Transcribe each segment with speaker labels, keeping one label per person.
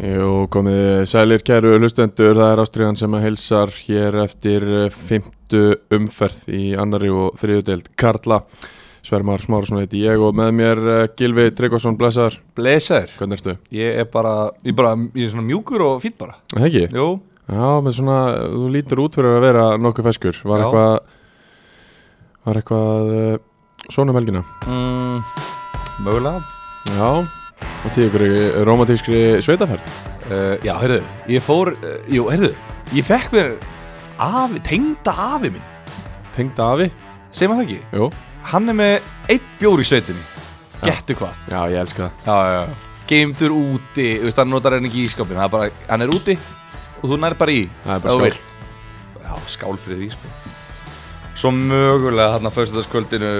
Speaker 1: Jú, komið sælir kæru hlustendur, það er Ástriðan sem að hilsar hér eftir eh, fimmtu umferð í annari og þriðu deild Karla. Svermar Smárasson heiti ég og með mér eh, Gylfi Tryggvason Blesar,
Speaker 2: Blesaður,
Speaker 1: hvernig ertu?
Speaker 2: ég er bara, ég, bara, ég er svona mjúkur og fýtt bara
Speaker 1: Er það Ekki?
Speaker 2: Jú,
Speaker 1: Já, með svona, þú lítur út fyrir að vera nokkuð feskur. Var
Speaker 2: Já.
Speaker 1: eitthvað, var eitthvað eh, svona um helgina?
Speaker 2: mm, mögulega
Speaker 1: Já, og til ykkur í romantískri sveitaferð.
Speaker 2: uh, Já, heyrðu, ég fór, uh, jú, heyrðu Ég fekk mér afi, tengda afi minn
Speaker 1: Tengd afi?
Speaker 2: Segir maður það ekki?
Speaker 1: Jú.
Speaker 2: Hann er með einn bjór í sveitinni Gettu hvað
Speaker 1: Já, ég elska það.
Speaker 2: Já, já, já Geimdur úti, þú veist, hann notar henni ekki í skapin Hann er bara, hann er úti og þú nær bara í
Speaker 1: Það er
Speaker 2: ef þú
Speaker 1: bara skál.
Speaker 2: vilt. Já, skál fyrir því, sko Svo mögulega hann að föstudagskvöldinu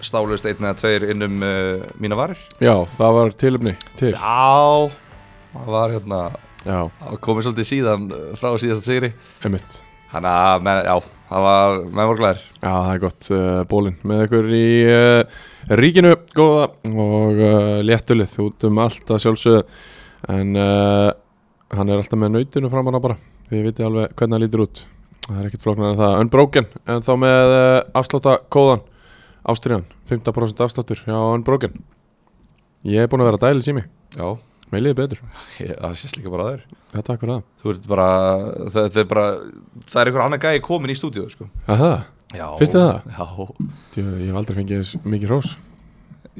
Speaker 2: stálust einn eða tveir inn um uh, mína varir
Speaker 1: Já, það var tilöfni, til.
Speaker 2: Já, það var hérna
Speaker 1: Já,
Speaker 2: það var komið svolítið síðan uh, frá síðasta sigri
Speaker 1: einmitt.
Speaker 2: Þannig að, menn- já, það var menn voru glæðir
Speaker 1: Já, það er gott, uh, bólinn með ykkur í uh, ríkinu, góða og uh, léttulið út um allt að sjálfsögðu en uh, hann er alltaf með nautinu fram hana bara, því ég viti alveg hvernig hann lítur út það er ekkert flóknar en það, Unbroken en þá með uh, afsláta kóðan Ástriðan, 15% afsláttur já, Unbroken ég er búin að vera dælis í mig,
Speaker 2: Já,
Speaker 1: með liðið betur
Speaker 2: ég, það sést líka bara að þér
Speaker 1: já, takk fyrir
Speaker 2: Þú ert bara, þetta er bara það er einhver annar gæi komin í stúdíu, sko
Speaker 1: það Aha,
Speaker 2: Já
Speaker 1: Finnst þér það?
Speaker 2: Já
Speaker 1: djú, ég hef aldrei fengið þess mikið rós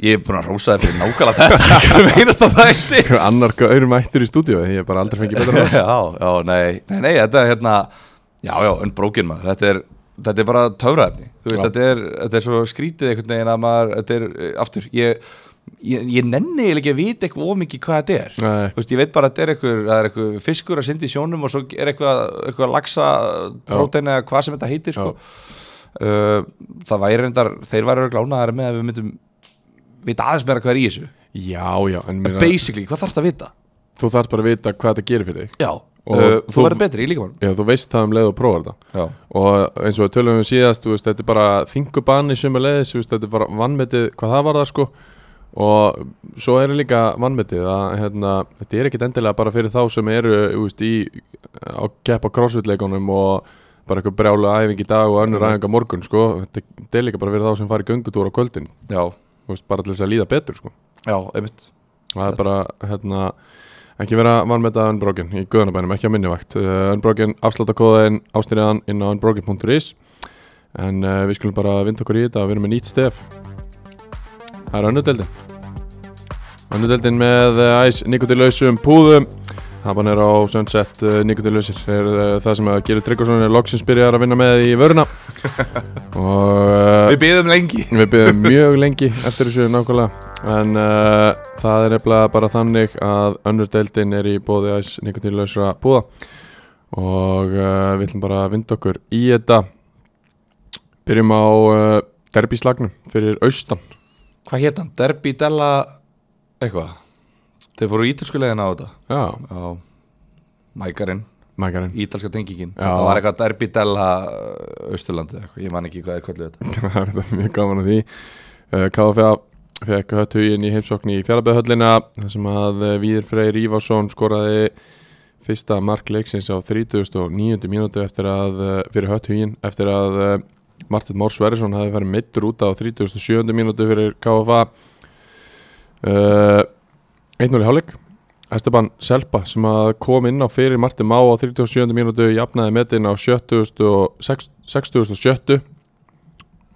Speaker 2: Ég er búin að rósa þér fyrir nákvæmlega þetta Hvernig einasta þætti
Speaker 1: annar gaur mættur í stúdíu, ég hef bara aldrei fengið betur rós
Speaker 2: Já, já, nei Nei, nei, þetta er hérna Já, já, unbroken maður Þetta er, þetta er bara töfraefni Þú veist,
Speaker 1: Já.
Speaker 2: þetta er, þetta er svo skrítið einhvern veginn að maður Þetta er, eh, aftur, ég Ég, ég nenni eiginlega ekki að vita eitthvað of mikið hvað þetta er
Speaker 1: Nei.
Speaker 2: Þú veist, ég veit bara að þetta er eitthvað, það er eitthvað fiskur að syndi í sjónum og svo er eitthvað, eitthvað laxa
Speaker 1: Já.
Speaker 2: prótein eða hvað sem þetta heitir sko.
Speaker 1: Já.
Speaker 2: uh, Það væri reyndar, þeir væri glánaðar með að við myndum vita aðeins meira hvað er í þessu
Speaker 1: já, já, en meina-
Speaker 2: Basically, hvað þarf þetta að vita?
Speaker 1: þú þarf bara að vita hvað þetta gerir fyrir þig
Speaker 2: Já,
Speaker 1: Og
Speaker 2: uh,
Speaker 1: þú-
Speaker 2: þú verður betri í líkamann
Speaker 1: Já, þú veist það um leið og prófar þetta
Speaker 2: Já,
Speaker 1: og eins og við tölum við síðast, þú veist, þetta er bara þingubani sem er leiðis, þú veist, þetta er bara vannmetið hvað það var það sko og svo er líka vannmetið að hérna, þetta er ekkit endilega bara fyrir þá sem eru, þú veist, í á keppa crossfit-leikunum og bara eitthvað brjálu æfing í dag og önnur æfing á morgun sko, þetta þetta er líka bara fyrir þá sem fara í göngutúr á kvöldin,
Speaker 2: já,
Speaker 1: þú veist, bara til þess að líða betur sko,
Speaker 2: já, einmitt
Speaker 1: og það er bara, hérna ekki vera vanmetað Unbroken í guðanabænum, ekki að minni vakt uh, Unbroken, afsláttakóðin, ástyrjaðan inn á unbroken.is en uh, við skulum bara vinda okkur í þetta við erum með nýtt stef það er önnudeldin önnudeldin með uh, æs nikotilösum púðum Haban er á Sunset uh, nikotilösir er uh, það sem að Gerur Tryggvason er loksins byrjar að vinna með í vöruna og uh,
Speaker 2: Við byggðum lengi
Speaker 1: Við byrjum mjög lengi eftir þessu nákvæmlega en uh, það er nefnilega bara þannig að önnur deildin er í bóði æs nikotínlausra búða og uh, við ætlum bara að vinda okkur í þetta byrjum á uh, derbíslagnum fyrir austan
Speaker 2: Hvað hétt hann? Derby Della Eitthvað Þeir fóru ítalskulegin á þetta
Speaker 1: Já,
Speaker 2: Já Mækarinn
Speaker 1: mækarinn
Speaker 2: Ítalska tengingin
Speaker 1: Já.
Speaker 2: Það var eitthvað Derby Della uh, Austurlandi eða eitthvað Ég man ekki hvað er kvöldu þetta
Speaker 1: það er þetta mjög gaman að því uh, KFA fekk höttuginn í heimsókn í fjallabæðhöllina þar sem að uh, Víðir Freyr Ívarsson skoraði fyrsta mark leiksins á 39. mínútu eftir að, uh, fyrir höttuginn eftir að uh, Martin Mór Sverrisson hafi farið meittur út á 37. mínútu fyrir KFA uh, 1-0 í hálfleik Esteban Selpa sem að kom inn á fyrir Martin Má á 37. mínútu jafnaði metin á 70. og 60. og 70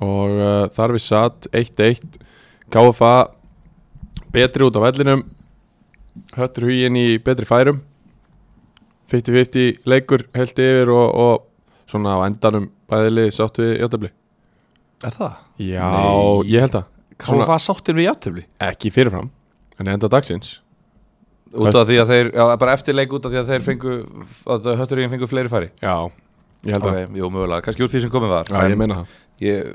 Speaker 1: og uh, þar við satt 1-1 KFA betri út á vellinum höttur huginn í betri færum 50-50 leikur held yfir og, og svona á endanum bæðilið sátt við játtabli
Speaker 2: Er það?
Speaker 1: Já,
Speaker 2: Nei.
Speaker 1: ég held það
Speaker 2: Hvað var sáttin við játtöfli?
Speaker 1: ekki fyrirfram en enda dagsins
Speaker 2: Út af því að þeir Já, bara eftirleik út af því að þeir fengu Að hötturíðin fengu fleiri færi
Speaker 1: Já, Ég held að,
Speaker 2: Ok, jú, mögulega, kannski úr því sem komið var
Speaker 1: já, ég
Speaker 2: en
Speaker 1: meina það
Speaker 2: ég,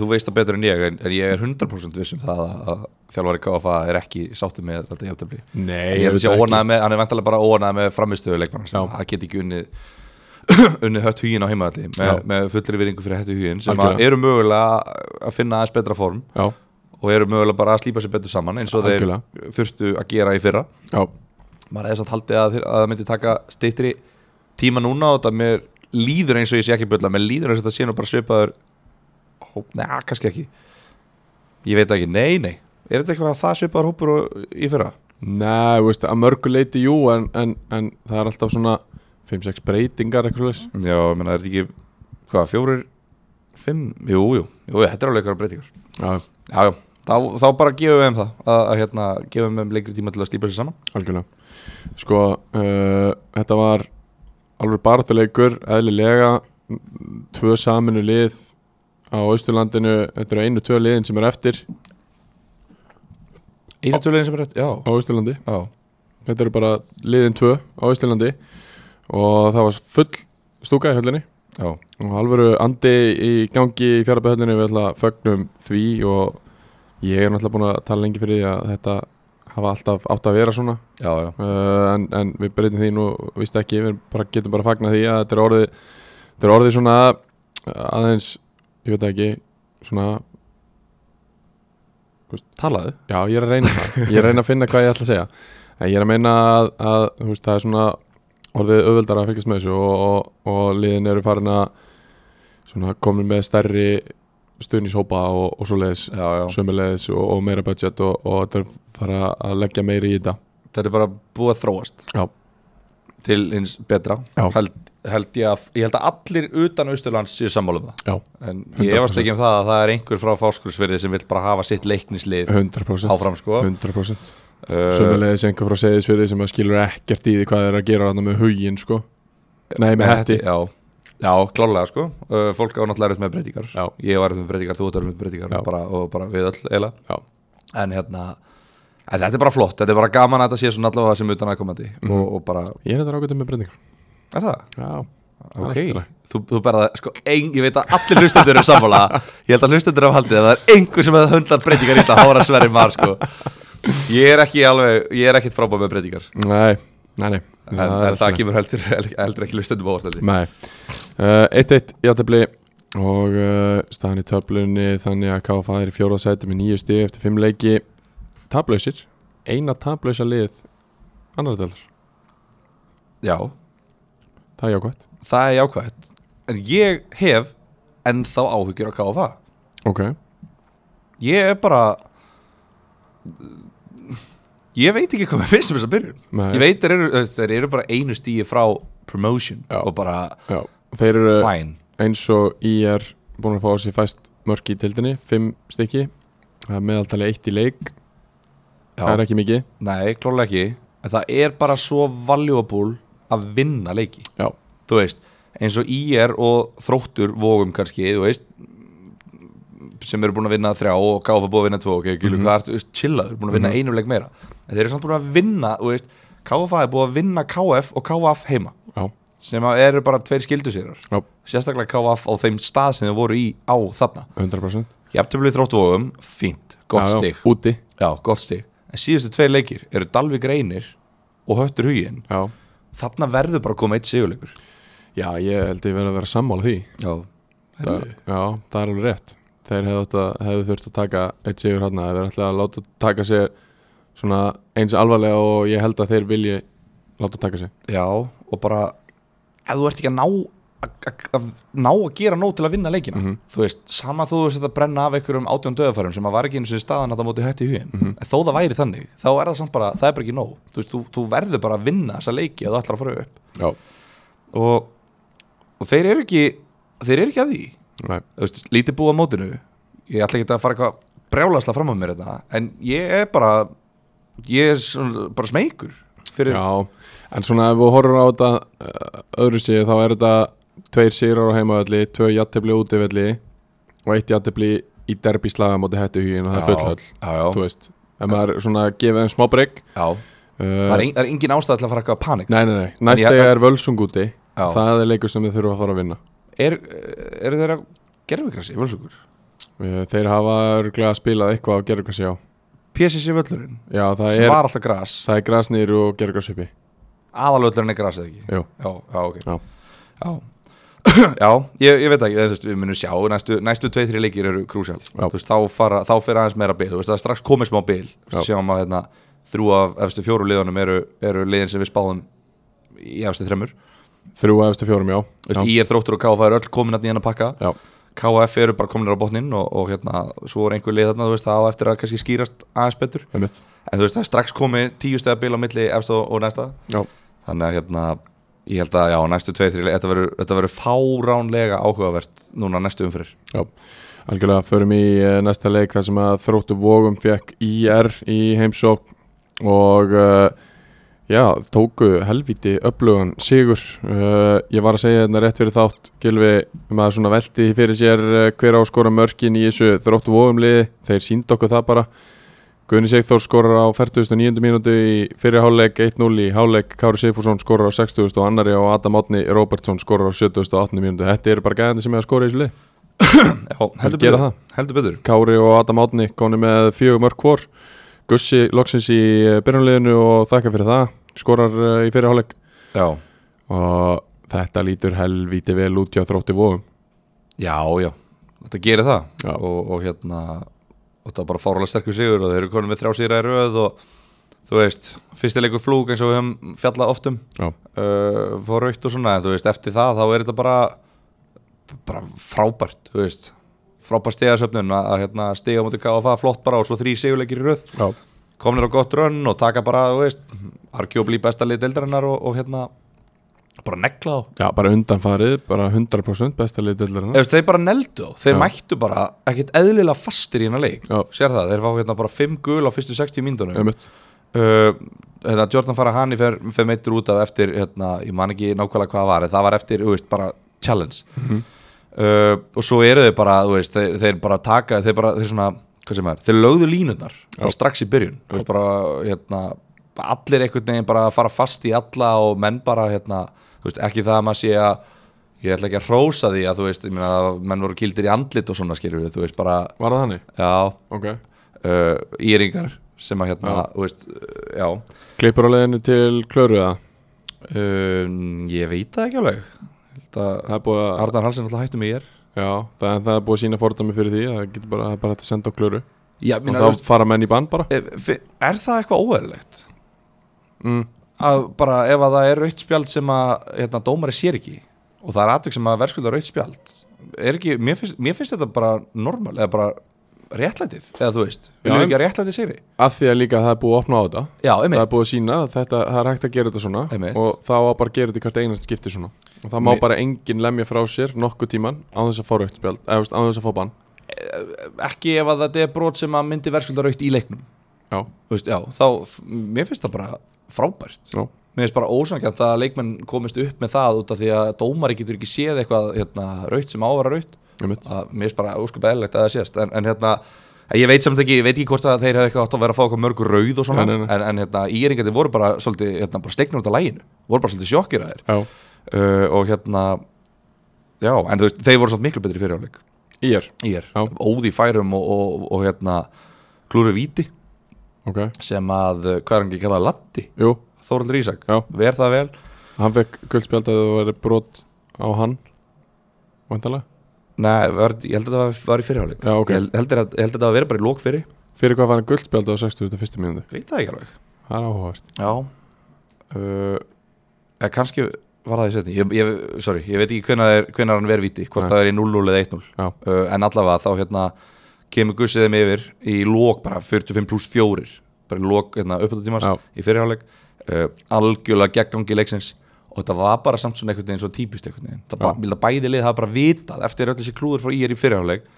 Speaker 2: Þú veist það betur en ég en, en ég er 100% viss um það að- að þjálfari KFA er ekki sáttu með þetta jafntöfli
Speaker 1: Nei,
Speaker 2: Ég held að sé
Speaker 1: auðvitað
Speaker 2: ónæð með, hann er vantarlega bara ónæð með framistöðu leikmann
Speaker 1: Já.
Speaker 2: Það get ekki unnið unnið hött hugin á heimaðalli með,
Speaker 1: Já.
Speaker 2: með fullri viðingu fyrir hættu hugin sem að
Speaker 1: Algjörlega.
Speaker 2: eru mögulega að finna aðeins betra form
Speaker 1: Já,
Speaker 2: og eru mögulega bara að slípa sér betur saman eins og
Speaker 1: Algjörlega.
Speaker 2: þeir þurftu að gera í fyrra
Speaker 1: já,
Speaker 2: maður hefði satt haldið að, þeir- að það myndi taka stittri tíma núna og þetta mér líður eins og ég sé ekki byrla, mér líður eins og þetta sé nú bara svipaður hóp, neða, kannski ekki ég veit ekki, nei, nei er þetta eitthvað að það svipaður hópur og, í fyrra?
Speaker 1: nei, þú veist, að mörgu leiti jú en, en, en það er alltaf svona 5-6 breytingar eitthvað slags
Speaker 2: Já, ég meina, er þetta ekki hvað, fjórir, fimm, jú, jú, jú þetta er alveg eitthvað breytingar
Speaker 1: Já,
Speaker 2: já, já, þá, þá bara gefum við þeim það að, að hérna, gefum þeim lengri tíma til að slípa sér saman
Speaker 1: algjörlega Sko, uh, þetta var alveg baráttuleikur, eðlilega m, tvö saminu lið á Austurlandinu, þetta eru einu tvö liðin sem eru eftir
Speaker 2: einu tölulegin sem er rétt, já,
Speaker 1: á Austurlandi
Speaker 2: já,
Speaker 1: Þetta eru bara liðin tvö á Íslandi og það var full stúka í höllinni
Speaker 2: já,
Speaker 1: og alvöru andi í gangi í fjarlabæðhöllinni við ætla að fögnum því og ég er náttúrulega búin að tala lengi fyrir því að þetta hafa alltaf átt að vera svona
Speaker 2: já, já.
Speaker 1: uh, en, en við breytum því nú vist ekki, við bara, getum bara að fagna því að þetta er orðið, þetta er orðið svona aðeins, ég veit það ekki svona,
Speaker 2: talaðu
Speaker 1: já ég er að reyna það ég er að reyna að finna hvað ég ætla að segja en ég er að meina að, að þú veist, það er svona orðið auðveldar að fylgjast með þessu og, og, og liðin eru farin að svona komin með stærri stuðnishópa og, og svoleiðis
Speaker 2: já, já.
Speaker 1: sömuleiðis og, og meira budget og, og þetta er fara að leggja meiri í þetta
Speaker 2: þetta er bara búið að þróast
Speaker 1: Já.
Speaker 2: til hins betra
Speaker 1: Já.
Speaker 2: held, held ég, að, ég held að allir utan Austurlands séu sammála um það
Speaker 1: já,
Speaker 2: en ég
Speaker 1: 100%.
Speaker 2: efast ekki um það að það er einhver frá fáskursverði sem vill bara hafa sitt leiknislið
Speaker 1: 100%
Speaker 2: áfram sko
Speaker 1: 100%
Speaker 2: uh,
Speaker 1: Sömulegis einhver frá segðisfyrir sem að skilur ekkert í því hvað þeir eru að gera þarna með huginn sko Nei, með hætti
Speaker 2: já, já, klárlega sko uh, fólk á náttúrulega erum með breytingar
Speaker 1: Já.
Speaker 2: ég var erum með breytingar, þú erum með breytingar
Speaker 1: Já.
Speaker 2: og bara, og bara við öll eila
Speaker 1: Já,
Speaker 2: en hérna En þetta er bara flott, þetta er bara gaman að þetta sé svona allavega sem utan aðkomandi
Speaker 1: Mhm.
Speaker 2: og, og bara,
Speaker 1: ég er þetta ágætið með breytingar
Speaker 2: er það?
Speaker 1: Já, það er
Speaker 2: Ok,
Speaker 1: allt í lagi.
Speaker 2: þú, þú berða, sko, ein, ég veit að allir hlustendur eru sammála Ég held að hlustendur hafa haldið að það er einhver sem hefði höndlar breytingar í þetta Hára Sverri Mar, sko Ég er ekki alveg, ég er ekkit frábæð með breytingar
Speaker 1: Nei, nei, nei
Speaker 2: En, en það kemur heldur, heldur ekki hlustendur bóðast heldur
Speaker 1: Nei Uh, 1-1 í aðtefli og uh, staðan í töflunni þannig að KFA er í fjóra sæti með nýju stig eftir fimm leiki tablausir, eina tablausa lið annar delar,
Speaker 2: Já,
Speaker 1: það er jákvæmt
Speaker 2: það er jákvætt En ég hef ennþá áhyggjur á KFA
Speaker 1: Ok,
Speaker 2: Ég er bara Ég veit ekki hvað mér finnst um þess að byrjun
Speaker 1: Nei.
Speaker 2: Ég veit þeir eru, þeir eru bara einu stíi frá promotion
Speaker 1: Já.
Speaker 2: og bara
Speaker 1: já, þeir eru
Speaker 2: fine
Speaker 1: eins og í er búin að fá sér fæst mörk í tildinni, fimm stykki það er meðaltali eitt í leik
Speaker 2: Já.
Speaker 1: það er ekki mikið
Speaker 2: Nei, klárlega ekki En það er bara svo valuable að vinna leiki
Speaker 1: já,
Speaker 2: Þú veist, eins og IR og þróttur vógum kannski, þú veist sem eru búin að vinna þrjá og KF er búin að vinna tvo, ok, gilur,
Speaker 1: Mhm.
Speaker 2: mm -hmm. hvað ertu, þú veist, chilla þú eru búin að vinna mm einu leik meira en þeir eru samt búin að vinna, þú veist KF er búin að vinna KF og KF heima
Speaker 1: já,
Speaker 2: sem að eru bara tveir skildu sérar
Speaker 1: já,
Speaker 2: sérstaklega KF á þeim stað sem þau voru í á þarna,
Speaker 1: 100%
Speaker 2: jafntöflið þróttvógum fínt, gott
Speaker 1: já,
Speaker 2: stig
Speaker 1: já, úti
Speaker 2: Já, gott stig En síðustu tveir leikir eru Dalvik Reynir og Höttur Hugin
Speaker 1: já.
Speaker 2: Þarna verður bara að koma eitt sigurleikur
Speaker 1: já, ég held ég verið að vera sammála því
Speaker 2: Já
Speaker 1: það, já, það er alveg rétt þeir hefðu, átt að, hefðu þurft að taka eitt sigur hann þeir ætla að láta taka sér svona eins alvarlega og ég held að þeir vilji láta taka sér
Speaker 2: Já, og bara ef þú ert ekki að ná að, að, að ná að gera nóg til að vinna leikina þú veist, sama þú veist að brenna af einhverjum átjón döðafærum sem að var ekki eins og staðan að það móti hætti í hugin, en þó það væri þannig þá er það samt bara, það er bara ekki nóg þú, veist, þú, þú verður bara að vinna þessa leiki að þú ætlar að fara upp
Speaker 1: já,
Speaker 2: og, og þeir eru ekki þeir eru ekki að því
Speaker 1: Nei.
Speaker 2: þú veist, lítið búið á mótinu ég ætla ekki að fara eitthvað brjálasla fram á mér þetta en ég er bara ég er svona, bara smeykur fyrir,
Speaker 1: Já, en svona ef við horfum á þetta uh, öðru síðu þá er þetta tveir sýrar á heimavalli, tvö jættefli útivalli og eitt jættefli í derbi slaga móti hættuhugin og það er fullhöll,
Speaker 2: já,
Speaker 1: þú
Speaker 2: já,
Speaker 1: veist en maður svona gefið þeim smá breyk
Speaker 2: já.
Speaker 1: uh,
Speaker 2: Það, er ein, það er engin ástæð til að fara eitthvað að panik
Speaker 1: Nei, nei, nei,
Speaker 2: En ég-
Speaker 1: næstega er völsung úti
Speaker 2: Já.
Speaker 1: það er leikur sem þið þurfa að fara að vinna
Speaker 2: Er, er þeirra gerfugrassi, völsugur?
Speaker 1: Eh, þeir hafa örglega spilað eitthvað á gerðugrassi á
Speaker 2: PSC völlurinn,
Speaker 1: já, það
Speaker 2: sem
Speaker 1: er,
Speaker 2: var alltaf gras
Speaker 1: það er grasnýr og gerðugrassuppi
Speaker 2: aðalvöllurinn er gras eða ekki?
Speaker 1: Jú.
Speaker 2: Já, já, ok
Speaker 1: Já.
Speaker 2: Já, Já, ég, ég veit ekki, þess, við munum sjá, næstu, næstu tvei-þri leikir eru krúsjál
Speaker 1: Já.
Speaker 2: veist, þá, fara, þá fyrir aðeins meira bil, þú veist, það er strax komið smá bil
Speaker 1: Já.
Speaker 2: Sjáum að hérna, þrjú af efstu fjóru liðunum eru, eru liðin sem við spáðum í efstu þremur
Speaker 1: þrjú efstu fjórum, já,
Speaker 2: Þú veist,
Speaker 1: já.
Speaker 2: Í er þróttur og KF er öll komin að nýjan að pakka
Speaker 1: já.
Speaker 2: KF eru bara kominir á botnin og, og hérna, svo er einhver lið þarna, þú veist, það á eftir að kannski skýrast aðeins betur
Speaker 1: einmitt.
Speaker 2: En þú veist, það er strax komið tíu stegar bil á milli efstu og, og næsta
Speaker 1: já.
Speaker 2: Þannig að hérna, ég held að já, næstu tveir, þrjir, þetta verður- þetta verður fáránlega áhugavert núna næstu umfyrir
Speaker 1: Já, algjörlega förum í eh, næsta leik þar sem að þróttu vógum fekk IR í heimsók og uh, já, tóku helviti öflugan sigur uh, ég var að segja þetta rétt fyrir þátt Gylfi, maður svona velti fyrir sér uh, hver á að skora mörkin í þessu þróttu vógum liði, þeir sínd okkur það bara Guðni Sigþór skorar á 49. mínútu í fyrirháleik 1-0 í háleik, Kári Sigfússon skorar á 60. og annari og Adam Átni Róbertsson skorar á 78. mínútu. Þetta eru bara gæðandi sem er að skora í þessu lið.
Speaker 2: Já, heldur
Speaker 1: Gera
Speaker 2: betur,
Speaker 1: það.
Speaker 2: heldur betur.
Speaker 1: Kári og Adam Átni konu með fjögur mörg hvor Gussi loksins í eh, byrjunliðinu og þakka fyrir það skorar eh, í fyrirháleik
Speaker 2: Já.
Speaker 1: og þetta lítur helvíti vel út hjá þrótti vóum
Speaker 2: já, já, þetta gerir það
Speaker 1: Já.
Speaker 2: og, og hérna og það er bara fáránlega sterkur sigur og þeir eru konum með þrjá sigra í röð og þú veist, fyrsti leikur flúk eins og við höfum fjallað oft um
Speaker 1: Já,
Speaker 2: uh, fór raukt og svona, en þú veist, eftir það þá er þetta bara, bara frábært, þú veist frábært stegasöfnun að, að hérna, stiga mútið KFA flott bara og svo þrý sigurleikir í röð
Speaker 1: já,
Speaker 2: komnir á gott rönn og taka bara, þú veist arguably besta lið deildarinnar og, og hérna bara negla þá
Speaker 1: já bara undanfarið bara 100% besta liðdildurinn
Speaker 2: Ef þeir bara neldu á, þeir
Speaker 1: Já.
Speaker 2: mættu bara ekkert eðlilega fastir í hennar leik
Speaker 1: Já. Um
Speaker 2: sér það, þeir fá hérna bara 5 gul á fyrstu 60 mínutunum
Speaker 1: Einmitt.
Speaker 2: uh, hérna, Jordan Farahani fer, fer meittur út af eftir, hérna, ég man ekki nákvæmlega hvað það var en það var eftir, þú veist, bara challenge uh, og svo eru þeir bara þú veist, þeir, þeir bara taka þeir bara, þeir svona, hvað sem er, þeir lögðu línurnar bara strax í byrjun og bara, hérna, allir einhvern veginn bara að fara fast í alla og menn bara, hérna, þú veist, ekki það að maður sé að ég ætla ekki að hrósa því að þú veist, ég meina að menn voru kildir í andlit og svona skilur við, þú veist, bara,
Speaker 1: Var það hannig?
Speaker 2: já
Speaker 1: Ok
Speaker 2: uh, íringar sem að hérna, þú veist, uh, já
Speaker 1: Klippur á leiðinu til Klöruða
Speaker 2: um, ég veit það ekki alveg Held að
Speaker 1: Það er búið að
Speaker 2: Arnar Halsen alltaf hættu mig ég er
Speaker 1: Já, það, það er búið að sína fordæmi fyrir því Það getur bara, það er bara hægt að senda á Klöru
Speaker 2: já,
Speaker 1: Og þá fara menn í bann bara
Speaker 2: er, eh, er það eitthvað óeðlilegt
Speaker 1: mm.
Speaker 2: að bara ef að það er rautt spjald sem að hérna, dómari sér ekki og það er atvik sem að verðskulda rautt spjald er ekki, mér finnst, mér finnst þetta bara normal, eða bara réttlætið, eða þú veist,
Speaker 1: Já,
Speaker 2: viljum við
Speaker 1: en-
Speaker 2: ekki að réttlætið sér
Speaker 1: Af því að líka það er búið að opna á þetta
Speaker 2: já, einmitt
Speaker 1: það er búið að sína að þetta, það er hægt að gera þetta svona
Speaker 2: Einmitt.
Speaker 1: og þá á bara að gera þetta í hvert einast skipti svona og það má
Speaker 2: Mér-
Speaker 1: bara enginn lemja frá sér nokkuð tíman á þess að fá rauktspjald eða þú veist, á þess að fá bann
Speaker 2: ekki ef að þetta er brot sem að myndi verðskulda rautt í leiknum
Speaker 1: já,
Speaker 2: Þú veist, já, þá, mér finnst það bara frábært
Speaker 1: já,
Speaker 2: mér finnst bara ósangjant að leikmenn komist upp með það út af því að dómari getur ekki séð eitthvað hérna, raut sem á að vera raut
Speaker 1: einmitt
Speaker 2: að mér finnst bara óskup eðlilegt að það sést en, en hérna, ég veit samt ekki, ég veit ekki hvort að þeir hefði eitthvað átt að vera að fá eitthvað mörg rauð og svona
Speaker 1: Nei, nei, nei.
Speaker 2: en, en hérna, íringandi voru bara svolítið, hérna, bara steiknur út af læginu voru bara svolítið sjokkir að þeir
Speaker 1: já,
Speaker 2: uh, og hérna já, en þú veist, þeir voru svolítið miklu betri fyrirjáleik
Speaker 1: í er,
Speaker 2: ég er,
Speaker 1: Já.
Speaker 2: óði færum og, og, og, hérna klúru víti
Speaker 1: ok,
Speaker 2: sem að, uh, hvað er hann ekki kallað, Latti
Speaker 1: jú
Speaker 2: Þóraldur Ísak,
Speaker 1: Já.
Speaker 2: ver það vel
Speaker 1: hann fekk guldspjald að það var brot á hann vantalega,
Speaker 2: Nei, var, ég held að það var- var í fyrirháleik
Speaker 1: Já, ok.
Speaker 2: ég, held- heldur að, ég held að það var verið bara í lók fyrir
Speaker 1: fyrir hvað var hann guldspjald á 61. mínútu,
Speaker 2: Veit það ekki alveg
Speaker 1: það er áhugavert
Speaker 2: Já uh, Eða kannski var það í setni ég, ég, Sorry, ég veit ekki hvenar, er, hvenar hann verið viti Hvort
Speaker 1: Nei.
Speaker 2: það er í 0-0 eða 1-0
Speaker 1: Já.
Speaker 2: uh, En allavega þá hérna Kemur gussið þeim yfir í lók bara 45 pluss 4 Bara í lók hérna, uppöldatímans
Speaker 1: Já.
Speaker 2: Í fyrirháleik uh, Algjörlega geggangi leiksins Og þetta var bara samt svona einhvern veginn svo típist einhvern veginn Það
Speaker 1: Já.
Speaker 2: bara, ég held að bæði lið hafa bara vitað Eftir öll þessi klúður frá IR í fyrirháleik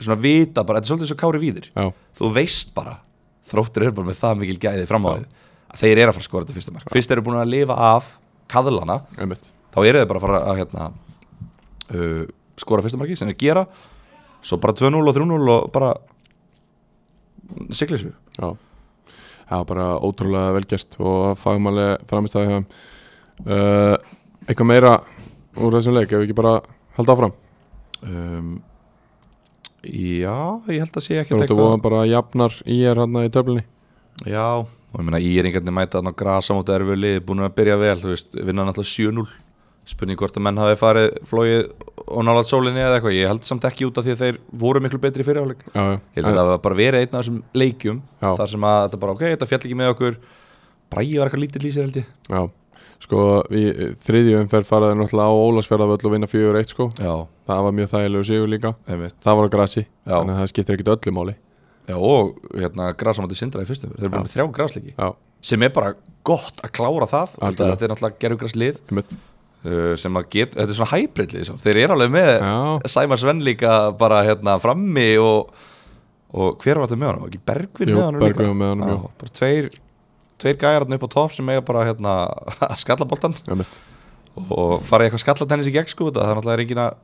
Speaker 2: Svona vita bara, þetta er svolítið svo kári víðir
Speaker 1: já,
Speaker 2: þú veist bara þróttur eru bara með það mikil gæði fram á því að þeir eru að fara að skora þetta fyrsta mark fyrst eru búin að lifa af kaðlana
Speaker 1: einmitt
Speaker 2: þá eru þeir bara að fara að hérna, uh, skora fyrsta marki sem þeir gera svo bara 2-0 og 3-0 og bara siglis við
Speaker 1: Já, það var bara ótrúlega velgjert og fagmæli framistæði hjá þeim. uh, Eitthvað meira úr þessum leik, ef við ekki bara halda áfram
Speaker 2: um, Já, ég held að sé
Speaker 1: Það
Speaker 2: ekkert
Speaker 1: er út að voða bara jafnar í er hann í töflunni
Speaker 2: Já, og ég meina íringarnir mæta þarna á grasa móti erfið lið, búin að byrja vel þú veist, vinna náttúrulega 7-0 spurning hvort að menn hafi farið flóið og nálað sólinni eða eitthvað, ég held samt ekki út af því að þeir voru miklu betri í fyrirháleik
Speaker 1: Já, já.
Speaker 2: Ég held að það var bara verið einn af þessum leikjum
Speaker 1: Já.
Speaker 2: þar sem að þetta bara, ok, þetta fjall ekki með okkur Bræði var eitthvað lítið lýsir held ég
Speaker 1: Já, sko í þriðju umferð faraði náttúrulega á Ólasferðavöll og vinna 4-1 sko
Speaker 2: Já,
Speaker 1: Það var mjög þægilegu sigur líka
Speaker 2: einmitt
Speaker 1: Það var á grasi,
Speaker 2: Já.
Speaker 1: þannig að það skiptir ekkit öllu máli
Speaker 2: Já, og hérna grasamátti sindra í fyrstum Þeir eru bara með þrjá grasleiki
Speaker 1: Já,
Speaker 2: sem er bara gott að klára það
Speaker 1: Algjörlega.
Speaker 2: Algjörlega. Þetta er náttúrulega gerðugraslið
Speaker 1: einmitt
Speaker 2: uh, sem að get, þetta er svona hybridlið samt. Þeir eru alveg með
Speaker 1: Já,
Speaker 2: Sæma Sven líka bara hérna frammi og, og hver var þetta með honum? Var Ekki Bergvin
Speaker 1: Jú,
Speaker 2: með honum
Speaker 1: Bergvin var með honum,
Speaker 2: já,
Speaker 1: jú.
Speaker 2: Bara tveir, tveir gæjararni upp á topp sem eiga bara hérna að skalla boltan
Speaker 1: einmitt
Speaker 2: og fara í eitthvað skallatennis í gegn sko þetta, það er náttúrulega engin að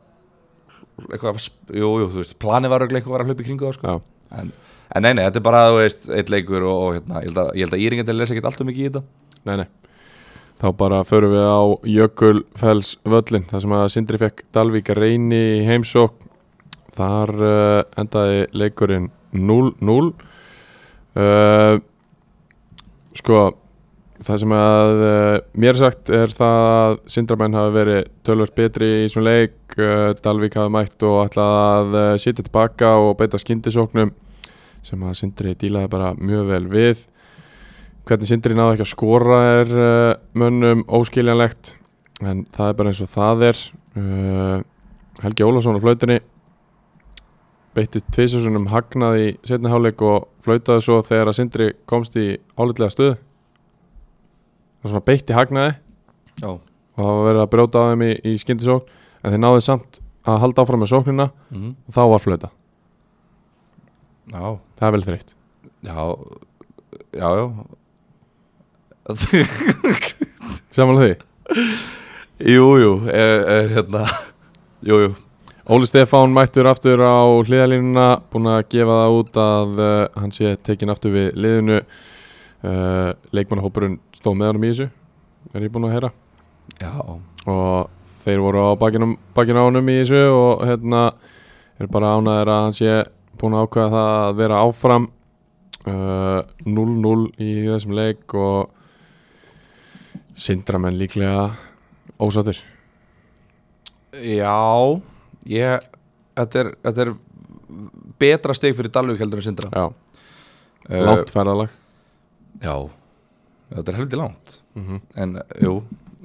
Speaker 2: eitthvað, jú, jú, þú veist, planið var örugglega eitthvað var að hlaupa í kringu það sko
Speaker 1: Já,
Speaker 2: en, en nei, nei, þetta er bara, þú veist, eitt leikur og, og hérna, ég held að, ég held að Íringandi lesa ekkert alltaf mikið í þetta
Speaker 1: nei, nei Þá bara förum við á Jökulfells völlin þar sem að Sindri fekk Dalvík reyni í heimsók Þar uh, endaði leikurinn 0-0 uh, Sko Það sem að uh, mér er sagt er það að Sindramenn hafi verið tölvöld betri í svona leik uh, Dalvík hafi mætt og ætlað að uh, sitja tilbaka og beita skyndisóknum sem að Sindri dílaði bara mjög vel við hvernig Sindri náði ekki að skora er uh, mönnum óskiljanlegt en það er bara eins og það er uh, Helgi Ólafsson á flautinni beitti tvisasunum hagnaði í setni hálfleik og flautaði svo þegar að Sindri komst í álitlega stöðu og svona beitti hagnaði
Speaker 2: Já,
Speaker 1: og það var verið að brjóta á þeim í, í skyndisókn en þeir náðu samt að halda áfram með sóknina
Speaker 2: mm,
Speaker 1: og þá var flauta,
Speaker 2: já,
Speaker 1: það er vel þreytt
Speaker 2: já, já, já
Speaker 1: samanlega því,
Speaker 2: Jú, jú, er, er, hérna, jú, jú
Speaker 1: Óli Stefán mættur aftur á hliðalínuna búinn að gefa það út að uh, hann sé tekin aftur við liðinu uh, leikmannahópurinn stóð með honum í þessu er ég búinn að heyra
Speaker 2: Já,
Speaker 1: og þeir voru á bakinu á honum í þessu og hérna er bara ánæðir að hann sé búinn að ákveða það að vera áfram uh, 0-0 í þessum leik og sindramenn líklega ósattir
Speaker 2: já, ég, þetta er, þetta er betra stig fyrir Dalvík heldur en Sindra
Speaker 1: Já,
Speaker 2: Eh,
Speaker 1: langt ferðalag
Speaker 2: Já, þetta er helviti langt
Speaker 1: mm -hmm.
Speaker 2: En, jú,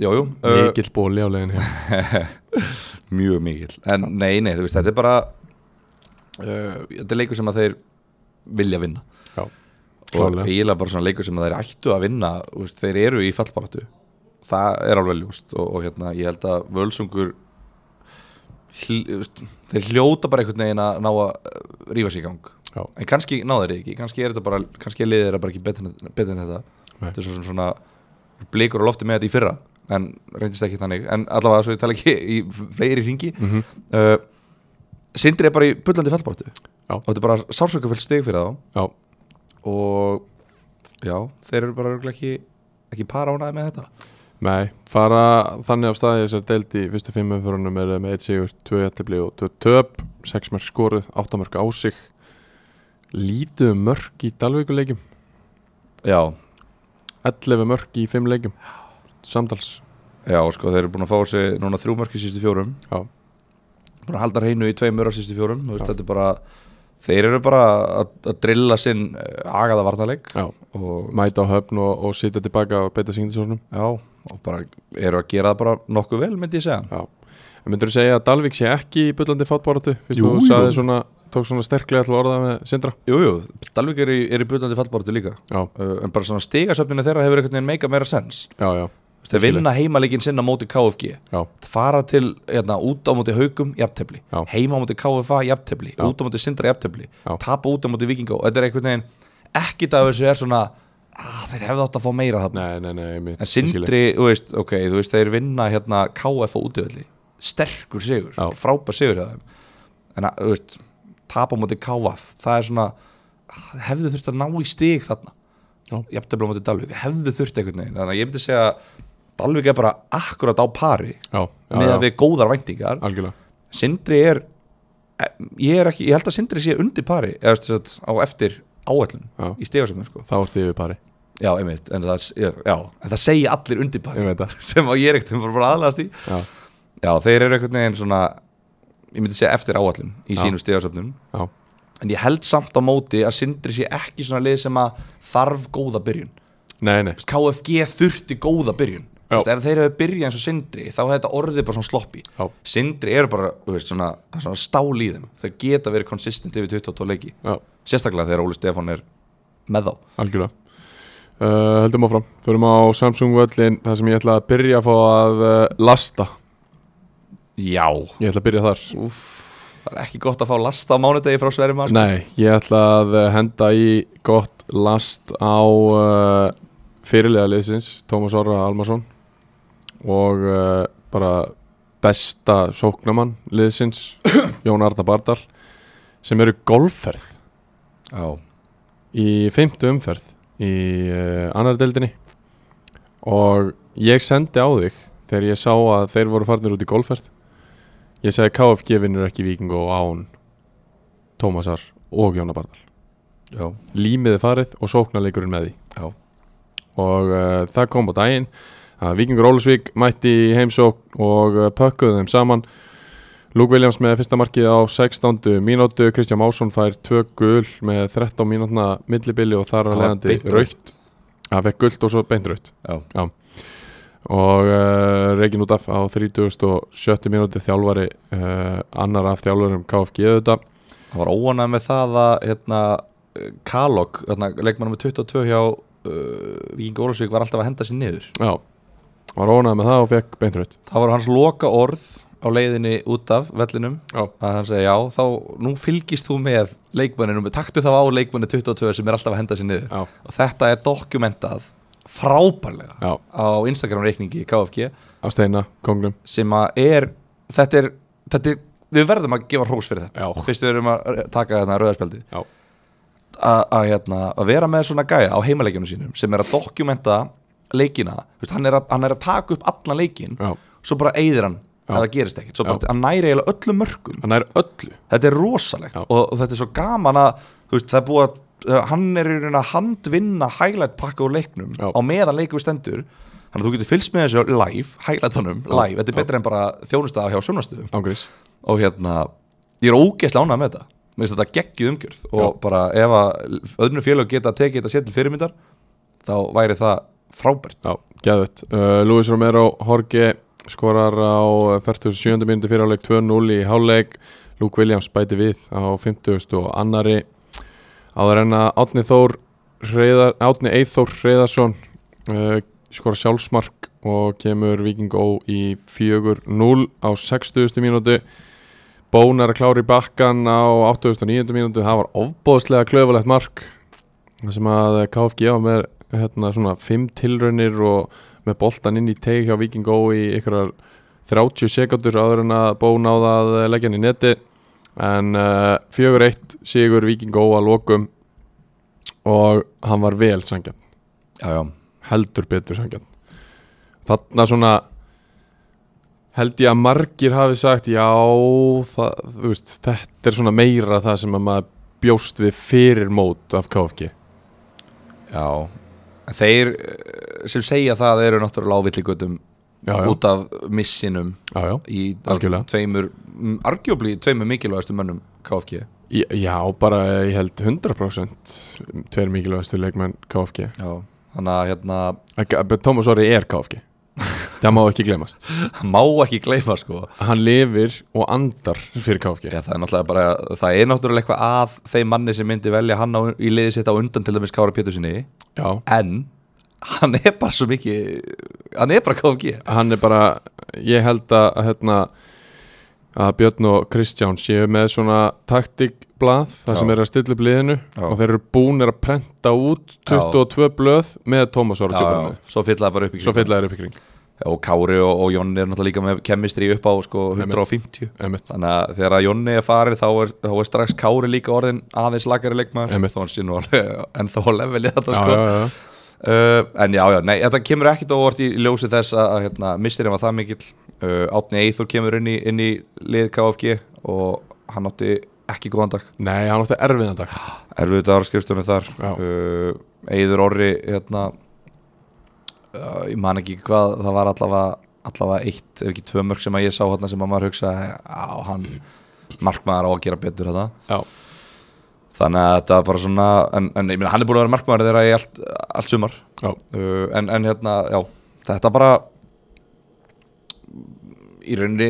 Speaker 2: jú, jú mhm. eh,
Speaker 1: Mikill bóli á leiðin hér
Speaker 2: mjög mikill en nei, nei, þú veist, þetta er bara uh, þetta er leikur sem að þeir vilja vinna
Speaker 1: Já,
Speaker 2: og
Speaker 1: klárlega.
Speaker 2: eiginlega bara svona leikur sem að þeir ættu að vinna þú veist, þeir eru í fallbaratu það er alveg ljúst og, og hérna, ég held að völsungur hl, þú veist, þeir hljóta bara einhvern veginn að ná að eh, rífa sig í gang
Speaker 1: Já.
Speaker 2: en kannski náðu þeir ekki, kannski er þetta bara kannski er liðið þeirra bara ekki betur, en- betur en þetta
Speaker 1: Nei.
Speaker 2: þetta er svona, svona blikur á lofti með þetta í fyrra en reyndist ekki þannig, en allavega svo ég tala ekki í fleiri ringi
Speaker 1: mm -hmm.
Speaker 2: uh, Sindri er bara í bullandi fallbáttu
Speaker 1: Já.
Speaker 2: og þetta er bara sársökufell stig fyrir þá
Speaker 1: Já,
Speaker 2: og já, þeir eru bara örugglega ekki, ekki para ánaði með þetta
Speaker 1: nei, fara þannig af staði þessar deild í fyrstu fimm umförunum er með 1 sigur, 2 jættibli og 2 töp 6 mörg skoruð, 8 mörg á sig lítið um mörg í Dalvíkuleikjum
Speaker 2: Já,
Speaker 1: 11 mörg í 5 leikjum samtals
Speaker 2: já, sko, þeir eru búin að fá sig núna þrjú mörk í sístu fjórum
Speaker 1: Já.
Speaker 2: búin að halda hreinu í tveimur á sístu fjórum þú veist,
Speaker 1: Já.
Speaker 2: þetta er bara þeir eru bara að, að drilla sinn eh, agaða varnarleik
Speaker 1: Já.
Speaker 2: og
Speaker 1: mæta á höfn og, og sitja tilbaka og beita singindisórnum
Speaker 2: já, og bara eru að gera það bara nokkuð vel, myndi ég segja
Speaker 1: En myndur þú segja að Dalvík sé ekki í bullandi fátbáratu fyrst
Speaker 2: Jú,
Speaker 1: þú
Speaker 2: jú.
Speaker 1: sagði svona, tók svona sterklega til orða með Sindra
Speaker 2: Jú, jú, Dalvik er í, er í bullandi fallbáratu líka
Speaker 1: Já,
Speaker 2: uh, en bara svona stigasöfninu þeirra hefur einhvern veginn meika meira sens
Speaker 1: já, já,
Speaker 2: Þú veist, þeir vinna heimalegin sinna móti KFG
Speaker 1: já,
Speaker 2: fara til hérna, út á móti haugum jafntefli,
Speaker 1: Já.
Speaker 2: heima á móti KFA jafntefli,
Speaker 1: Já.
Speaker 2: út á móti sindra jafntefli
Speaker 1: Já.
Speaker 2: tapa út á móti vikingó, þetta er einhvern veginn ekkit af þessu er svona að þeir hefðu átt að fá meira þarna
Speaker 1: nei, nei, nei einmitt,
Speaker 2: en
Speaker 1: ég skil þig.
Speaker 2: sindri, þú veist, ok, þú veist þeir vinna hérna KFA útvöldi sterkur sigur,
Speaker 1: Já.
Speaker 2: frábær sigur hjá þeim en að, þú veist tapa á móti KF, það er svona ah, hefðu þurft að ná í stig þarna
Speaker 1: Já.
Speaker 2: jafntefli á móti Dalvík, hefðu þurft einhvern veginn þannig að ég myndi segja Dalvik er bara akkurat á pari
Speaker 1: já, já,
Speaker 2: með
Speaker 1: já,
Speaker 2: að við góðar væntingar
Speaker 1: algjörlega
Speaker 2: Sindri er ég, er ekki, ég held að Sindri sé undir pari eða veist þess að á eftir áætlun
Speaker 1: Já.
Speaker 2: í stegasöfnum sko
Speaker 1: þá ertu yfir pari,
Speaker 2: já, einmitt, en það, já, en það segja allir undir pari
Speaker 1: ég veit það
Speaker 2: sem að ég er ekkert bara aðlast í
Speaker 1: já,
Speaker 2: já, þeir eru einhvern veginn svona ég myndi segja eftir áallum í
Speaker 1: Já.
Speaker 2: sínum stegasöfnum
Speaker 1: já,
Speaker 2: en ég held samt á móti að Sindri sé ekki svona lið sem að þarf góða byrjun
Speaker 1: nei, nei
Speaker 2: KFG þurfti góða byrjun
Speaker 1: Já.
Speaker 2: Þú veist, ef þeir hefur byrjað eins og Sindri þá hefði þetta orðið bara svona sloppi
Speaker 1: já,
Speaker 2: Sindri eru bara þú veist, svona, svona stál í þeim þeir geta verið konsistent yfir 22 leiki
Speaker 1: já,
Speaker 2: sérstaklega þegar Óli Stefán er með þá
Speaker 1: algjörlega uh, höldum áfram, förum á Samsung völlin það sem ég ætla að byrja að fá að uh, lasta,
Speaker 2: já,
Speaker 1: ég ætla að byrja þar
Speaker 2: Úf, það er ekki gott að fá lasta á mánudegi frá Sverjumar
Speaker 1: Nei, ég ætla að eh, henda í gott last á uh, fyrirlega liðsins, Tómas Orra Almarsson og uh, bara besta sóknamann liðsins, Jón Arda Bardal sem eru golfferð
Speaker 2: já,
Speaker 1: í fymtu umferð í uh, annar deildinni og ég sendi á þig þegar ég sá að þeir voru farnir út í golfferð ég segi KFG vinnur ekki Víking og án Tómasar og Jónar Bardal
Speaker 2: já,
Speaker 1: límiði farið og sóknarleikurinn með því
Speaker 2: já,
Speaker 1: og uh, það kom á daginn að Víkingur Ólusvík mætti í heimsókn og uh, pökkuðu þeim saman Luke Williams með fyrsta markið á 16. mínútu, Kristján Másson fær 2 gul með 13 mínútna millibili og þar að
Speaker 2: Það var
Speaker 1: leiðandi
Speaker 2: beint
Speaker 1: raukt hann fekk gult og svo beint raukt
Speaker 2: já.
Speaker 1: og uh, Regin Útaf á 37. mínútu þjálfari uh, annar af þjálfurum KFG auðvitað
Speaker 2: Það var óanað með það að hérna, Kalok, hérna, leikmannum með 22 hjá uh, Víking Ólafsvík var alltaf að henda sér niður.
Speaker 1: já, var ónað með það og fekk beint raukt
Speaker 2: Það var hans loka orð á leiðinni út af vellinum
Speaker 1: já,
Speaker 2: að hann segja já, þá nú fylgist þú með leikmanninu, taktu þá á leikmannu 22 sem er alltaf að henda sér niður.
Speaker 1: já,
Speaker 2: Og þetta er dokumentað frábærlega
Speaker 1: já,
Speaker 2: á Instagram-reikningi KFG
Speaker 1: á steina, kongnum
Speaker 2: sem að er, þetta er, þetta er við verðum að gefa hrós fyrir þetta.
Speaker 1: Já,
Speaker 2: fyrst við erum að taka þarna rauðarspjaldi
Speaker 1: Já.
Speaker 2: að að, hérna, að vera með svona gæja á heimaleikjunum sínum sem er að dokumenta leikina Þú veist, hann, er að, hann er að taka upp allan leikin
Speaker 1: já,
Speaker 2: svo bara eyðir hann
Speaker 1: Já.
Speaker 2: ef það gerist ekkert svo bara,
Speaker 1: Já.
Speaker 2: hann næri eiginlega öllum mörgum
Speaker 1: hann er öllu
Speaker 2: þetta er rosalegt
Speaker 1: Já.
Speaker 2: og, og þetta er svo gaman að þú veist, það er búið að uh, hann er í raun að handvinna highlight pakka úr leiknum
Speaker 1: Já.
Speaker 2: á meðan leikur stendur þannig að þú getur fylgst með þessu live highlightunum, live, þetta er
Speaker 1: Já.
Speaker 2: betra en bara þjónustaða hjá sjónastöðum
Speaker 1: Ángurís
Speaker 2: og hérna, ég er ógeðslega ánægð með þetta mér finnst þetta geggjuð umgjörð og bara ef að öðnur félag geta að tekið þetta sér til fyrirmyndar þá væri það frábært
Speaker 1: Já, geðvett uh, Luis Romero, Jorge skorar á 47. minúti fyrir áleik 2-0 í háleik Luke Williams bæti við á 50. og annari áður en að Átni Þór Hreiðar, Átni Eithór Hreiðarsson uh, skorar sjálfsmark og kemur Viking Ó í 4-0 á 60. mínútu Bón er að klára í bakkan á 89. mínútu, það var ofbóðslega klöfulegt mark þar sem að KFG á með hérna, svona 5 tilraunir og með boltan inn í tegi hjá Viking Ó í ykkurar 30 sekundur áður en að Bón á það leggja hann í neti en uh, 4-1 sigur Viking Ó að lokum og hann var vel sangjarn,
Speaker 2: já, já,
Speaker 1: heldur betur sangjarn þarna svona held ég að margir hafi sagt já, það, þú veist, þetta er svona meira það sem að maður bjóst við fyrir mót af KFG
Speaker 2: já. En þeir eh, sem segja það eru náttúrulega á villigutum
Speaker 1: já, já,
Speaker 2: út af missinum
Speaker 1: já, já.
Speaker 2: í
Speaker 1: Algjörlega.
Speaker 2: tveimur, argjóbli tveimur mikilvægastu mönnum KFG
Speaker 1: Já, Já, bara ég held 100% tveir mikilvægastu leikmenn KFG
Speaker 2: já. þannig að hérna
Speaker 1: Ek- eh, Thomas Orri er KFG Það má ekki glemast
Speaker 2: má ekki gleyma sko
Speaker 1: Hann lifir og andar fyrir KFG
Speaker 2: Já, það er náttúrulega bara, það er náttúrulega eitthvað að þeim manni sem myndi velja hann á, í liðið sitt á undan til dæmis Kára Pétursinni
Speaker 1: Já,
Speaker 2: en hann er bara svo mikið hann er bara KFG
Speaker 1: hann er bara Ég held að, að, hérna, að Björn og Kristján séu með svona taktikblað Það
Speaker 2: Já.
Speaker 1: sem er að stilla upp liðinu
Speaker 2: Já.
Speaker 1: Og þeir eru búnir að prenta út 22 blöð með Thomas Orri
Speaker 2: já,
Speaker 1: tjúpunni
Speaker 2: svo fylla það bara upp í
Speaker 1: Svo
Speaker 2: kring.
Speaker 1: fylla þeir upp í kring
Speaker 2: og Kári og, og Jonni er náttúrulega líka með kemistri upp á sko 150
Speaker 1: Einmitt.
Speaker 2: þannig að þegar að Jonni er farin þá er, þá er strax Kári líka orðin aðeins lagari leikmaður
Speaker 1: Einmitt.
Speaker 2: þó hann sé nú alveg en þá levelið þetta
Speaker 1: Já,
Speaker 2: sko
Speaker 1: já, já,
Speaker 2: uh, en já, já, nei, þetta kemur ekkit óvart í í ljósi þess að, að hérna, mistirinn var það mikill uh, Átni Eithor kemur inn í, inn í lið KFG og hann átti ekki góðan dag
Speaker 1: Nei, hann átti erfiðan dag
Speaker 2: erfiðu dagar á skriftunum þar
Speaker 1: Já.
Speaker 2: uh, Eithor Orri hérna, uh, ég man ekki hvað það var allavega, allavega eitt ef ekki tvö mörg sem að ég sá hérna sem að maður hugsa á hann markmaður á að gera betur þetta
Speaker 1: Já,
Speaker 2: Þannig að þetta er bara svona, en, en ég meina hann er búin að vera markmaður þeirra í allt, allt sumar
Speaker 1: já,
Speaker 2: uh, en, en hérna, já, þetta bara í rauninni,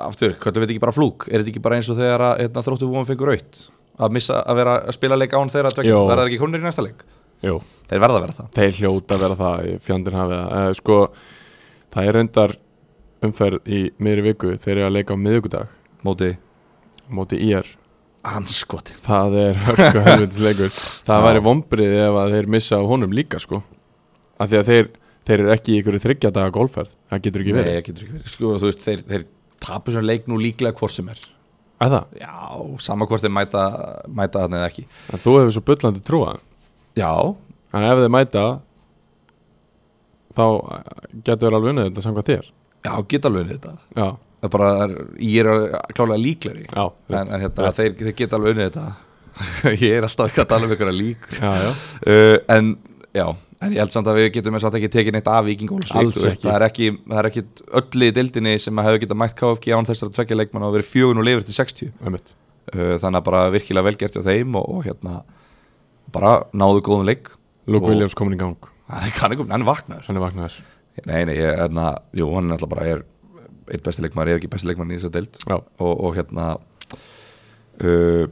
Speaker 2: aftur, hvernig veit ekki bara flúk, er þetta ekki bara eins og þegar að hérna, þróttu búin fengur aukt að missa að vera að spila leik án þeirra tveggja,
Speaker 1: Jó.
Speaker 2: verða þeir ekki konir í næsta leik
Speaker 1: jú
Speaker 2: þeir verða að vera það
Speaker 1: Þeir hljóta að vera það í fjandinn hafið það. Eh, Sko, það er reyndar umferð í miðri viku þeir eru að leika á miðvikudag
Speaker 2: móti
Speaker 1: á móti IR
Speaker 2: anskotin
Speaker 1: Það er hörku helvitisleikur Það
Speaker 2: Já.
Speaker 1: væri vombrið ef að þeir missa á honum líka sko af því að þeir, þeir eru ekki í ykkur þryggja daga golfferð Það getur ekki verið
Speaker 2: Nei, getur ekki verið, sko, þú veist, þeir, þeir tapur svona leik nú líklega hvort sem er
Speaker 1: Að það,
Speaker 2: já, sama hvort þeir mæta mæta þarna eða ekki
Speaker 1: en þú hefur svo bullandi trúa
Speaker 2: já,
Speaker 1: En ef þeir mæta þá getur þeir alveg unnið þetta samkvæmt þér
Speaker 2: já, geta alveg unnið þetta
Speaker 1: Já,
Speaker 2: það er bara, ég er klálega líkleri
Speaker 1: já,
Speaker 2: en,
Speaker 1: rétt.
Speaker 2: en hérna, þeir, þeir geta alveg unnið þetta ég er alltaf ekki að tala um einhverja líkur
Speaker 1: já, já.
Speaker 2: uh, en já, en ég held samt að við getum eins og alltaf ekki tekið neitt af vikingólusvík
Speaker 1: Alls ekki.
Speaker 2: það er ekki, það er ekki öll í dildinni sem að hefur getað mætt KFG án þessara tveggja leikmanna og verið fjögun og lifur til 60 uh,
Speaker 1: einmitt.
Speaker 2: þannig að bara virkilega velgert á þeim og, og hérna bara náðu góðum leik
Speaker 1: Luke
Speaker 2: Og-
Speaker 1: Williams komin í gang
Speaker 2: hann er kannig um, hann er vaknar
Speaker 1: Hann er vaknaður
Speaker 2: nei, nei, ég, hérna, jú, hann er alltaf bara er eitt besti leikmann, ef ekki besti leikmann í þessa dild
Speaker 1: Já,
Speaker 2: og, og hérna uh,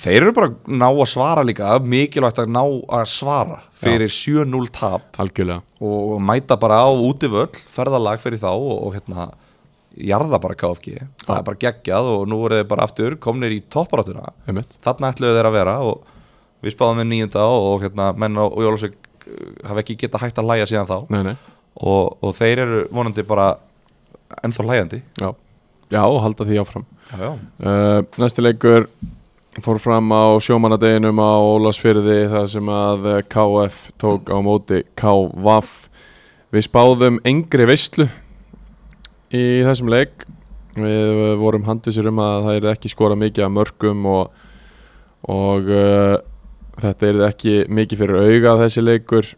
Speaker 2: þeir eru bara að ná að svara líka mikilvægt að ná að svara fyrir 7-0 tap
Speaker 1: algjörlega
Speaker 2: og mæta bara á útivöll ferðalag fyrir þá og, og hérna jarða bara KFG, það er bara geggjað og nú voru þeir bara aftur komnir í topparátuna
Speaker 1: einmitt.
Speaker 2: þarna ætluðu þeir að vera og við spáðum við nýjunda og, og hérna menn og Jólasvík uh, hafa ekki geta hægt að læja síðan þá
Speaker 1: Nei, nei,
Speaker 2: og, og þeir eru vonandi bara ennþá læjandi
Speaker 1: já Já, og halda því áfram
Speaker 2: já, já.
Speaker 1: Uh, næsti leikur fór fram á sjómanadeginum á Ólasfyrði þar sem að eh, KF tók á móti KVAF Við spáðum engri veistlu í þessum leik Við eh, vorum handvisir um að það er ekki skora mikið af mörgum og, og uh, þetta er ekki mikið fyrir auga þessi leikur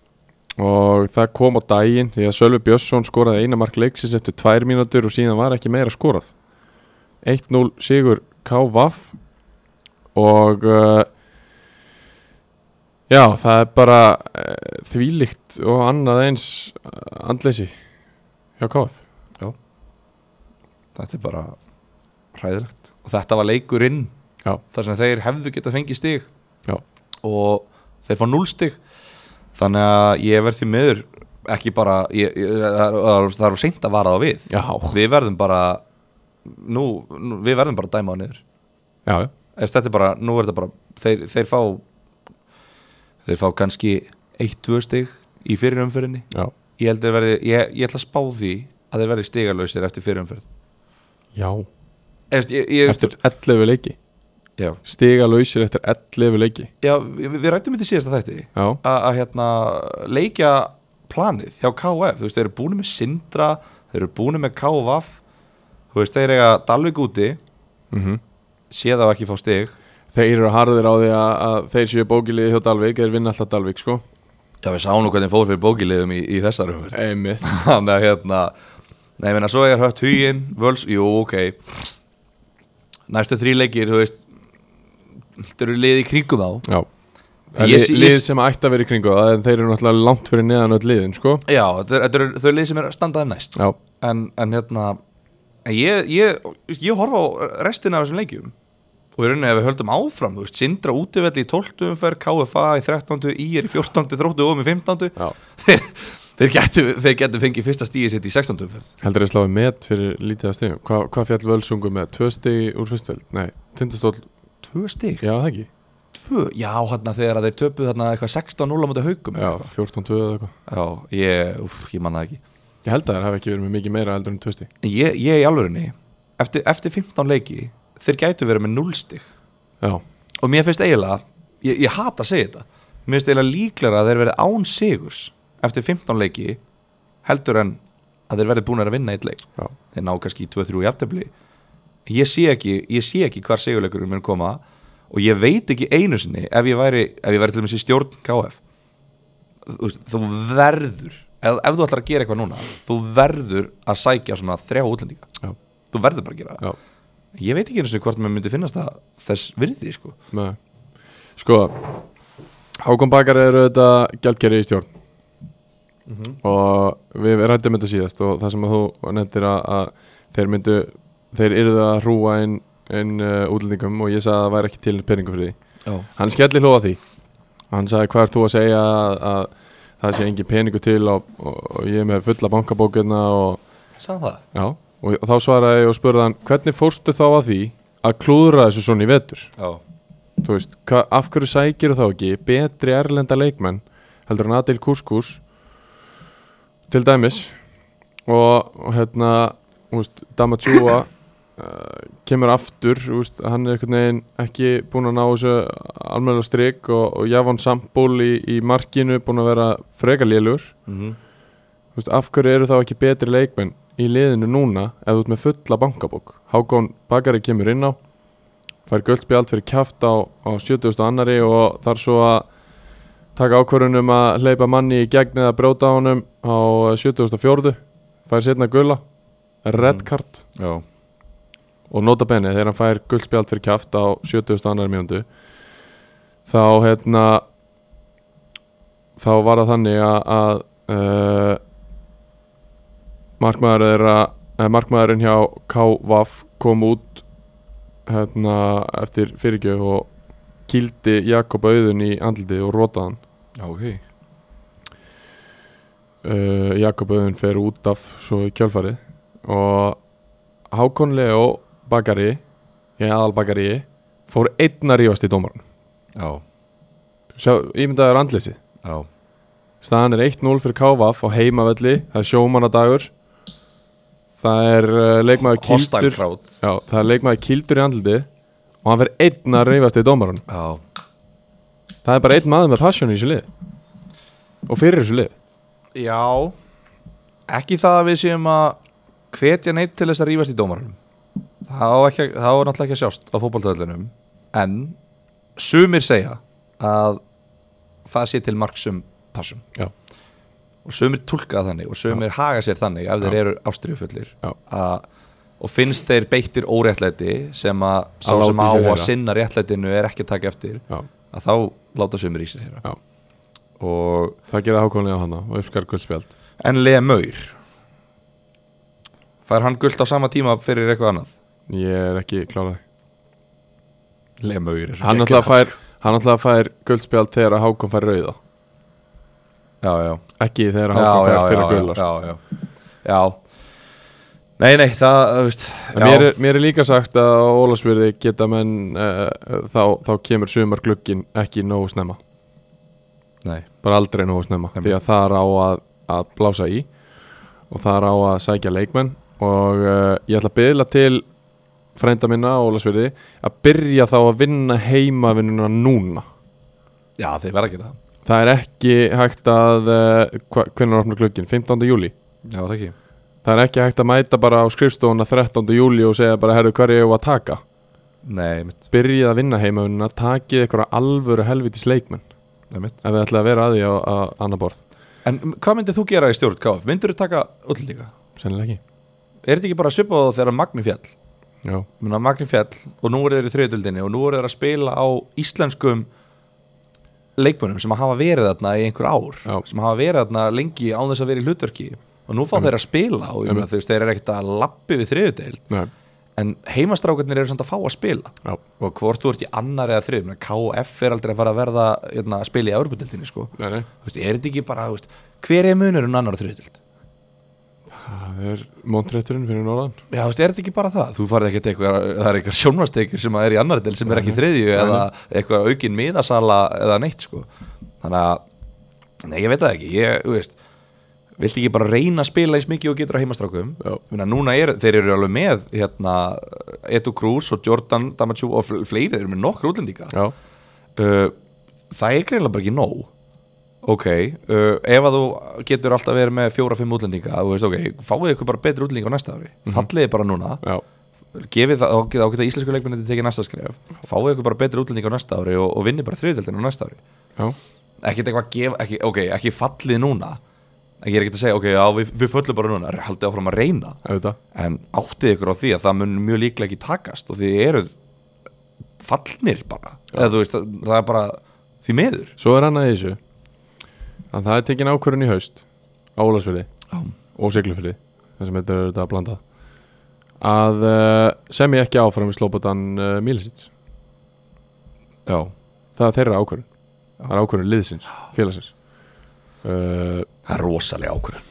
Speaker 1: og það kom á daginn því að Sölvi Björnsson skoraði eina mark leiksins eftir tvær mínútur og síðan var ekki meira skorað 1-0 sigur KVAF og uh, já, það er bara uh, þvílíkt og annað eins uh, andleysi hjá KVAF
Speaker 2: þetta er bara hræðilegt og þetta var leikurinn
Speaker 1: Já.
Speaker 2: þar sem þeir hefðu getað fengið stig
Speaker 1: Já.
Speaker 2: og þeir fá núl stig þannig að ég verð því miður ekki bara ég, ég, það er- það er- það er seint að vara það við
Speaker 1: Já,
Speaker 2: við verðum bara nú, nú, við verðum bara að dæma á niður
Speaker 1: já, já,
Speaker 2: Eðst, þetta er bara, nú er þetta bara þeir, þeir fá þeir fá kannski 1-2 stig í fyrirumfyrinni
Speaker 1: já,
Speaker 2: ég, held þeir verði, ég, ég ætla að spá því að þeir verði stigalösir eftir fyrirumfyrð
Speaker 1: já.
Speaker 2: Eftir, ég, ég,
Speaker 1: eftir 11 leiki
Speaker 2: já.
Speaker 1: stiga lausir eftir 11 leiki
Speaker 2: Já, við, við rættum þetta í síðasta þætti
Speaker 1: já,
Speaker 2: að, að hérna, leikja planið hjá KF, þú veist, þeir eru búinu með Sindra, þeir eru búinu með KVF þú veist, þeir eiga Dalvik úti
Speaker 1: mhm
Speaker 2: sé þá ekki fá stig
Speaker 1: Þeir eru harðir á því að, að þeir séu bókilið hjá Dalvík, þeir vinna alltaf Dalvík sko
Speaker 2: Já, við sáum nú hvernig fór fyrir bókilegum í, í þessar um umverð
Speaker 1: Einmitt,
Speaker 2: Þannig að hérna Nei, ég meina, svo er hött hugin, völs, jú, ok Næstu þrí leikir, þú veist Þetta eru liði í kringum þá
Speaker 1: já
Speaker 2: Ég
Speaker 1: Lið,
Speaker 2: sé- ég
Speaker 1: lið
Speaker 2: sé-
Speaker 1: sem ætti að vera í kringu það, en þeir eru náttúrulega langt fyrir neðan öll liðin sko
Speaker 2: Já, þetta eru- þetta eru þau liði sem er standaði næst
Speaker 1: Já,
Speaker 2: en, en hérna en ég, ég, ég horfa á restina af þessum leikjum og í rauninni ef við höldum áfram, þú veist, Sindra útivelli í 12. umferð, KFA í 13. IR í 14. þróttu og um í 15.
Speaker 1: já
Speaker 2: þeir, þeir, getu, þeir getu fengið fyrsta stíði sitt í 16. umferð
Speaker 1: Heldur þið sláði met fyrir lítið að stegum? Hva, hvað fjall völsungu með? Tvö stegi úr fyrstöld? Nei, tindastóll,
Speaker 2: Tvö stík?
Speaker 1: já það ekki
Speaker 2: Tvö? Já, hann þegar að þeir töpuð hann eitthvað 16-0 á móti haugum
Speaker 1: Já, 14-2 eða eitthvað
Speaker 2: Já, ég, úf, ég manna það ekki
Speaker 1: Ég held að það hafi ekki verið með mikið meira heldur en tvö stegi
Speaker 2: Ég, ég í alvörinni, eftir, eftir 15 leiki þeir gætu verið með 0 stík
Speaker 1: Já,
Speaker 2: og mér finnst eiginlega, ég, ég hata að segja þetta Mér finnst eiginlega líklara að þeir verði án sigurs eftir 15 leiki heldur en að þeir verði búin að vinna eitt leik
Speaker 1: Já.
Speaker 2: þeir ná kannski í 2-3 jafntefli ég sé ekki, ég sé ekki hvar sigurleikurinn mun koma og ég veit ekki einu sinni ef ég væri, ef ég væri til dæmis í stjórn KF þú, veist, þú verður ef, ef þú ætlar að gera eitthvað núna þú verður að sækja svona þrjá útlendinga
Speaker 1: Já.
Speaker 2: þú verður bara að gera það
Speaker 1: Já.
Speaker 2: ég veit ekki einu sinni hvort mér myndi finnast það þess virði sko
Speaker 1: Nei. Sko Hákon Bakar er auðvitað gjaldgeri í stjórn Mhm. og við rættum þetta síðast og það sem að þú nefndir að, að þeir myndu þeir yrðu að hrúa inn, inn uh, útlendingum og ég sagði að það væri ekki til peningu fyrir því
Speaker 2: Já.
Speaker 1: hann skelli hlóða því hann sagði hvað er þú að segja að, að það sé engin peningu til og, og, og ég er með fulla bankabókuna og,
Speaker 2: sagði það
Speaker 1: já, og, og þá svaraði ég og spurði hann hvernig fórstu þá að því að klúðra þessu svona í vetur
Speaker 2: Já.
Speaker 1: þú veist, hva, af hverju sækir þá ekki betri erlenda leikmenn heldur en Adil Kúskús til dæmis og, og hérna þú veist, Damatjúa uh, kemur aftur, þú veist, hann er einhvern veginn ekki búin að ná þessu almennilega strik og, og Javon Sambúl í, í markinu búin að vera frekar lélur
Speaker 2: Mhm.
Speaker 1: Þú veist, af hverju eru þá ekki betri leikmenn í liðinu núna ef þú ert með fulla bankabók Hákon Bakari kemur inn á fær guldspjald fyrir kjaft á, á 70. annari og þar svo að taka ákvörunum að hleypa manni í gegn eða bróta á honum á 74. fær setna gula red card
Speaker 2: Já.
Speaker 1: og nota benni þegar hann fær guldspjald fyrir kjaft á 70. annar mjöndu þá hérna þá var það þannig að, að uh, markmaður þeirra eh, markmaðurinn hjá KVAF kom út hérna eftir fyrirgjöf og kýldi Jakob auðun í andliti og rótaði hann
Speaker 2: Okay.
Speaker 1: uh, Jakob Öðun fer út af svo í kjálfarið og Hákon Leo Bakari ég aðal Bakari fór einn að rífast í dómaran
Speaker 2: Já.
Speaker 1: Sjá, ímyndaður andleysi
Speaker 2: Já.
Speaker 1: staðan er 1-0 fyrir KVF á heimavelli það er sjómanadagur það er uh, leikmaður
Speaker 2: Hostile
Speaker 1: kýldur
Speaker 2: crowd.
Speaker 1: já, það er leikmaður kýldur í andliti og hann fer einn að rífast í dómaran
Speaker 2: Já.
Speaker 1: það er bara einn maður með passion í þessu lið og fyrir þessu lið
Speaker 2: Já Ekki það að við séum að hvetja neitt til þess að rífast í dómarunum Það á, ekki, það á náttúrulega ekki að sjást á fótboltaðalunum En sumir segja að það sé til marksum passum
Speaker 1: Já.
Speaker 2: Og sumir tólka það þannig og sumir haga sér þannig ef þeir
Speaker 1: Já.
Speaker 2: eru ástriðufullir
Speaker 1: Já.
Speaker 2: og finnst þeir beittir óréttlæti sem að sá
Speaker 1: Láti
Speaker 2: sem á
Speaker 1: sér heyra.
Speaker 2: að sinna réttlætinu er ekki að taka eftir
Speaker 1: já,
Speaker 2: að þá láta sumir í sér heyra
Speaker 1: Já.
Speaker 2: og
Speaker 1: það gerði Hákon Leo hana og uppskar guldspjald
Speaker 2: En Lea Maur Fær hann guld á sama tíma fyrir eitthvað annað
Speaker 1: Ég er ekki klárað
Speaker 2: Lea Maur er
Speaker 1: Hann alltaf fær, hann alltaf fær guldspjald þegar að Hákon fær rauða
Speaker 2: Já, já
Speaker 1: Ekki þegar að
Speaker 2: já,
Speaker 1: Hákon
Speaker 2: já,
Speaker 1: fær fyrir
Speaker 2: já,
Speaker 1: guldar
Speaker 2: já, já, já Nei, nei, það, þú veist
Speaker 1: En mér er, mér er líka sagt að á Ólasbyrði geta menn uh, þá, þá kemur sumar glukkin ekki nógu snemma
Speaker 2: Nei,
Speaker 1: bara aldrei nógu snemma
Speaker 2: Einmitt.
Speaker 1: því að það er á að, að blása í og það er á að sækja leikmenn og uh, ég ætla að byðla til frænda minna á Ólasbyrði að byrja þá að vinna heimavinnuna núna
Speaker 2: já, þeir verða ekki það
Speaker 1: Það er ekki hægt að uh, hva- hvenær opnar glukkin? 15. júli?
Speaker 2: Já, það ekki
Speaker 1: Það er ekki hægt að mæta bara á skrifstofuna 13. júli og segja bara herru hverju ég var að taka
Speaker 2: Nei, mitt,
Speaker 1: Byrjið að vinna heimaunina, takið einhverja alvöru helvitis leikmenn
Speaker 2: nei,
Speaker 1: ef
Speaker 2: mitt
Speaker 1: þið ætlaði að vera að því á, á annar borð
Speaker 2: En m- hvað myndið þú gera í stjórn, KF? Myndirðu taka útlíka?
Speaker 1: Sennilega ekki
Speaker 2: Er þetta ekki bara svipað og þegar Magni fjall?
Speaker 1: Já,
Speaker 2: Muna, Magni fjall og nú eru þeir í þriðutöldinni og nú eru þeir að spila á íslenskum leikmönnum sem hafa verið þarna í einhver ár
Speaker 1: Já.
Speaker 2: sem hafa verið þarna lengi án þess að vera í hlutverki og nú fá þeir að spila og ég meina
Speaker 1: Einmitt.
Speaker 2: þú veist þeir eru ekkert að lappi við þriðutöld
Speaker 1: nei,
Speaker 2: en heimastrákarnir eru samt að fá að spila
Speaker 1: já,
Speaker 2: og hvort þú ert í annar eða þrið meina, KF er aldrei að fara að verða hérna, að spila í Európa-deildinni sko
Speaker 1: nei, nei
Speaker 2: Þú veist, er þetta ekki bara, þú veist, hver er munurinn annar og þriðutöld?
Speaker 1: Það er montrætturinn fyrir norðan
Speaker 2: Já, þú veist, er þetta ekki bara það? Þú farið ekkert eitthvað, það er eitthvað sjónvastekjur sem er í annar del sem er ekki í þriðju eða eitthvað aukin miðasala eða neitt, sko. Þannig að, nei, ég veit það ekki, ég, þú veist, viltu ekki bara reyna að spila eins mikið og getur á heimastrákum?
Speaker 1: Já.
Speaker 2: Minna, núna er, þeir eru alveg með, hérna, Edu Cruz og Jordan Damatjú og fl- fleiri, þeir eru með nokkur útlendinga.
Speaker 1: Já,
Speaker 2: Uh, það er greinlega bara ekki nóg ok, uh, ef að þú getur alltaf verið með fjóra-fimm útlendinga þú veist ok, fáið ykkur bara betri útlendinga á næsta ári falliði bara núna
Speaker 1: já,
Speaker 2: gefið það, þá geta- þá geta íslensku leikminni tekið næsta skref, fáið ykkur bara betri útlendinga á næsta ári og, og vinni bara þriðdeldin á næsta ári
Speaker 1: já,
Speaker 2: ekkert eitthvað að gefa, ekki, ok, ekki fallið núna ég er ekkert að segja, ok, já, við, við föllum bara núna haldið áfram að reyna
Speaker 1: auðvitað
Speaker 2: en áttið ykkur á því að það mun mjög líklega ekki takast og því eruð fallnir bara eða þú veist, það, það er bara því meður
Speaker 1: Svo er annað í þessu að það er tekin ákvörðun í haust Álasfyrði
Speaker 2: Já.
Speaker 1: og Siglufyrði þar sem þetta er auðvitað að blanda að uh, sem ég ekki áfram í Slobodan uh, Milicic
Speaker 2: já,
Speaker 1: það er þeirra ákvörðun það er ákvörðun liðsins, félagsins uh,
Speaker 2: það er rosalega ákvörðun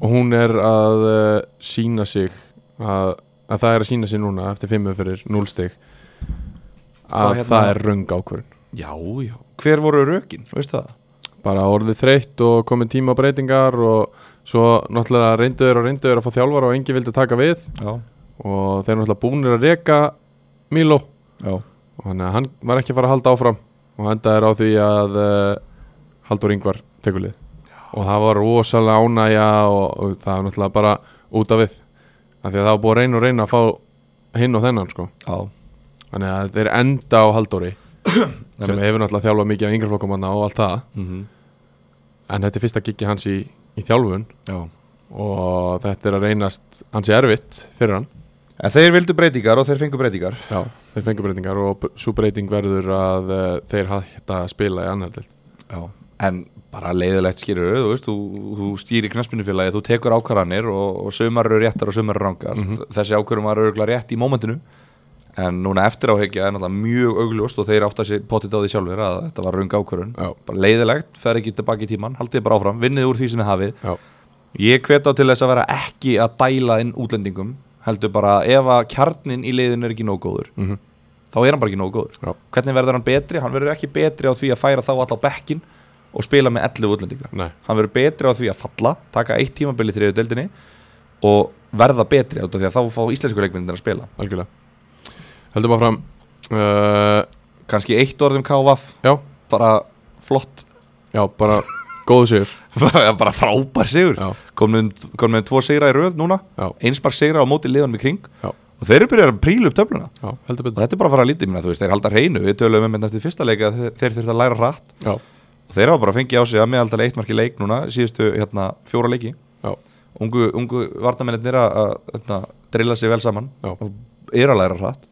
Speaker 1: og hún er að uh, sína sig að, að það er að sína sig núna eftir fimmu fyrir 0 stig
Speaker 2: Hvað
Speaker 1: að
Speaker 2: hérna-
Speaker 1: það er röng ákvörðun
Speaker 2: já, já, hver voru rökin, veistu það
Speaker 1: bara orðið þreytt og komið tíma á breytingar og svo náttúrulega reynduður og reynduður að fá þjálfara og engi vildi taka við
Speaker 2: já,
Speaker 1: og þeir eru náttúrulega búnir að reka Milo
Speaker 2: já,
Speaker 1: og þannig að hann var ekki að fara að halda áfram og enda er á því að uh, Haldur Ingvar tekur lið og það var rosalega ánægja og, og það var náttúrulega bara út af við af því að það var búið að reyna og reyna að fá hinn og þennan sko
Speaker 2: já,
Speaker 1: þannig að þeir enda á Haldóri sem
Speaker 2: Einmitt.
Speaker 1: hefur náttúrulega þjálfað mikið af yngri flokkum þarna og allt það
Speaker 2: Mhm.
Speaker 1: en þetta er fyrsta giggi hans í, í þjálfun
Speaker 2: já
Speaker 1: og þetta er að reynast hans erfitt fyrir hann
Speaker 2: en þeir vildu breytingar og þeir fengu breytingar
Speaker 1: Já, þeir fengur breytingar og b- svo breyting verður að uh, þeir hætta að spila í annar dild.
Speaker 2: Já. En bara leiðilegt skýrur þú veist, þú, þú stýrir knaspinufélagi, þú tekur ákvarðanir og, og sömar eru réttar og sömar eru rangar. Þessi ákvarðum var örgulega rétt í mómentinu, en núna eftir áhyggja er náttúrulega mjög augljóst og þeir átt að sér pottit á því sjálfur að þetta var rung ákvarðun.
Speaker 1: Já.
Speaker 2: Bara leiðilegt, fer ekki tilbaki í tíman, haldið bara áfram, vinnið úr því sem þið hafið.
Speaker 1: Já,
Speaker 2: Ég hvet á til þess að vera ekki að dæla inn útlendingum, heldur bara ef að kjarnin í leiðinu er ekki nóg góður,
Speaker 1: Mhm.
Speaker 2: þá er hann bara ekki nóg góður
Speaker 1: já,
Speaker 2: hvernig verður hann betri? Hann verður ekki betri á því að færa þá alla á bekkin og spila með 11 útlendinga.
Speaker 1: nei,
Speaker 2: Hann verður betri á því að falla, taka eitt tímabili þriðu deildinni og verða betri út af því að þá fá íslensku leikmyndir að spila.
Speaker 1: algjörlega. Heldum bara fram, uh,
Speaker 2: Kanski eitt um orðum KVF,
Speaker 1: já,
Speaker 2: bara flott,
Speaker 1: já, bara góðu sigur.
Speaker 2: bara bara frábær sigur.
Speaker 1: Já,
Speaker 2: Komum kom með tvo sigra í röð núna,
Speaker 1: já,
Speaker 2: einspark sigra á móti liðanum í kring
Speaker 1: Já.
Speaker 2: og þeir eru byrjað að príla upp töfluna.
Speaker 1: já, heldur
Speaker 2: Og
Speaker 1: betur.
Speaker 2: þetta er bara að fara að lítið, minna, þú veist, þeir halda hreinu, við töluðum um þetta eftir fyrsta leika að þeir, þeir þurft að læra hratt
Speaker 1: Já,
Speaker 2: og þeir hafa bara fengið á sig að meðaldala eitt marki leik núna síðustu hérna, fjóra leiki
Speaker 1: já,
Speaker 2: ungu, ungu vartamennir að að, hérna, drilla sig vel saman
Speaker 1: Já.
Speaker 2: og er að læra hratt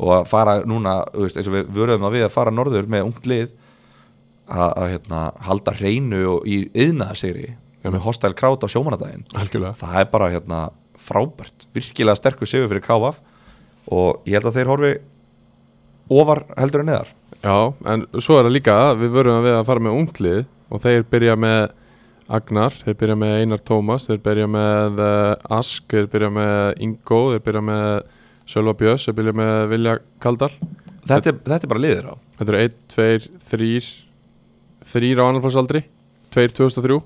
Speaker 2: og að fara núna, þú veist, eins og við vörðum að við að fara norður með ungt lið að, að hérna, halda hreinu og í yðnaðasegri
Speaker 1: Já.
Speaker 2: með hostile krát á sjómanadaginn
Speaker 1: algjörlega.
Speaker 2: það er bara hérna, frábært virkilega sterkur sigur fyrir KVF og ég held að þeir horfi ofar heldur en neðar
Speaker 1: Já, en svo er það líka að við vörum að við að fara með unglið og þeir byrja með Agnar, þeir byrja með Einar Tómas, þeir byrja með uh, Ask, þeir byrja með Ingo, þeir byrja með Sölva Björns, þeir byrja með Vilja Kaldal.
Speaker 2: þetta, er- þetta er bara liðir á
Speaker 1: Þetta eru 1, 2, 3 3 á annarflagsaldri 2, 2003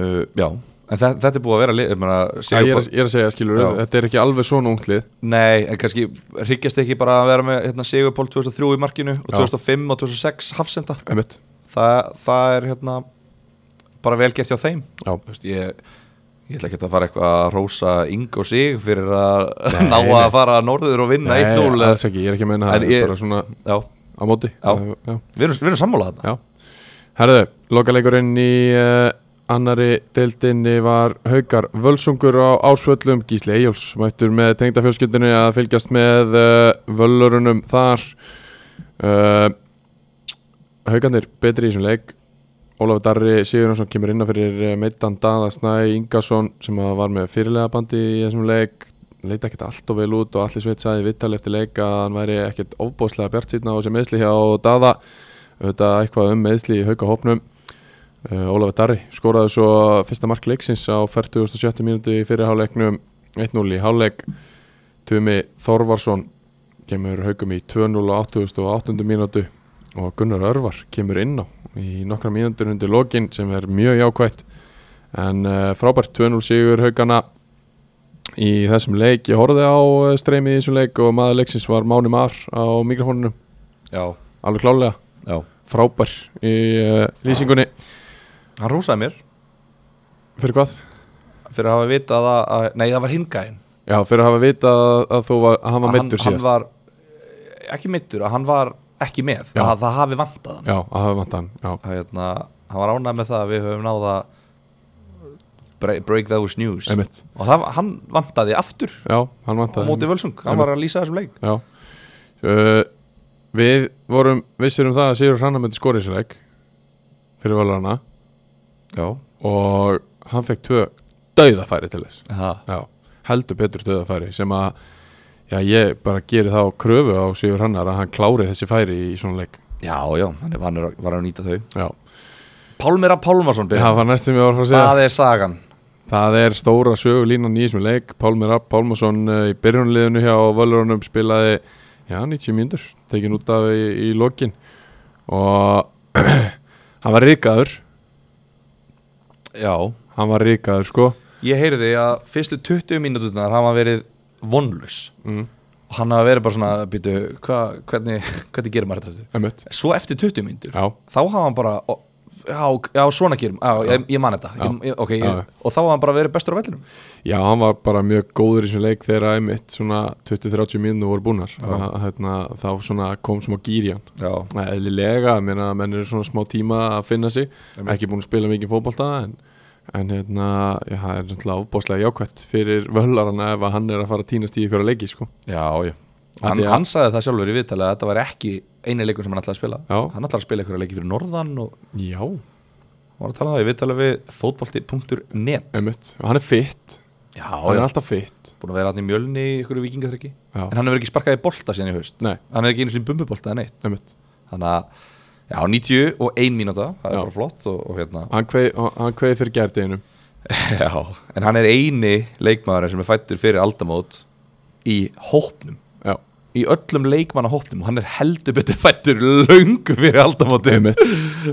Speaker 2: Uh, já, en þe þetta er búið að vera lið, ég meina,
Speaker 1: Æ, ég, er,
Speaker 2: Sigurborg,
Speaker 1: að- ég er að segja skilur
Speaker 2: Já.
Speaker 1: Þetta er ekki alveg svona unglið
Speaker 2: Nei, en kannski hryggjast ekki bara að vera með hérna, Sigurpól 2003 í markinu og
Speaker 1: Já.
Speaker 2: 2005 og 2006 hafsenda
Speaker 1: einmitt.
Speaker 2: Þa, Það er hérna bara velgert hjá þeim
Speaker 1: Já,
Speaker 2: Þú veist, ég, ég ætla ekki að fara eitthvað að rósa Ing og Sig fyrir að
Speaker 1: Nei,
Speaker 2: ná að
Speaker 1: nei.
Speaker 2: fara norður og vinna 1-0 eða-
Speaker 1: alls ekki, ég er ekki að meina
Speaker 2: En
Speaker 1: það ég...
Speaker 2: ég-
Speaker 1: bara svona
Speaker 2: Já,
Speaker 1: á móti
Speaker 2: Já.
Speaker 1: Já.
Speaker 2: við erum, við erum sammálað þarna
Speaker 1: Já. Herðu, lokaleikurinn í uh, annari deildinni var Haukar Völsungur á ásvöllum Gísli Eyjóls mættur með tengdafjölskyldinni að fylgjast með uh, völlurunum þar uh, Haukarnir betri í þessum leik Ólafur Darri Sigurjónsson kemur innan fyrir meittan Daða Snæ Ingarsson sem að var með fyrirlega bandi í þessum leik leita ekkert allt og vel út og allir sveit sagði vittal eftir leik að hann væri ekkert ofbóðslega bjart sýtna á þessi meðsli hjá Daða auðvitað eitthvað um meðsli í hauka hópnum uh, Ólafur Darri skoraði svo fyrsta mark leiksins á 47. mínútu í fyrirháleiknum 1-0 í háleik Tumi Þorvarsson kemur haukum í 2-0 á 88. mínútu og Gunnar Örvar kemur inn á í nokkra mínútur undir lokin sem er mjög jákvætt en uh, frábært 2-0 sigur haugana í þessum leik ég horfði á eh, streymið í þessum leik og maður leiksins var Máni Mar á mikrofónunum
Speaker 2: Já,
Speaker 1: alveg klálega
Speaker 2: Já.
Speaker 1: frábær í uh, lýsingunni
Speaker 2: Hann rúsaði mér
Speaker 1: fyrir hvað?
Speaker 2: fyrir að hafa vitað að, að nei það var hingæðin
Speaker 1: Já, fyrir að hafa vita að, að þú var, að hann var
Speaker 2: Að hann,
Speaker 1: meittur síðast
Speaker 2: hann var eh, ekki meittur, að hann var ekki með
Speaker 1: Já.
Speaker 2: að það hafi vantað hann
Speaker 1: Já, að hafa vant hann Já,
Speaker 2: að, hérna, hann var ánægð með það að við höfum náða break, break those news
Speaker 1: einmitt
Speaker 2: og það, hann vantaði aftur
Speaker 1: Já, hann vant
Speaker 2: á móti völsung, hann
Speaker 1: Einmitt.
Speaker 2: var að lýsa þessum leik
Speaker 1: Já uh, Við vorum vissir um það að Sigur Hrannar myndi skora í þessu leik fyrir valurana
Speaker 2: já,
Speaker 1: og hann fekk tvö döðafæri til þess
Speaker 2: ha.
Speaker 1: Já, heldur betur döðafæri sem að já, ég bara geri þá kröfu á Sigur Hrannar að hann klári þessi færi í svona leik
Speaker 2: já, já, hann er, hann er, var að nýta þau
Speaker 1: Já,
Speaker 2: Pálmira Pálmarsson byrjar.
Speaker 1: það var næstum ég var að fara að segja
Speaker 2: það er sagan
Speaker 1: Það er stóra sögulínan í þessum leik Pálmi Rapp Pálmarsson eh, í byrjunliðinu hjá Völurunum spilaði já, 90 mínútur, tekin út af í, í lokin og hann var ríkaður
Speaker 2: já,
Speaker 1: hann var ríkaður sko
Speaker 2: ég heyrði að fyrstu 20 mínúturnar hafa verið vonlus
Speaker 1: mm.
Speaker 2: og hann hafa verið bara svona, býtu, hva, hvernig, hvernig gerir maður þetta eftir?
Speaker 1: emitt,
Speaker 2: Svo eftir 20 myndur,
Speaker 1: já,
Speaker 2: þá hafa hann bara, ó, já, ok- já svona gerum, já, ég, ég man þetta, ég, ég, ok,
Speaker 1: Já, já.
Speaker 2: ég, og þá hafa hann bara verið bestur á vellinum.
Speaker 1: já, hann var bara mjög góður í þessum leik þegar emitt svona 20-30 mínútur voru búnar
Speaker 2: Já.
Speaker 1: að, hérna, þá svona kom smá gýr í hann
Speaker 2: Já,
Speaker 1: eðlilega, ég meina að menn eru svona smá tíma að finna sig,
Speaker 2: Einmitt.
Speaker 1: ekki búin að spila mikið fótbolta en, en hérna já, það er náttúrulega ofbáslega jákvætt fyrir völarana ef að hann er að fara að týnast í ykkur að leiki sko.
Speaker 2: já, já.
Speaker 1: Af
Speaker 2: Hann,
Speaker 1: því að-
Speaker 2: hann sagði það sjálfur í viðtalið að þetta var ekki eini leikur sem hann ætlaði að spila.
Speaker 1: Já.
Speaker 2: Hann ætlaði að spila einhverja leiki fyrir norðan og
Speaker 1: Já,
Speaker 2: hann var að tala um það í viðtalið við fótbolti.net.
Speaker 1: einmitt, og hann er fitt
Speaker 2: Já,
Speaker 1: hann
Speaker 2: já.
Speaker 1: er alltaf fitt
Speaker 2: Búin að vera hann í mjölni í einhverju vikingatrekki.
Speaker 1: Já.
Speaker 2: En hann hefur ekki sparkað í bolta síðan í haust.
Speaker 1: Nei,
Speaker 2: Hann er ekki einu sinni í bumbubolta en eitt.
Speaker 1: einmitt,
Speaker 2: þannig að já, 90 og 1 mínúta, það er
Speaker 1: Já.
Speaker 2: bara flott og, og hérna,
Speaker 1: hann kveið, hann kveið fyrir gerðinu
Speaker 2: já, en hann er eini leikmaðurinn sem er fættur fyrir aldamót í hópnum
Speaker 1: Já,
Speaker 2: í öllum leikmanna hópnum og hann er heldur betur fættur löngu fyrir aldamóti
Speaker 1: Einmitt.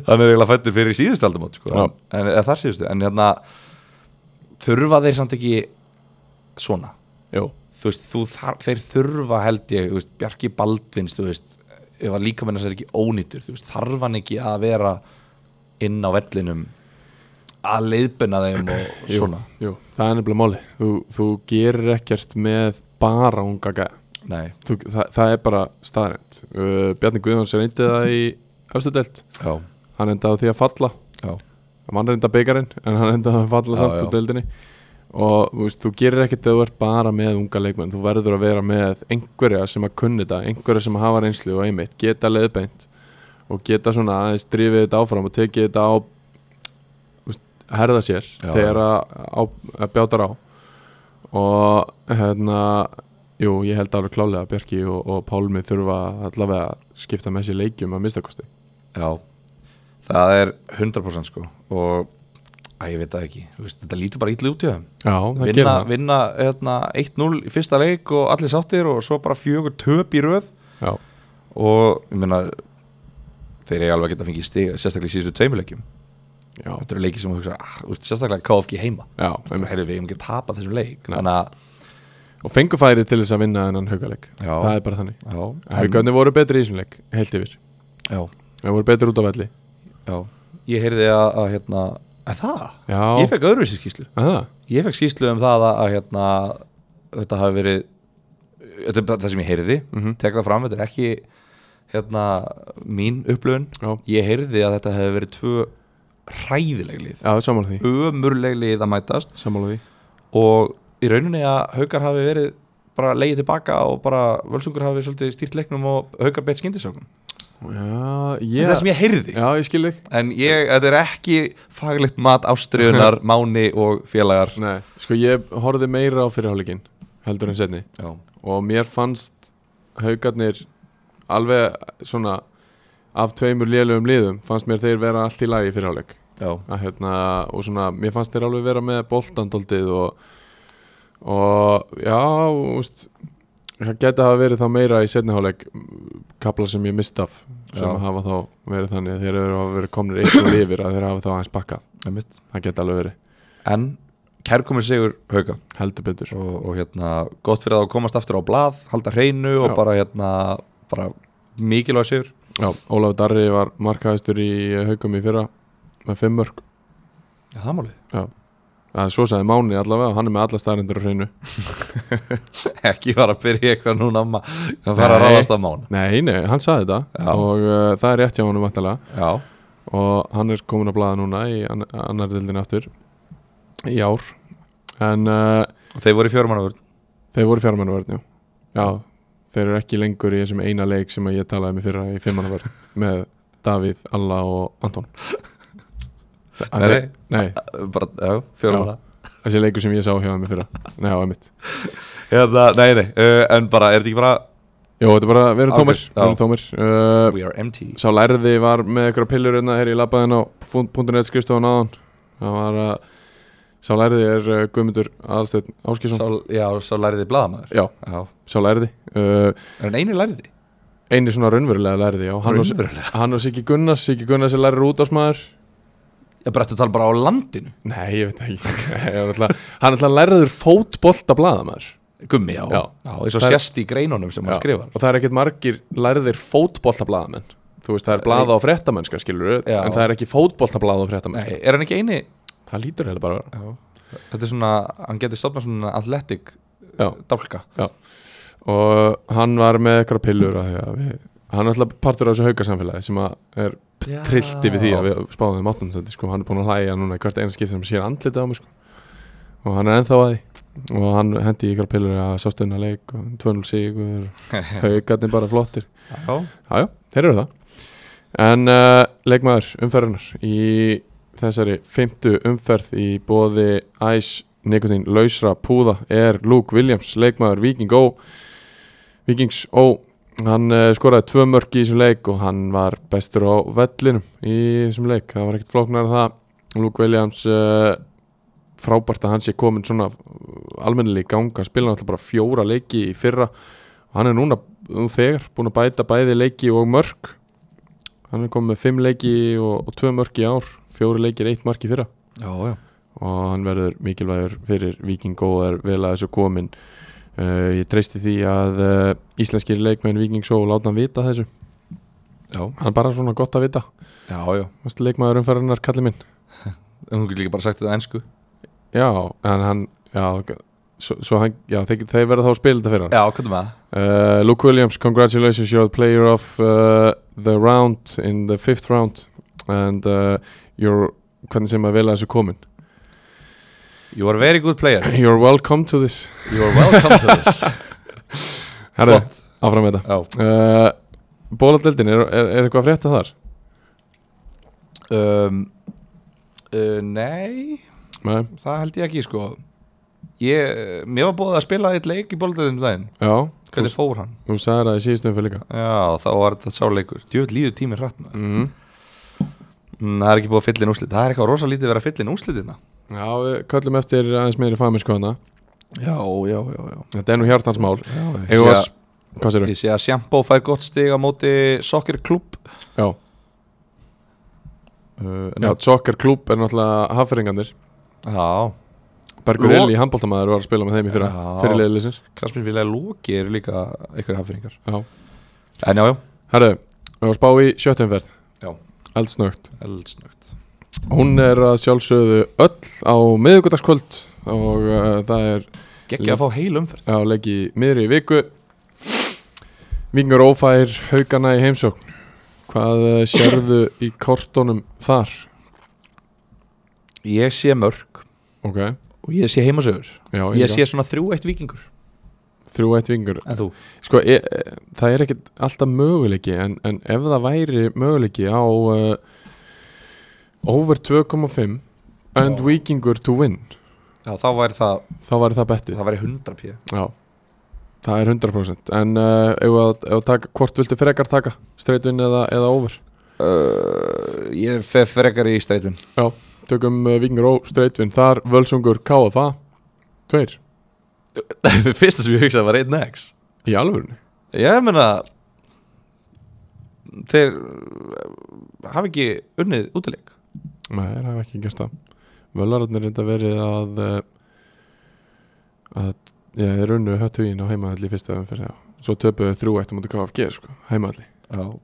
Speaker 2: hann er eiginlega fættur fyrir síðustu aldamót sko.
Speaker 1: Já.
Speaker 2: en eða þar síðustu, en hérna þurfa þeir samt ekki svona
Speaker 1: já,
Speaker 2: þú veist, þú þar, þeir þurfa held ég, þú veist, Bjarki Baldvins þú veist, ef að líkamennast er ekki ónýttur þú veist, þarf hann ekki að vera inn á vellinum að leiðbuna þeim og
Speaker 1: jú,
Speaker 2: svona
Speaker 1: jú, það er nefnilega máli þú, þú gerir ekkert með bara unga gæða
Speaker 2: Nei,
Speaker 1: Þú, það, það er bara staðrænt uh, Bjarni Guðjóns reyndi það í höstudelt
Speaker 2: já,
Speaker 1: hann endaði á því að falla
Speaker 2: já,
Speaker 1: hann var reynda byggarinn en hann endaði á því að falla
Speaker 2: Já,
Speaker 1: samt
Speaker 2: já.
Speaker 1: úr deildinni og þú veist, þú gerir ekkert ef þú ert bara með unga leikmenn þú verður að vera með einhverja sem að kunni þetta einhverja sem hafa reynslu og einmitt geta leiðbeint og geta svona aðeins drifið þetta áfram og tekið þetta á þú veist, herða sér
Speaker 2: Já,
Speaker 1: þegar að, á, að bjátar á og hérna jú, ég held alveg klálega að Bjarki og, og Pálmi þurfa allavega að skipta með sér leikjum að mistakosti
Speaker 2: já það er 100% sko og að ég veit það ekki, þú veist, þetta lítur bara ítli út í þeim
Speaker 1: Já, það gerir
Speaker 2: vinna,
Speaker 1: það
Speaker 2: vinna hérna, 1-0 í fyrsta leik og allir sáttir og svo bara fjögur töp í röð
Speaker 1: Já,
Speaker 2: og ég meina þeir eru alveg að geta fengið stig sérstaklega í síðustu tveimilegjum
Speaker 1: já,
Speaker 2: þetta eru leiki sem þú hugsa ah, þú veist, sérstaklega KFG heima
Speaker 1: já einmitt.
Speaker 2: Heru, við hefum ekki tapað þessum leik
Speaker 1: Nei.
Speaker 2: þannig að
Speaker 1: og fengu færi til þess að vinna þennan haugaleg
Speaker 2: Já.
Speaker 1: það er bara þannig
Speaker 2: já, en,
Speaker 1: haugarnir voru betri í þessum leik, heilt yfir
Speaker 2: já,
Speaker 1: þeir voru betri út á velli
Speaker 2: já. ég heyrði að, að hérna, er það?
Speaker 1: já,
Speaker 2: ég fekk öðruvísi skýslu
Speaker 1: að það,
Speaker 2: ég fekk skýslu um það að, að hérna, þetta hafi verið þetta er bara það sem ég heyrði
Speaker 1: Mhm.
Speaker 2: tek það fram, þetta er ekki hérna, mín upplöfun
Speaker 1: já,
Speaker 2: ég heyrði að þetta hefði verið tvö hræðileg lið
Speaker 1: já sammála því
Speaker 2: ömurleg lið að mætast
Speaker 1: sammála því,
Speaker 2: og í rauninni að haukar hafi verið bara leiðið tilbaka og bara völsungur hafi svolítið stýrt leiknum og haukar beitt skyndisökum
Speaker 1: já,
Speaker 2: yeah.
Speaker 1: ég
Speaker 2: það er sem ég heyrði
Speaker 1: já, ég skil þig
Speaker 2: en ég, þetta er ekki faglegt mat ástriðunar, máni og félagar
Speaker 1: Nei. sko ég horfði meira á fyrirháleikin heldur en setni
Speaker 2: já,
Speaker 1: og mér fannst haugarnir alveg svona af tveimur lélugum liðum fannst mér þeir vera allt í lagi í fyrirháleik
Speaker 2: já,
Speaker 1: að hérna, og svona, mér fannst þeir alveg vera með boltandoldið og, og já, úst, það geti hafa verið þá meira í setniháleik kapla sem ég mist af sem
Speaker 2: Já.
Speaker 1: hafa þá verið þannig að þeir eru að vera komnir eitthvað yfir að þeir hafa þá aðeins bakkað
Speaker 2: einmitt
Speaker 1: það geti alveg verið,
Speaker 2: en kærkomur sigur hauka
Speaker 1: heldur betur
Speaker 2: og, og hérna, gott fyrir það að komast aftur á blað halda hreinu og
Speaker 1: Já.
Speaker 2: bara hérna bara mikilvæg sigur
Speaker 1: Já, Ólaf Darri var markaðistur í eh, haukum í fyrra með fimm mörg
Speaker 2: Já, það málið
Speaker 1: að svo sagði Máni allavega, hann er með alla staðarindur á hreinu.
Speaker 2: Ekki fara að byrja eitthvað núna ma- að fara að
Speaker 1: Nei.
Speaker 2: ráðast af mána
Speaker 1: Nei, nei, hann sagði þetta
Speaker 2: Já.
Speaker 1: og uh, það er rétt hjá honum vantalega
Speaker 2: Já,
Speaker 1: og hann er komin að blaða núna í ann annar dildin aftur í ár en uh,
Speaker 2: þeir voru í fjörmannavörn
Speaker 1: þeir voru fjármannvörn, já. já þeir eru ekki lengur í þessum eina leik sem að ég talaði með fyrra í fimmannvörn með Davíð, Alla og Anton Að
Speaker 2: Nei,
Speaker 1: þeir- Nei,
Speaker 2: bara, já, fjörmanna
Speaker 1: þessi leikur sem ég sá hjá þeim í fyrra Nei, á emitt
Speaker 2: Hérna, nei, nei, uh, en bara, er þetta ekki bara
Speaker 1: Jó, þetta er bara, við erum
Speaker 2: Ok,
Speaker 1: tómir, við erum
Speaker 2: já.
Speaker 1: tómir. Uh,
Speaker 2: We are empty
Speaker 1: Sá lærði var með ykkur pillur hérna hér í labbaðin á .net skrifstofan áðan Það var að Sá lærði er uh, Guðmundur Aðalsteinn Áskisson
Speaker 2: sá, Já, svo læriði blaðamaður
Speaker 1: Já,
Speaker 2: Já,
Speaker 1: sá lærði uh,
Speaker 2: er hann eini læriði?
Speaker 1: Einir svona raunverulega lærði já. Hann, og,
Speaker 2: Raunverulega
Speaker 1: hann og Siggi Gunnars Siggi Gunnars er lærður út
Speaker 2: Ég bara ætti að tala bara á landinu
Speaker 1: Nei, ég veit ekki Nei, Hann er alltaf, hann er alltaf lærður fótbolta blaðamaður
Speaker 2: Gummi, já
Speaker 1: Já.
Speaker 2: eins og
Speaker 1: Það er-
Speaker 2: sérst í greinunum sem
Speaker 1: Já,
Speaker 2: hann skrifar
Speaker 1: Og það er ekkert margir lærðir fótbolta blaðamenn Þú veist, það er blaða og fréttamennska skilur
Speaker 2: Já.
Speaker 1: En það er ekki fótbolta blaða og fréttamennska
Speaker 2: Nei, er hann ekki eini?
Speaker 1: Það lítur heila bara að vera
Speaker 2: Já Þetta er svona, hann getur stofnað svona athletic eh,
Speaker 1: Já.
Speaker 2: dálka
Speaker 1: og hann var með eitthvað pillur að því að við, hann er alltaf partur af þessu haugasamfélagi sem að er
Speaker 2: Já.
Speaker 1: trillti við því að við spáðum þeim áttum þetta sko, hann er búin að hlæja núna í hvert eina skipti sem sér andlitið á mig sko. og hann er ennþá að því og hann hendi í eitthvað pillur að sástunna leik og 2-0 sigur haugarnir bara flottir
Speaker 2: Já,
Speaker 1: jájá, þeir eru það en uh, leikmaður umferðunar í þessari fymtu umferð í bóði Æs Nikotín lausra púða er Luke Williams, leikmaður Viking O Vikings O hann uh, skoraði tvö mörk í þessum leik og hann var bestur á vellinum í þessum leik, það var ekkert flóknar það Luke Williams uh, frábært að hann sé komin svona almennilega í ganga, hann spilaði alltaf bara fjóra leiki í fyrra og hann er núna nú þegar búin að bæta bæði leiki og mörk hann er komið með fimm leiki og, og tvö mörk í ár fjóri leikir, eitt mark í fyrra
Speaker 2: já, já
Speaker 1: og hann verður mikilvægur fyrir Viking og er vel að þessu komin uh, ég treysti því að uh, íslenskir leikmenn Viking svo láta hann vita þessu
Speaker 2: Já,
Speaker 1: hann er bara svona gott að vita
Speaker 2: já, já
Speaker 1: Vastu leikmaður umferðarnar kalli minn
Speaker 2: En hún getur líka bara sagt þetta á ensku
Speaker 1: já, en hann já, g- svo, svo hann, já, þeir, þeir verða þá að spila þetta fyrir hann
Speaker 2: Já, hvað er það?
Speaker 1: Uh, Luke Williams, congratulations, you're the player of uh, the round in the fifth round and uh, you're, hvernig sem að vel að þessu komin
Speaker 2: You are a very good player
Speaker 1: You're welcome to this
Speaker 2: You are welcome to this
Speaker 1: Herra,
Speaker 2: Flott.
Speaker 1: áfram með
Speaker 2: Já
Speaker 1: þetta uh, Bóladeldin, er, er, er eitthvað að frétta þar?
Speaker 2: um, uh, Nei,
Speaker 1: Nei,
Speaker 2: það held ég ekki sko ég, Mér var búið að spila eitt leik í bóldöðum daginn
Speaker 1: já, þú,
Speaker 2: Hvernig fór hann?
Speaker 1: þú sagði það í síðustu umfyrir líka
Speaker 2: Já, þá var þetta sáleikur Djöfull líður tíminn hratt maður
Speaker 1: mm -hmm.
Speaker 2: mm, Það er ekki búið að fylla inn úrslit Það er eitthvað rosa lítið að vera að fylla inn úrslitina
Speaker 1: Já, við köllum eftir aðeins meiri famiskoðana
Speaker 2: Já, já, já, já,
Speaker 1: Þetta er nú hjartansmál
Speaker 2: já
Speaker 1: Ég,
Speaker 2: Ég,
Speaker 1: var,
Speaker 2: sé,
Speaker 1: Hvað sér
Speaker 2: að, ég sé að Sjambó fær gott stig á móti sokkerklúb
Speaker 1: Já,
Speaker 2: uh,
Speaker 1: já Joker klúb er náttúrulega hafferingarnir
Speaker 2: já
Speaker 1: Bergur
Speaker 2: Lo-
Speaker 1: Eli í handbóltamaður var að spila með þeim í fyrra
Speaker 2: Já.
Speaker 1: fyrir liðlisins
Speaker 2: Krasmir vilja lóki eru líka einhverja hafningar
Speaker 1: Já
Speaker 2: En já, já,
Speaker 1: Herru, við varum að spá í sjöttumferð
Speaker 2: Já.
Speaker 1: Eldsnögt
Speaker 2: eldsnögt
Speaker 1: Hún er að sjálfsögðu öll á miðugudagskvöld og uh, það er
Speaker 2: Gekki að fá heil umferð
Speaker 1: á leiki miðri í viku Vingur ófær haugana í heimsókn Hvað uh, sérðu í kortunum þar?
Speaker 2: Ég sé mörg
Speaker 1: Ok,
Speaker 2: og ég sé heimasögur
Speaker 1: já,
Speaker 2: Ég sé svona þrjú eitt vikingur
Speaker 1: Þrjú eitt vingur
Speaker 2: En þú?
Speaker 1: Sko, e, e, það er ekkit alltaf möguleiki en, en ef það væri möguleiki á uh, over 2,5 and
Speaker 2: Já.
Speaker 1: vikingur to win
Speaker 2: Já, þá væri það,
Speaker 1: þá væri það bettið
Speaker 2: það væri 100 pí
Speaker 1: Já, það er 100% en uh, ef að, ef að taka, hvort viltu frekar taka streitvinn eða, eða over
Speaker 2: uh, Ég fer frekar í streitvin
Speaker 1: Já, tökum uh, vikingur og streitvinn þar völsungur KFA tveir,
Speaker 2: Fyrsta sem ég hugsaði var 1x
Speaker 1: í alvörunni
Speaker 2: Ég meina Þeir uh, hafa ekki unnið útileik
Speaker 1: Nei, það hafa ekki gert það Völararnir reynda verið að eh, að já, þeir runnu höttu ín á heimaðalli fyrsta umfyrir já. svo töpuðu þrjú eitt á móti KFG sko, heimaðalli
Speaker 2: Já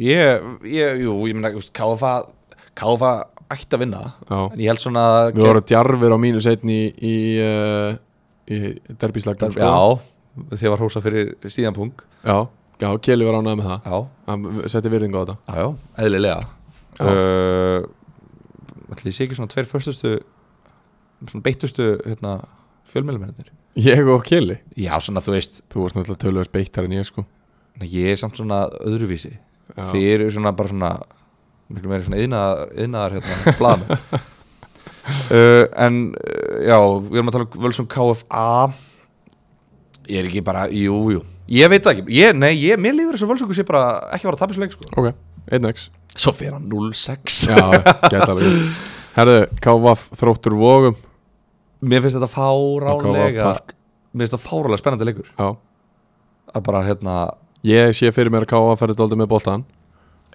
Speaker 2: Ég, ég, jú, ég meina, KFA KFA ætti að vinna
Speaker 1: Já.
Speaker 2: En ég held svona að-
Speaker 1: Við vorum djarfir á mínus einn í, í, uh, í derbíslagnum sko.
Speaker 2: Já, þið var hósa fyrir síðan pung
Speaker 1: Já, já Keli var ánægð með það
Speaker 2: Já,
Speaker 1: Hann setti virðingu á þetta
Speaker 2: já, já, eðlilega
Speaker 1: Já.
Speaker 2: uh, Ætli ég sé ekki svona tveir förstustu svona beittustu hérna, fjölmjölumennir
Speaker 1: Ég og Keli
Speaker 2: Já, svona þú veist
Speaker 1: Þú varst náttúrulega tölvöld beittar en ég sko
Speaker 2: Nei, Ég er samt svona öðruvísi
Speaker 1: Já.
Speaker 2: Þið eru svona bara svona miklu meiri svona yðnaðar, yðnaðar hérna, blaðmenn uh, En uh, já, við erum að tala um Völsum KFA Ég er ekki bara, jú, jú Ég veit það ekki, ég, nei, ég, mér líður þessu völsungu sé bara ekki að fara að tapja svo leik sko.
Speaker 1: Ok, 1x
Speaker 2: Svo fyrir hann 0-6
Speaker 1: Já, geta alveg Herðu, Kávaf þróttur vógum
Speaker 2: Mér finnst þetta
Speaker 1: KF
Speaker 2: fáránlega
Speaker 1: Park.
Speaker 2: Mér finnst þetta fáránlega spennandi leikur
Speaker 1: Já
Speaker 2: Að bara, hérna,
Speaker 1: Ég sé fyrir mér að Kávaf ferði dóldi með boltan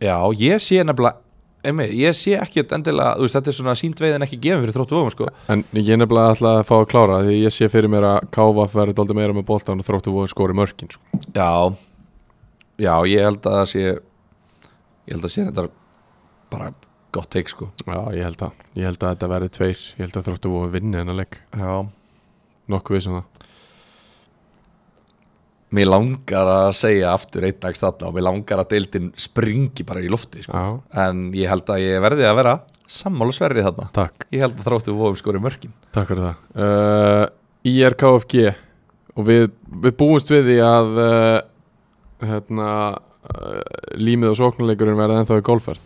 Speaker 2: já, ég sé nefnilega einmitt, Ég sé ekki endilega, þú veist, þetta er svona síndveiðin ekki gefin fyrir þróttu vögum, sko
Speaker 1: En ég er nefnilega ætla að fá að klára Því ég sé fyrir mér að Kávaf verði dóldi meira með boltan Og þróttur vógum skori mörkin sko.
Speaker 2: Já Já, ég held að það sé Ég held að sé þetta bara gott teik sko
Speaker 1: Já, ég held að Ég held að þetta verði tveir Ég held að þróttur vógum vinni hennar leik
Speaker 2: Já
Speaker 1: Nokkuð við sem það
Speaker 2: Mér langar að segja aftur einn dags þarna og mér langar að deildin springi bara í lofti sko.
Speaker 1: Já,
Speaker 2: En ég held að ég verði að vera sammála sverri þarna
Speaker 1: takk
Speaker 2: Ég held að þróttu vóðum skori mörkin
Speaker 1: Takk fyrir það uh, IRKFG og við, við búumst við því að uh, hérna uh, límið og sóknuleikurinn verða ennþá í golfverð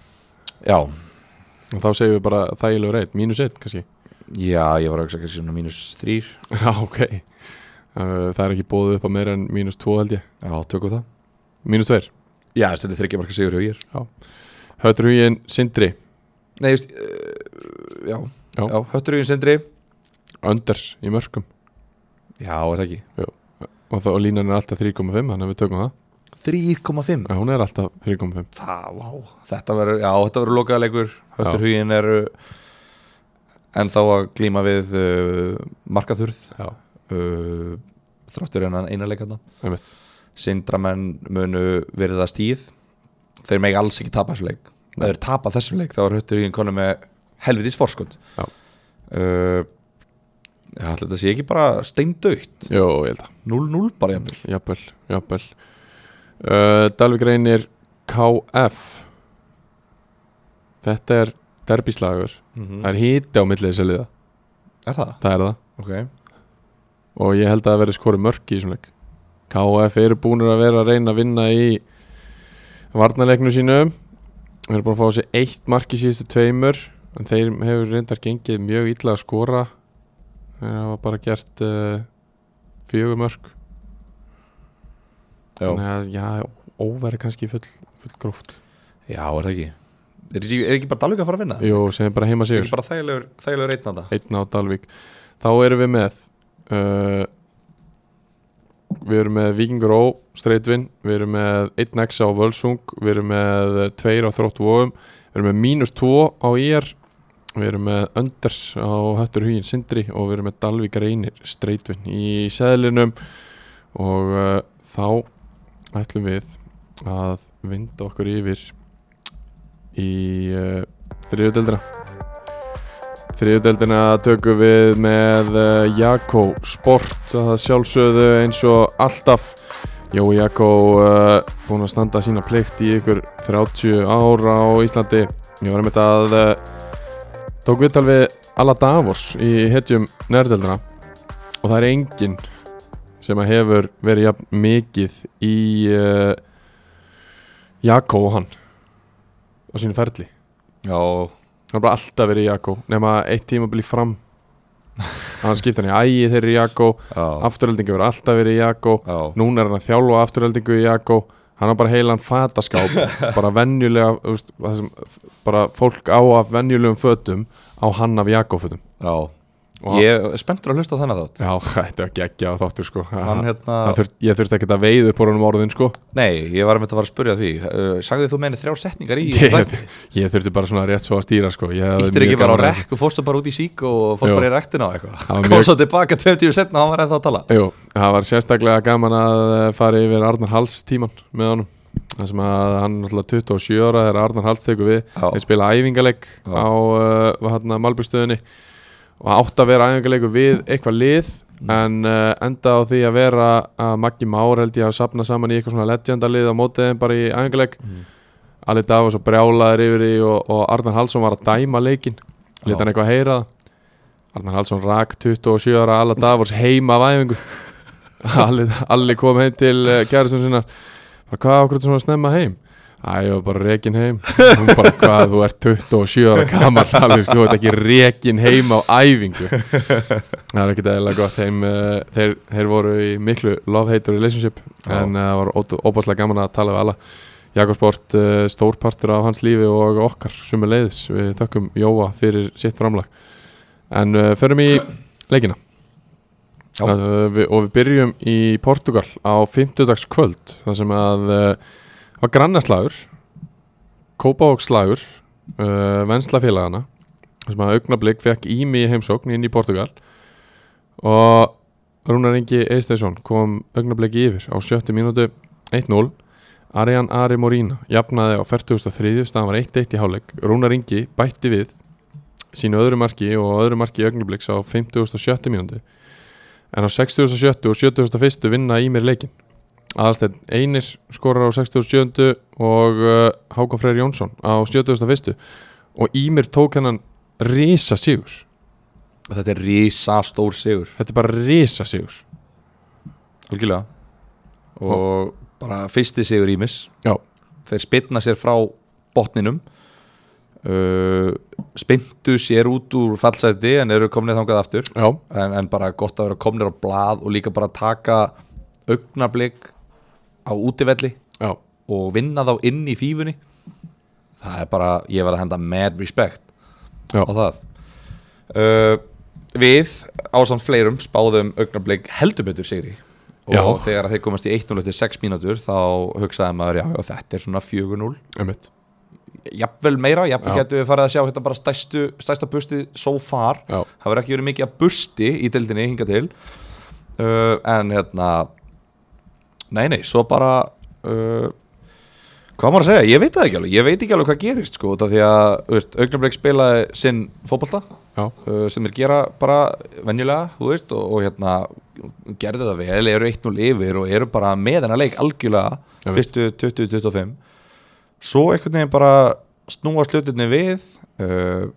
Speaker 2: Já,
Speaker 1: og þá segjum við bara þægilegur eitt, mínus eitt kannski
Speaker 2: já, ég var að hugsa kannski svona mínus þrýr
Speaker 1: Já, ok uh, Það er ekki búið upp á meira en mínus tvo held ég
Speaker 2: Já, tökum það
Speaker 1: Mínus tveir
Speaker 2: Já, þetta er þryggja marka sigur hjá ég
Speaker 1: Höttur huginn Sindri,
Speaker 2: Nei, just, uh, já,
Speaker 1: Já.
Speaker 2: já, já hötturugin sindri
Speaker 1: Önders í mörgum
Speaker 2: Já, er það ekki
Speaker 1: og þá og línan er alltaf 3,5 þannig að við tökum það
Speaker 2: 3,5
Speaker 1: Já, Hún er alltaf 3,5
Speaker 2: Það, vá, þetta verður, já, þetta verður lokaða leikur Höttur
Speaker 1: Já.
Speaker 2: huginn er en þá að glíma við uh, markaþurð
Speaker 1: Já,
Speaker 2: uh, þráttur en eina leikarna
Speaker 1: einmitt
Speaker 2: Sindramenn munu verið það stíð þeir megi alls ekki tapa þessum leik ef
Speaker 1: Nei.
Speaker 2: þeir tapa þessum leik þá er höttur huginn konum með helvitis forskund
Speaker 1: Já.
Speaker 2: uh, Já, ætli þetta sé ekki bara steindaukt
Speaker 1: Jó, ég held að
Speaker 2: 0-0 bara jafnvel
Speaker 1: Jafnvel, jafnvel uh, Dalvik reynir KF Þetta er derbislagur
Speaker 2: Mm.
Speaker 1: Það er híti á milli þessi liða
Speaker 2: Er það?
Speaker 1: Það er það
Speaker 2: Ok
Speaker 1: Og ég held að það verði skori mörki í þessum leik KF eru búinir að vera að reyna að vinna í Varnaleiknu sínum Þeir eru búin að fá sér eitt mark í síðustu tveimur En þeir hefur reyndar gengið mjög illa að skora Þeir hafa bara gert uh, Fjögur mörk
Speaker 2: Já.
Speaker 1: Þannig að, já, óveri kannski full, full gróft
Speaker 2: Já, er það ekki Er ekki, er ekki bara Dalvík að fara að vinna?
Speaker 1: Jú, sem er bara heima
Speaker 2: Það er
Speaker 1: sigur
Speaker 2: ekki bara þægilegur, þægilegur einn að það
Speaker 1: Einn á Dalvík Þá erum við með uh, Við erum með Víkingur Ó, Streitvin Við erum með 1x á Völsung Við erum með 2 á Þrótt Vóum Við erum með mínus 2 á IR Við erum með Önders á Höttur Hugin Sindri og við erum með Dalvík Reynir Streitvin í seðlinum og uh, þá ætlum við að vinda okkur yfir í uh, þriðudeldina Þriðudeldina tökum við með eh, Jakko Sport að það sjálfsögðu eins og alltaf Jó Jakko uh, búin að standa sína plikt í ykkur 30 ára á Íslandi Ég var einmitt að uh, tók viðtal við Alla Davos í hetjum nærdeldina og það er enginn sem að hefur verið jafn mikið í uh, Jakko og hann á sínu ferli
Speaker 2: Já,
Speaker 1: Það er bara alltaf verið Jakko Nefna eitt tíma byrja fram Hann skipta hann í ægi þeir eru Jakko
Speaker 2: já,
Speaker 1: Afturöldingu verið alltaf verið Jakko
Speaker 2: já
Speaker 1: Núna er hann að þjálfa afturöldingu í Jakko Hann har bara heilan fataskáp Bara venjulega þú veist, það sem, Bara fólk á af venjulegum fötum Á hann af Jakko fötum
Speaker 2: já.
Speaker 1: Og
Speaker 2: Ég er spenntur að hlusta á þennan þátt
Speaker 1: Já, þetta var geggja á þáttur sko
Speaker 2: Hann
Speaker 1: hann,
Speaker 2: hérna,
Speaker 1: hann þurft, Ég þurfti ekkert að veiða upp úr honum orðin sko
Speaker 2: nei, ég var að mynda að fara að spurja því uh, Sagði þú meini þrjár setningar í
Speaker 1: ég,
Speaker 2: þætti?
Speaker 1: ég þurfti bara svona rétt svo að stýra sko Ég hafði
Speaker 2: Íttir
Speaker 1: mjög
Speaker 2: ekki bara á
Speaker 1: gaman að þessu.
Speaker 2: rekk og fórstu bara út í sík og
Speaker 1: Jú.
Speaker 2: fórst bara í rektina á eitthvað
Speaker 1: var
Speaker 2: Kom
Speaker 1: mjög-
Speaker 2: svo tilbaka 20 setna og hann var ennþá að tala
Speaker 1: Jú, það var sérstaklega gaman að eh, fara yfir Arnar Hals tíman með honum það sem að hann er náttúrulega 27 ára þegar Arnar Hall tekur við
Speaker 2: Já.
Speaker 1: þeir spila æfingaleg
Speaker 2: Já.
Speaker 1: á uh, hann, Malbyggstöðinni og átt að vera æfingalegu við eitthvað lið
Speaker 2: Mm.
Speaker 1: en uh, enda á því að vera að Maggi Már held ég að sapna saman í eitthvað svona legendalið á mótið þeim bara í æfingaleg
Speaker 2: Mhm.
Speaker 1: allir dag var svo brjálaður yfir því og, og Arnar Hallsson var að dæma leikin
Speaker 2: Já.
Speaker 1: leta hann eitthvað heyra það. Arnar Hallsson rak 27 ára alla Davors heima af æfingu allir, allir kom heim til uh, kærisum sinna bara hvað okkur ertu svona snemma heim Æ, ég var bara rekin heim Hún bara, hvað, þú ert 27 ára gammal alveg, sko, þú ert ekki rekin heim á æfingu Það er ekkert eðlilega gott heim uh, þeir, þeir voru í miklu love-hate relationship
Speaker 2: Já.
Speaker 1: en eh, það var ótt- óbáslega gaman að tala við alla Jakobsport uh, stórpartur af hans lífi og okkar sumu leiðis við þökkum Jóa fyrir sitt framlag en uh, förum í leikina
Speaker 2: Já.
Speaker 1: uh, við, og við byrjum í Portugal á 50 kvöld þar sem að uh, var grannaslagur Kópavóksslagur uh, venslafélagana þar sem að augnablík fekk ími í heimsókn inn í Portugal og Rúnar Ingi Eisteinsson kom augnablíki yfir á sjöttu mínútu 1-0 Arian Ari Morína jafnaði á 43. staðan var 1-1 í hálfleik Rúnar Ingi bætti við sínu öðru marki og öðru marki í augnablíks á 57. mínútu en á 67. og 71. vinna í mér leikin aðalsteinn Einir skorar á 67. og uh, Hákon Freyr Jónsson á 71. og Ímir tók hennan risa sigur
Speaker 2: Þetta er risa stór sigur
Speaker 1: þetta er bara risa sigur
Speaker 2: Algjörlega Og bara fyrsti sigur Ímis
Speaker 1: Já.
Speaker 2: Þeir spinna sér frá botninum uh, Spintu sér út úr fallsæti En eru komnið þangað aftur
Speaker 1: já,
Speaker 2: en, en bara gott að vera komnir á blað og líka bara taka augnablík á útivelli
Speaker 1: já,
Speaker 2: og vinna þá inn í fífunni það er bara, ég verð að henda mad respect
Speaker 1: Já.
Speaker 2: á það uh, við ásamt fleirum spáðum augnablík heldur betur sigri og
Speaker 1: Já.
Speaker 2: þegar að þeir komast í 1-0 eftir 6 mínútur þá hugsaði maður, já, já þetta er svona 4-0
Speaker 1: einmitt
Speaker 2: jafnvel meira, jafnvel
Speaker 1: Já.
Speaker 2: getur við farið að sjá hérna bara stæstu, stæsta bustið so far
Speaker 1: já,
Speaker 2: það verður ekki verið mikið að bursti í deildinni hinga til uh, en hérna nei nei, svo bara uh, hvað á maður að segja, ég veit það ekki alveg ég veit ekki alveg hvað gerist sko, út af því að þú veist, augnablik spilaði sinn fótbolta
Speaker 1: já,
Speaker 2: uh, sem er gera bara venjulega, þú veist, og, og hérna gerði það vel, eru 1-0 yfir og eru bara með hennar leik algjörlega
Speaker 1: Ég veit.
Speaker 2: fyrstu 20-25 svo einhvern veginn bara snúa slutinni við uh,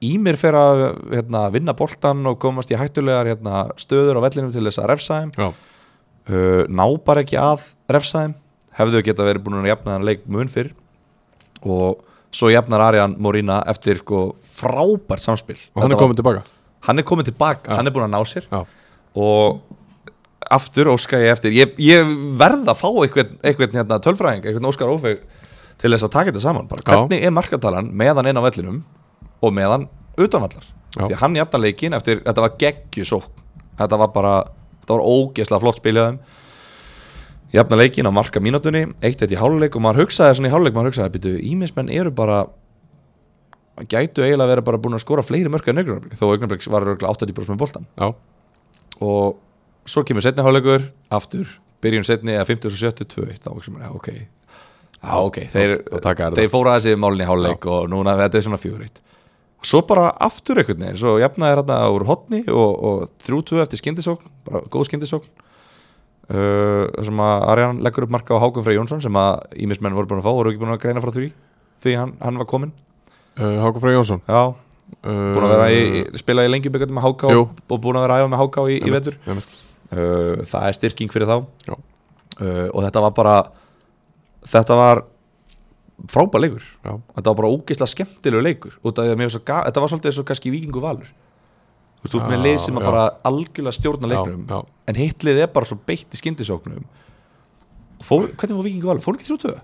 Speaker 2: Ímir fer að hérna, vinna boltan og komast í hættulegar hérna, stöður á vellinum til þess að refsa þeim
Speaker 1: já,
Speaker 2: uh, ná bara ekki að refsaðum hefðu geta verið búin að jafna þann leik mun fyrr og svo jafnar Arjan Morína eftir sko frábært samspil
Speaker 1: og hann
Speaker 2: Þetta
Speaker 1: er komin tilbaka
Speaker 2: var, hann er komin tilbaka,
Speaker 1: Já.
Speaker 2: hann er búin að ná sér
Speaker 1: já,
Speaker 2: og aftur óska ég eftir ég, ég verð að fá einhvern, einhvern hérna, tölfræðing, einhvern Óskar Ófeg til þess að taka þetta saman, bara
Speaker 1: Já.
Speaker 2: hvernig er markatalan meðan inn á vellinum og meðan utanvallar,
Speaker 1: Já.
Speaker 2: því að hann jafna leikin eftir, þetta var geggjusókn þetta var bara, þetta var ógeðslega flott spiljaðum jafna leikin á marka mínútunni, eitt eitt í háluleik og maður hugsaði svona í háluleik, maður hugsaði býtu, ímismenn eru bara gætu eiginlega að vera bara búin að skora fleiri mörka en augnablik, þó augnablik var örugglega 80% með boltan
Speaker 1: já,
Speaker 2: og svo kemur setni hálfleikur aftur, byrjun setni eða 50 og 70, 2-1, þá hugsa maður, já ok já ok, þeir,
Speaker 1: Þá- þá taka þeir
Speaker 2: þeir fóra þessi málun í hálfleik og núna þetta er svona 4-1 og svo bara aftur einhvern veginn, svo jafnaði hérna úr hotni og, og 3-2 eftir skyndisókn, bara góð skyndisókn uh, sem að Arjan leggur upp marka á Hákun Frey Jónsson sem að ímismenn voru búin að fá, voru ekki búin að greina frá því því hann, hann var komin,
Speaker 1: uh, Hákon Freyr Jónsson
Speaker 2: já,
Speaker 1: uh,
Speaker 2: búin að vera í, í spila í lengjubikarnum með Háká
Speaker 1: Jú.
Speaker 2: og, og búin að vera að æfa með Háká í, í vetur
Speaker 1: einmitt,
Speaker 2: uh, það er styrking fyrir þá
Speaker 1: Já.
Speaker 2: uh, og þetta var bara þetta var frábær leikur
Speaker 1: já,
Speaker 2: þetta var bara ógeðslega skemmtilegu leikur út af því að mér var svo ga- þetta var svolítið eins og kannski vikingu valur þú veist, þú ert með
Speaker 1: Já,
Speaker 2: lið sem að
Speaker 1: já.
Speaker 2: bara algjörlega stjórna
Speaker 1: já,
Speaker 2: leiknum
Speaker 1: já,
Speaker 2: en hitt lið er bara svo beitt í skyndisóknum fór, hvernig var vikingu valur? fór ekki 3-2?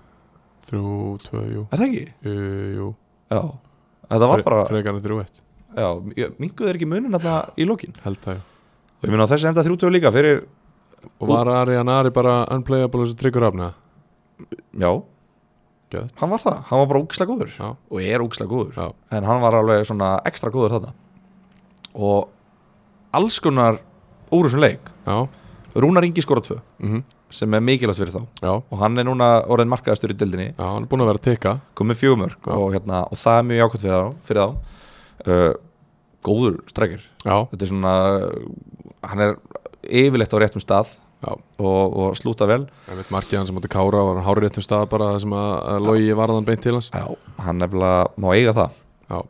Speaker 1: þrjú, tvö, jú
Speaker 2: Er það ekki?
Speaker 1: uh, jú,
Speaker 2: Já, þetta var bara
Speaker 1: frekar en þrjú eitt
Speaker 2: já, minguð er ekki munin þarna í lokin
Speaker 1: held það, já
Speaker 2: og ég meina á þessi enda 3-2 líka fyrir,
Speaker 1: Og var Arian Ari bara unplayable þessu tryggur afna?
Speaker 2: já,
Speaker 1: Gæðt,
Speaker 2: hann var það hann var bara ógeðslega góður
Speaker 1: já,
Speaker 2: og er ógeðslega góður
Speaker 1: já,
Speaker 2: en hann var alveg svona ekstra góður þarna og alls konar úr þessum leik
Speaker 1: já,
Speaker 2: Rúnar Ingi skora tvö
Speaker 1: mhm,
Speaker 2: sem er mikilvægt fyrir þá
Speaker 1: já,
Speaker 2: og hann er núna orðin markaðastur í dildinni
Speaker 1: já, hann er búin að vera að teka
Speaker 2: komið fjögumörk
Speaker 1: Já.
Speaker 2: og, hérna, og það er mjög jákvæmt fyrir þá, fyrir þá. Uh, góður strækir
Speaker 1: já,
Speaker 2: þetta er svona hann er yfirleitt á réttum stað
Speaker 1: já,
Speaker 2: og, og slúta vel
Speaker 1: einmitt markið hann sem átti kára var hann hárið réttum stað bara það sem að, að logi varðan beint til hans
Speaker 2: Já, hann nefnilega má eiga það
Speaker 1: já,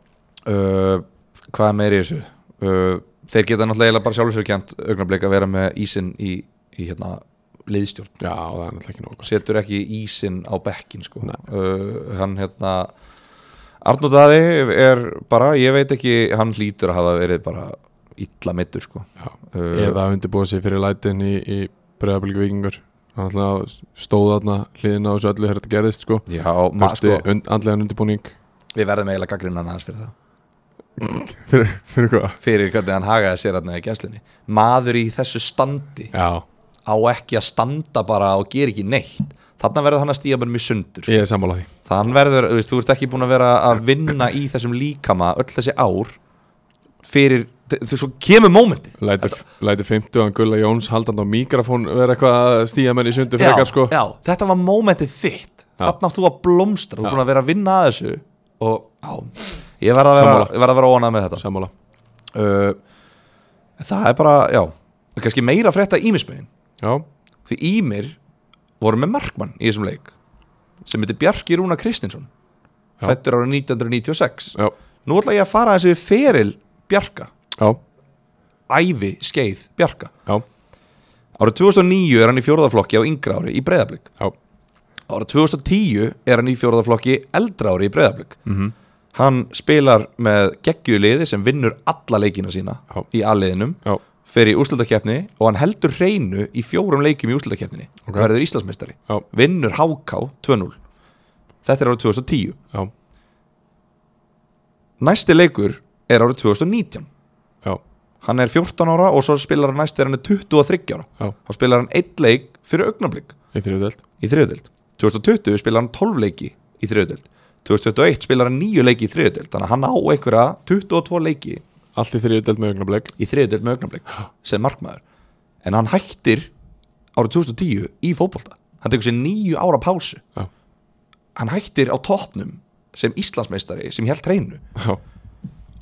Speaker 2: uh, hvað er meir í þessu uh, þeir geta náttúrulega eiginlega bara sjálfsögkjönd augnablik að vera með ísinn í, í hérna, liðstjórn
Speaker 1: já, það er náttúrulega ekki nóg gott.
Speaker 2: setur ekki ísinn á bekkin sko.
Speaker 1: Nei.
Speaker 2: uh, hann hérna Arnór Daði er bara, ég veit ekki hann hlýtur að hafa verið bara illa mittur sko.
Speaker 1: já,
Speaker 2: uh,
Speaker 1: eða undirbúið sig fyrir lætin í, í bregðablíku vikingur hann alltaf stóð þarna hliðin á þessu öllu hér þetta gerðist sko
Speaker 2: já, ma,
Speaker 1: Þurfti
Speaker 2: sko,
Speaker 1: und, andlegan undirbúning
Speaker 2: við verðum eiginlega gaggrinn hann aðeins fyrir það
Speaker 1: fyrir, fyrir hvað?
Speaker 2: fyrir hvernig hann hagaði sér hann í gæslinni maður í þessu standi
Speaker 1: Já,
Speaker 2: á ekki að standa bara og gera ekki neitt þannig verður hann að stíga bara mjög sundur
Speaker 1: ég er sammála því
Speaker 2: þannig verður, þú veist, þú ert ekki búin að vera að vinna í þessum líkama öll þessi ár fyrir, þú svo kemur mómentið
Speaker 1: Lætur, lætur 50 hann Gulla Jóns haldandi á mikrofón vera eitthvað að stíja menn í sundu
Speaker 2: já,
Speaker 1: frekar sko
Speaker 2: já, þetta var mómentið þitt
Speaker 1: Já.
Speaker 2: þannig áttu að blómstra,
Speaker 1: Já.
Speaker 2: þú er búin að vera að vinna að þessu og já, ég verð að vera,
Speaker 1: Sammála.
Speaker 2: ég verð að vera óanað með þetta
Speaker 1: Sammála
Speaker 2: uh, það er bara, já kannski meira að frétta ímismiðin
Speaker 1: Já,
Speaker 2: því Ímir voru með markmann í þessum leik sem heitir Bjarki Rúna Kristinsson
Speaker 1: Já.
Speaker 2: fættur árið 1996
Speaker 1: já,
Speaker 2: nú ætla ég að fara þessi feril Bjarka
Speaker 1: já,
Speaker 2: ævi skeið Bjarka
Speaker 1: já,
Speaker 2: árið 2009 er hann í fjórðaflokki á yngra ári í breyðablík
Speaker 1: já.
Speaker 2: árið 2010 er hann í fjórðaflokki eldra ári í breyðablík
Speaker 1: Mm
Speaker 2: hann spilar með geggjuliði sem vinnur alla leikina sína
Speaker 1: Já.
Speaker 2: í alliðinum
Speaker 1: já.
Speaker 2: fer í úrslutakeppni og hann heldur hreinu í fjórum leikjum í úrslutakeppninni
Speaker 1: Ok.
Speaker 2: og verður Íslandsmeistari
Speaker 1: Já.
Speaker 2: vinnur HK 2-0 þetta er árið 2010
Speaker 1: Já,
Speaker 2: næsti leikur er árið 2019
Speaker 1: já,
Speaker 2: hann er 14 ára og svo spilar hann næsti er hann er 23 ára
Speaker 1: já,
Speaker 2: þá spilar hann einn leik fyrir augnablik
Speaker 1: í þriðudelt
Speaker 2: í þriðudeld 2020 spilar hann 12 leiki í þriðudeld 2021 spilar hann 9 leiki í þriðudeld þannig að hann á einhverja 22 leiki
Speaker 1: Allt í þriðudelt með augnablik
Speaker 2: í þriðudeld með augnablik sem markmaður en hann hættir árið 2010 í fótbolta hann tekur sér 9 ára pásu
Speaker 1: Já.
Speaker 2: hann hættir á toppnum sem Íslandsmeistari sem held hreinu
Speaker 1: Já,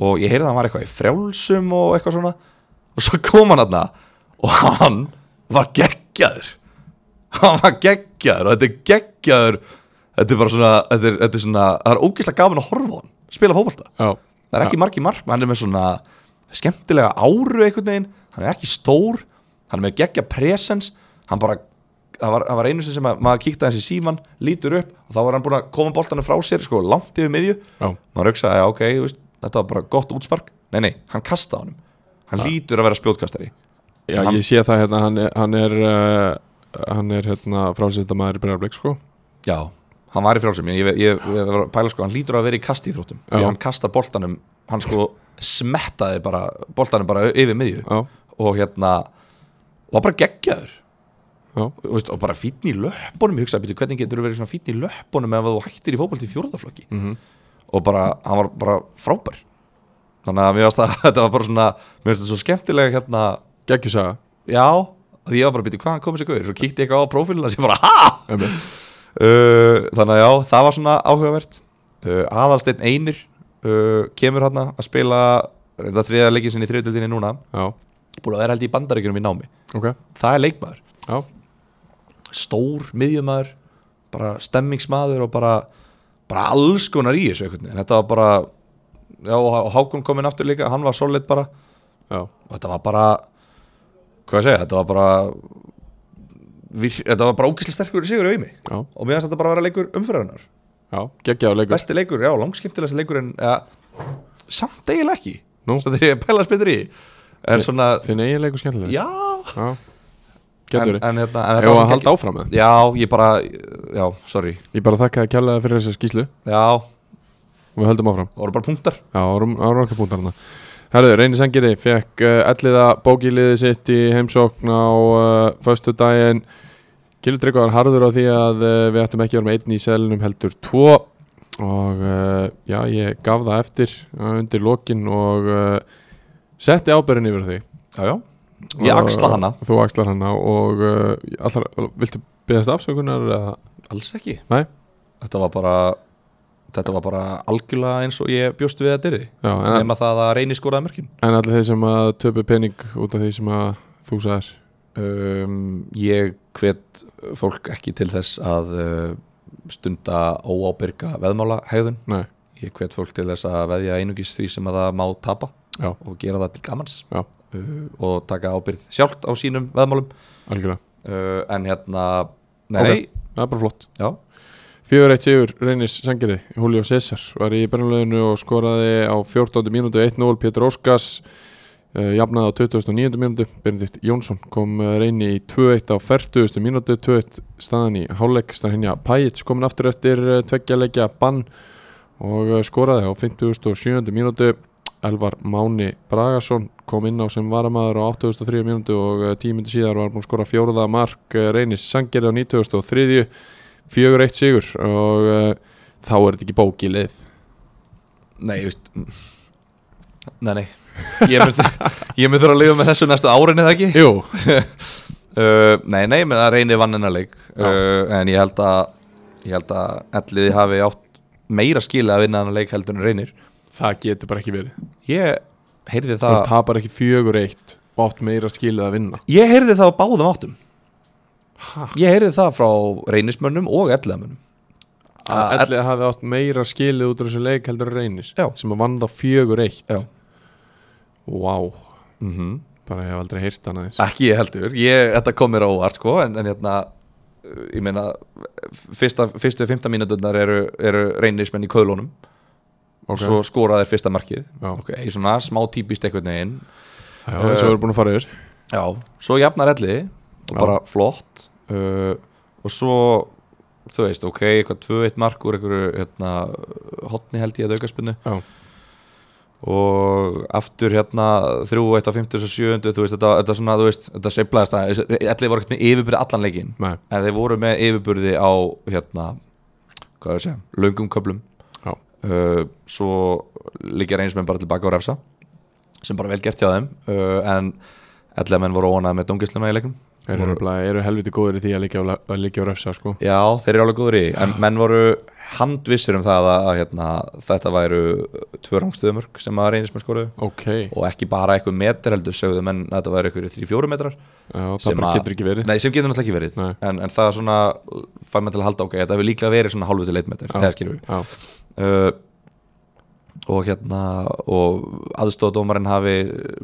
Speaker 2: og ég heyrði að hann var eitthvað í frjálsum og eitthvað svona og svo kom hann aðna og hann var geggjaður hann var geggjaður og þetta er geggjaður þetta er bara svona, þetta er, þetta er svona það er ógeðslega gaman að horfa á hann spila fótbolta
Speaker 1: já,
Speaker 2: það er ekki margi mark hann er með svona skemmtilega áru einhvern veginn hann er ekki stór, hann er með geggja presens hann bara það var, það var einu sinni sem að, maður kíkti aðeins í síman lítur upp og þá var hann búin að koma boltanu frá sér sko langt yfir miðju
Speaker 1: já,
Speaker 2: maður hugsaði að ok, þú veist, þetta var bara gott útspark nei, nei, hann kasta honum hann lítur að vera spjótkastari
Speaker 1: já
Speaker 2: Hann-
Speaker 1: Ég sé það hérna, hann er, hann er, uh, hann er hérna frásendamaður í bregðarblik sko
Speaker 2: já, hann var í frjálsum ég, ég, ég, ég var að pæla sko, hann lítur að vera í kasti í þróttum því
Speaker 1: Já.
Speaker 2: hann kasta boltanum, hann sko smettaði bara, boltanum bara yfir miðju
Speaker 1: Já,
Speaker 2: og hérna og var bara geggjaður
Speaker 1: já,
Speaker 2: og, veist, og bara fínn í löpunum ég hugsaði, byrju, hvernig getur þú verið svona fínn í löpunum ef þú hættir í fótbolti í fjórðaflokki
Speaker 1: Mhm.
Speaker 2: og bara, hann var bara frábær þannig að mér varst að þetta var bara svona, mér varst þetta svo skemmtilega hérna
Speaker 1: geggjusaga
Speaker 2: Já, því ég var bara að byrja hvað hann komið sér guður Svo kíkti ég eitthvað á prófílina sem bara ha
Speaker 1: einmitt.
Speaker 2: uh, Þannig að já, það var svona áhugavert uh, Aðalsteinn Einir uh, Kemur hann að spila Reynda þriða leikin sinni í þriðutöldinni núna
Speaker 1: Já,
Speaker 2: Búin að vera held í bandaríkjunum í námi
Speaker 1: ok,
Speaker 2: Það er leikmaður,
Speaker 1: já,
Speaker 2: stór, miðjumaður Bara stemmingsmaður og bara Bara alls konar í þessu einhvern veginn Þetta var bara Já, og Hákon kominn aftur líka, hann var solid bara
Speaker 1: já,
Speaker 2: og þetta var bara hvað ég segja, þetta var bara vir, þetta var bara ógæslega sterkur sigur auðmi
Speaker 1: já,
Speaker 2: og mér finnst þetta bara að vera leikur umfyrirhennar
Speaker 1: já, geggjaður leikur
Speaker 2: besti leikur, já, langskemmtilegast leikur en ja, samt eiginlega ekki
Speaker 1: Nú,
Speaker 2: svo þegar ég pælast betur í en svona,
Speaker 1: þinn eigin leikur skemmtilega
Speaker 2: já
Speaker 1: Já,
Speaker 2: en,
Speaker 1: getur
Speaker 2: en, hérna, en
Speaker 1: Ef
Speaker 2: var
Speaker 1: að
Speaker 2: svo
Speaker 1: halda
Speaker 2: geggjað.
Speaker 1: áfram með
Speaker 2: já, ég bara, já, sorry
Speaker 1: Ég bara þakka þér kærlega fyrir þessa skýslu
Speaker 2: já,
Speaker 1: og við höldum áfram
Speaker 2: það voru bara punktar
Speaker 1: Já, árum, árum okkar púntar hana Herðu, Reyni Sangeri fekk uh, elliða bókiliði sitt í heimsókn á uh, föstu daginn Gilur Tryggvar harður á því að uh, við ættum ekki að vera með einn í selinum heldur tvo og uh, já, ég gaf eh, það eftir uh, undir lokin og uh, setti ábyrðin eh, yfir því
Speaker 2: já, já, Ég
Speaker 1: Og-
Speaker 2: axla hana.
Speaker 1: Þú axlar hana og uh, allar, viltu beðast afsökunar eða
Speaker 2: Alls ekki
Speaker 1: Nei.
Speaker 2: Þetta var bara Þetta var bara algjörlega eins og ég bjóst við að dyrði
Speaker 1: Já, en,
Speaker 2: Nefna það að reyni skoraði mörkin
Speaker 1: en allir þeir sem að töpu pening út af því sem að þú sagðir
Speaker 2: um, Ég hvet fólk ekki til þess að uh, stunda óábyrga veðmála hegðun
Speaker 1: Nei,
Speaker 2: Ég hvet fólk til þess að veðja einungis því sem að það má tapa
Speaker 1: Já.
Speaker 2: og gera það til gamans
Speaker 1: Já.
Speaker 2: Uh, og taka ábyrgð sjálft á sínum veðmálum
Speaker 1: algjörlega
Speaker 2: uh, en hérna Nei,
Speaker 1: Ok. Það er bara flott
Speaker 2: já,
Speaker 1: 4-1 sigur Reynis Sangeri, Julio César var í bernalöðinu og skoraði á 14. mínútu 1-0 Pétur Óskars uh, jafnaði á 29. mínútu Benedikt Jónsson kom eh, Reyni í 2-1 á 40. mínútu 2-1 staðan í hálfleik staðan Pæits komin aftur eftir eh, tveggja leikja bann og eh, skoraði á 57. mínútu Elvar Máni Bragason kom inn á sem varamaður á 83. mínútu og eh, tíu myndi síðar var hann búinn að skora fjóruða mark eh, Reynis Sangeri á 93 fjögur eitt sigur og uh, þá er þetta ekki bókilið
Speaker 2: nei, ég veist mm. Nei, nei Ég mun, ég mun þurfa að lifa með þessu næstu árin eða ekki
Speaker 1: Jú,
Speaker 2: Uh, nei, nei, menn að reyni vann hennar leik
Speaker 1: Já.
Speaker 2: uh, En ég held að Ég held að elliði hafi átt Meira skilið að vinna hennar leik heldur en reynir
Speaker 1: það getur bara ekki verið
Speaker 2: Ég heyrði
Speaker 1: Það
Speaker 2: það
Speaker 1: tapar ekki fjögur eitt og átt meira skilið að vinna
Speaker 2: Ég heyrði það á báðum áttum
Speaker 1: Ha?
Speaker 2: Ég heyrði það frá reynismönnum og elliðamönnum
Speaker 1: að
Speaker 2: Að-
Speaker 1: ellið hafi átt meira skilið út úr þessu leik heldur en reynir
Speaker 2: Já.
Speaker 1: sem að vann þá fjögur eitt
Speaker 2: Já.
Speaker 1: Vá,
Speaker 2: mm
Speaker 1: bara ég hef aldrei heyrt hana þess
Speaker 2: Ekki ég heldur, ég, þetta kom mér á óvart sko, en, en hérna uh, Ég meina, fyrsta, fyrstu 15 mínúturnar eru, eru reynismenn í köðlunum
Speaker 1: Ok,
Speaker 2: Svo skora þeir fyrsta markið
Speaker 1: Já.
Speaker 2: Ok, svona smá típist einhvern veginn
Speaker 1: já, þessu
Speaker 2: Eh,
Speaker 1: verður búin að fara yfir
Speaker 2: Já, svo jafnar elli og
Speaker 1: Já.
Speaker 2: bara flott uh, og svo þú veist, ok, eitthvað 2-1 mark úr einhverju hérna, hotni held ég að aukaspinnu
Speaker 1: Já.
Speaker 2: og aftur hérna 3-1 á 57 þú veist, þetta, þetta svona, þú veist, þetta sveiflaðist aðeins. elli voru ekkert með yfirburði allan leikinn
Speaker 1: Nei,
Speaker 2: en þeir voru með yfirburði á hérna, hvað er að segja, löngum köflum
Speaker 1: Já.
Speaker 2: uh, svo liggja reynismenn bara tilbaka á refsa sem bara vel gert hjá þeim uh, en allir menn voru óanað með dóngisluna í leikum
Speaker 1: eru,
Speaker 2: Voru-
Speaker 1: eru, eru helviti góður í því að líka á, að líka á refsa sko
Speaker 2: já, þeir eru alveg góður í því, en menn voru handvissir um það að, að hérna, þetta væru tvö rangstöðumörk sem að reynismenn skoruðu
Speaker 1: Ok,
Speaker 2: og ekki bara eitthvað metr heldur sögðu menn að þetta væri eitthvað 3-4 metrar
Speaker 1: já, það
Speaker 2: Sem
Speaker 1: bara
Speaker 2: að-
Speaker 1: getur ekki verið
Speaker 2: Nei, sem getur náttúrulega ekki verið
Speaker 1: Nei.
Speaker 2: en, en það er svona, fær maður til að halda ok Þetta hefur líklega verið svona hálfu til leitmetir
Speaker 1: Já.
Speaker 2: eða skilur
Speaker 1: Já,
Speaker 2: við uh, Og hérna og aðstofadómarinn hafi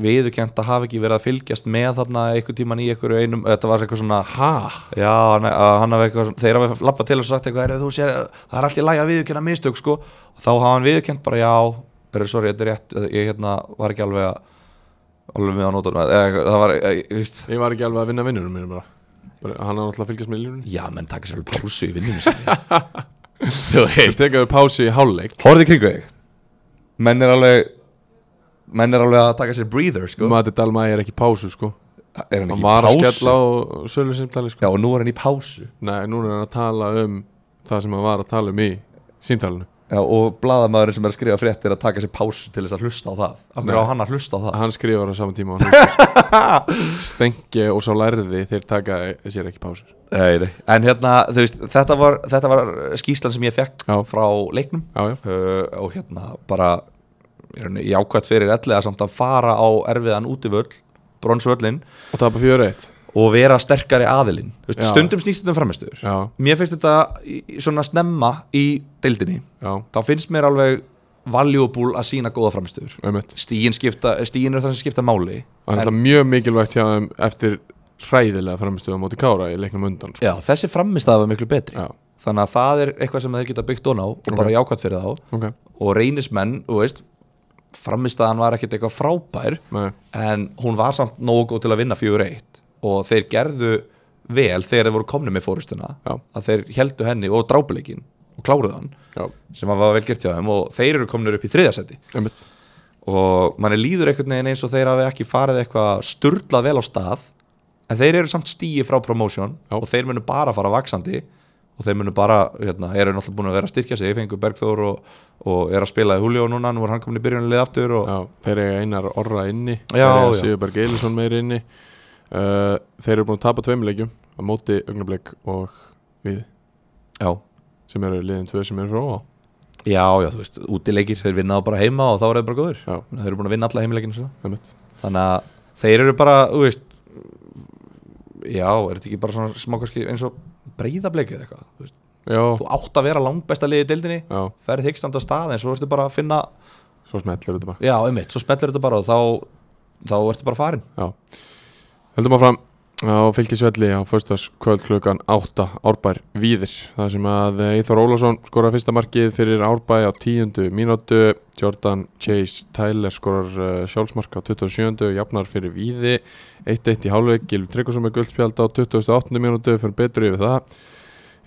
Speaker 2: viðurkent að hafa ekki verið að fylgjast með þarna einhver tíman í einhverju einum þetta var eitthvað svona
Speaker 1: ha,
Speaker 2: Já, hann, að hann hafi eitthvað, þeir hafi lappað til og sagt eitthvað, "Heyrðu, þú sér, það er alltaf læg að viðurkenna mistök sko, og þá hafa hann viðurkent bara, já, er, sorry, þetta er rétt ég hérna var ekki alveg að alveg með að nota það var, ég, ég, víst,
Speaker 1: ég var ekki alveg að vinna vinnunum mínum bara, bara Hann er náttúrulega að fylgjast með lífun
Speaker 2: Já, menn taka sér alveg pásu í vinnum sinni Þú
Speaker 1: Þú stekaður pási í hálfleik
Speaker 2: Horfði kringu þig Menn er alveg Menn er alveg að taka sér breather, sko
Speaker 1: Mati Dalma er ekki í pásu sko
Speaker 2: Er hann
Speaker 1: Hann
Speaker 2: ekki
Speaker 1: var
Speaker 2: í
Speaker 1: að
Speaker 2: pásu?
Speaker 1: skella á sölu símtali sko
Speaker 2: Já, og nú er hann í pásu
Speaker 1: Nei, núna er hann að tala um það sem hann var að tala um í símtalinu
Speaker 2: Já, og blaðamæðurinn sem er að skrifa frétt er að taka sér pásu til þess að hlusta á það Af hverju
Speaker 1: Nei.
Speaker 2: á hann að hlusta á það?
Speaker 1: Hann skrifar á sama tíma og hann- Stengi og sá lærði þeir taka sér ekki pásu
Speaker 2: Nei, nei En hérna, þú veist, þetta var, þetta var skýslan sem ég fekk
Speaker 1: Já.
Speaker 2: frá leiknum
Speaker 1: Já, já,
Speaker 2: uh, og hérna bara í rauninni jákvætt fyrir ellega samt að fara á erfiðan útivöll bronsvöllin
Speaker 1: og tapa fjöra eitt
Speaker 2: og vera sterkari aðilinn Þú veist,
Speaker 1: Já.
Speaker 2: stundum snýst þetta um framistöður
Speaker 1: Já,
Speaker 2: mér finnst þetta í- í svona snemma í deildinni,
Speaker 1: já,
Speaker 2: þá finnst mér alveg valuable að sína góða framistöður
Speaker 1: auðvitað
Speaker 2: stíin, skipta, stíin er það sem skipta máli
Speaker 1: Það er alltaf mjög mikilvægt hjá þeim eftir hræðilega framistuða móti Kára í leiknum undan sko.
Speaker 2: já, þessi framistöða var miklu betri
Speaker 1: Já,
Speaker 2: þannig að það er eitthvað sem þeir geta byggt ón á og
Speaker 1: Ok.
Speaker 2: bara jákvætt fyrir þá
Speaker 1: ok,
Speaker 2: og reynismenn, þú veist framistöðan var ekkert eitthvað frábær
Speaker 1: nei,
Speaker 2: en hún var samt nógu góð til að vinna 4-1 og þeir gerðu vel þegar þeir voru komni með fórustuna
Speaker 1: Já.
Speaker 2: að þeir heldu henni og drápuleikin og kláruðu hann
Speaker 1: já,
Speaker 2: sem að var vel gert hjá þeim og þeir eru komnir upp í þriðasetti
Speaker 1: auðvitað
Speaker 2: og manni líður einhvern veginn eins og þeir hafi ekki farið eitthvað sturlað vel á stað en þeir eru samt stíi frá promotion
Speaker 1: Já.
Speaker 2: og þeir munu bara fara vaksandi og þeir munu bara, hérna, eru náttúrulega búin að vera að styrkja sig, fengu Bergþór og, og er að spila í Julio núna, nú er hann komin í byrjunalið aftur og
Speaker 1: Já, þeir eiga einar orra inni
Speaker 2: Sko. Já,
Speaker 1: Þeir eiga
Speaker 2: já.
Speaker 1: Sigurberg Eilisson meir inni uh, Þeir eru búin að tapa tveim leikjum á móti augnablik og við
Speaker 2: já,
Speaker 1: sem eru liðin tvö sem eru frá á
Speaker 2: já, já, þú veist, útileikir, þeir vinna þá bara heima og þá er þeir bara góður,
Speaker 1: Já,
Speaker 2: þeir eru búin að vinna alla heimileikinu sinna,
Speaker 1: einmitt.
Speaker 2: þannig að þeir eru bara, þú veist já, er þetta ekki bara svona smá kannski eins og breyðableik eða eitthvað, þú veist,
Speaker 1: já,
Speaker 2: þú átt að vera langbesta liðið í deildinni,
Speaker 1: já,
Speaker 2: ferð hyggstand á stað en svo ertu bara að finna,
Speaker 1: svo smetlur þetta bara
Speaker 2: já, einmitt, svo smetlur þetta bara og þá, þá ertu bara farin
Speaker 1: Heldum áfram á fylgisvelli á föstas kvöld klukkan 8 Árbær Víðir Það sem að Íþór Ólásson skorar fyrsta markið fyrir Árbæ á 10. mínútu Jordan Chase Tyler skorar uh, sjálfsmark á 27. Jafnar fyrir Víði 1-1 í hálfleik Gilv Tryggvason með guldspjald á 28. mínútu fyrir betur yfir það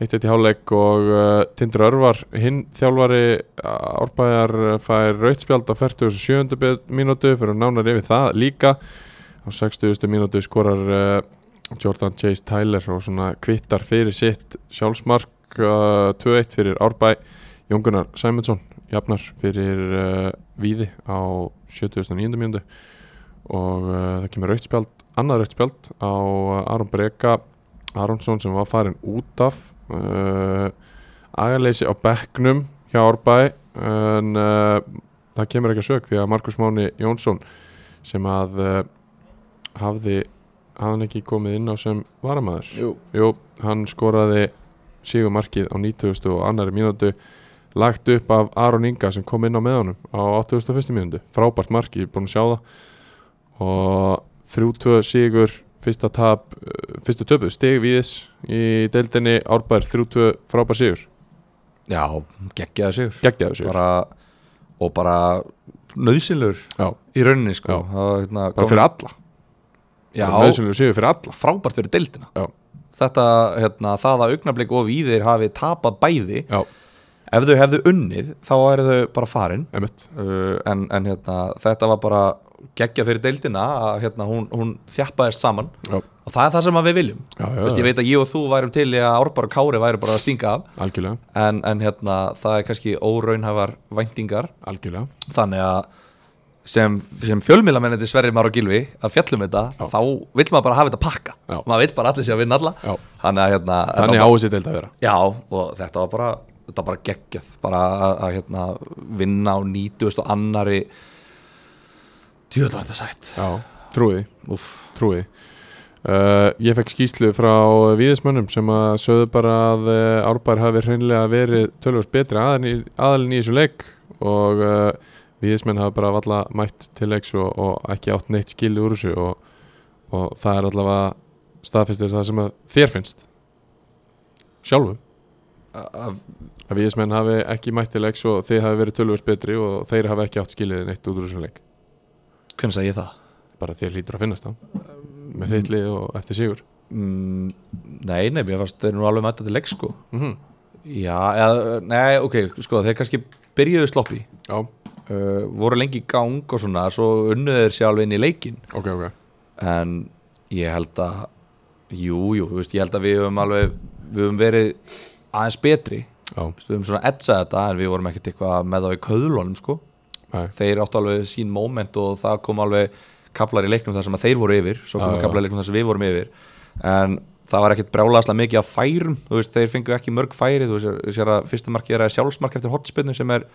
Speaker 1: 1-1 í hálfleik og uh, Tindur Örvar hinn þjálfari eh, Árbæjar uh, fær rautspjald á 47. be- mínútu fyrir nánar yfir það líka á 60. mínútu skorar uh, Jordan Chase Tyler og svona kvittar fyrir sitt sjálfsmark uh, 2-1 fyrir Árbæ Jón Gunnar Sæmundsson jafnar fyrir uh, Víði á 79. mínútu og uh, það kemur rautspjald annað rautspjald á uh, Aron Breka Aronsson sem var farin út af uh, agaleysi á bekknum hjá Árbæ en uh, það kemur ekki að sög því að Markus Máni Jónsson sem að uh, hafði hafði ekki komið inn á sem varamæður
Speaker 2: Jú.
Speaker 1: Jú, hann skoraði sigumarkið á 90. og annari mínútu lagt upp af Aron Inga sem kom inn á með honum á 81. mínútu frábært marki, ég er búin að sjá það og 3-2 sigur fyrsta tap, eh, fyrstu töpu stig viðis í deildinni árbær 3-2 frábær sigur
Speaker 2: já, geggjaði sigur
Speaker 1: geggjaðu sigur, bara,
Speaker 2: bara, og bara nöðsynlur
Speaker 1: Já.
Speaker 2: í rauninni sko.
Speaker 1: Já.
Speaker 2: það var hérna,
Speaker 1: fyrir alla,
Speaker 2: já,
Speaker 1: nöðsynlega sigur fyrir alla
Speaker 2: frábært fyrir deildina
Speaker 1: Já.
Speaker 2: þetta, hérna, það að augnablik og víðir hafi tapað bæði
Speaker 1: Já.
Speaker 2: ef þau hefðu unnið þá eru þau bara farin
Speaker 1: emitt,
Speaker 2: uh, en, en hérna, þetta var bara geggja fyrir deildina að hérna, hún, hún þjappaðist saman
Speaker 1: já,
Speaker 2: og það er það sem að við viljum
Speaker 1: já, já,
Speaker 2: Vist, ég veit að ég og þú værum til í að Árbar og Kári væru bara að stinga af
Speaker 1: algjörlega
Speaker 2: en, en hérna, það er kannski óraunhæfar væntingar
Speaker 1: algjörlega,
Speaker 2: þannig að sem, sem fjölmiðlamennandi Sverri Már og Gilvi að fjallum þetta,
Speaker 1: Já.
Speaker 2: þá vill maður bara hafa þetta pakka,
Speaker 1: Já.
Speaker 2: maður vill bara allir sé að vinna alla
Speaker 1: Já.
Speaker 2: þannig að hérna þetta
Speaker 1: þannig á
Speaker 2: var,
Speaker 1: þessi deild að vera
Speaker 2: já, og þetta var bara þetta var bara geggjað, bara að, að hérna, vinna á 90 og annari djöðlar þetta sætt
Speaker 1: já, trúið því
Speaker 2: Úff,
Speaker 1: trúi því. Uh, ég fekk skýslu frá viðismönnum sem að sögðu bara að uh, Árbær hafi hreinlega verið tölvöld betri aðalinn í, aðalinn í þessu leik og uh, viðismenn hafi bara valla mætt til leiks og, og ekki átt neitt skilu úr þessu og, og það er allavega staðfistir það sem að þér finnst sjálfum
Speaker 2: að- að-
Speaker 1: að viðismenn hafi ekki mætt til leiks og þið hafi verið tölvöld betri og þeir hafi ekki átt skilið neitt út úr þessu leik
Speaker 2: hvernig sagði ég það?
Speaker 1: bara þér lítur að finnast það með þitt lið og eftir sigur
Speaker 2: Mm, nei, nei, mér fannst þeir nú alveg mæta til leik sko
Speaker 1: mm
Speaker 2: já, eða, nei, ok, sko þeir kannski byrjuðu sloppi
Speaker 1: Já,
Speaker 2: uh, voru lengi í gang og svona svo unnuðu þeir sér alveg inn í leikin
Speaker 1: ok, ok
Speaker 2: en ég held að jú, jú, þú veist, ég held að við höfum alveg við höfum verið aðeins betri Þú
Speaker 1: Já,
Speaker 2: veist, við höfum svona etsað þetta en við vorum ekkert eitthvað með þá í köðlunum sko
Speaker 1: nei,
Speaker 2: þeir áttu alveg sín moment og það kom alveg kaplar í leiknum þar sem að þeir voru yfir svo
Speaker 1: Já,
Speaker 2: kom
Speaker 1: já.
Speaker 2: kaplar í leiknum þar sem við vorum yfir en það var ekkert brjálaðslega mikið af færum þú veist, þeir fengu ekki mörg færi þú veist, sér að fyrsta markið er að sjálfsmark eftir hotspinnu sem er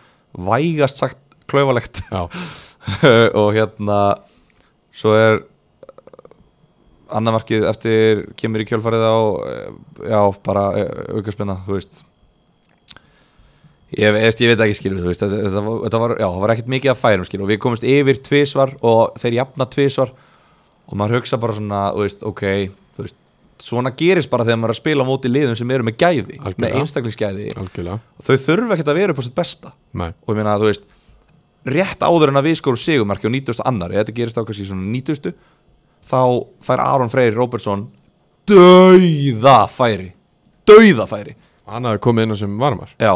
Speaker 2: vægast sagt klaufalegt
Speaker 1: já,
Speaker 2: og hérna svo er annar markið eftir kemur í kjölfarið á eh, já, bara aukarspenna, þú veist ég, veist, ég veit ekki skilur þú veist, þetta, þetta, var, þetta var, já, það var ekkert mikið að færum skilur og við komumst yfir tvisvar og þeir jafna tvisvar og maður hugsa bara svona, þú veist, ok þú veist, svona gerist bara þegar maður er að spila á móti liðum sem eru með gæði, með
Speaker 1: Algjörlega.
Speaker 2: einstaklingsgæði
Speaker 1: algjörlega
Speaker 2: og þau þurfa ekkert að vera upp á sitt besta
Speaker 1: Nei,
Speaker 2: og ég meina að þú veist rétt áður en að við skorum sigumarki á 90. annari þetta gerist þá kannski svona 90. þá fær Aron Freyr Robertson dauða færi dauða færi
Speaker 1: hann hafði komið inn á sem varmar
Speaker 2: já,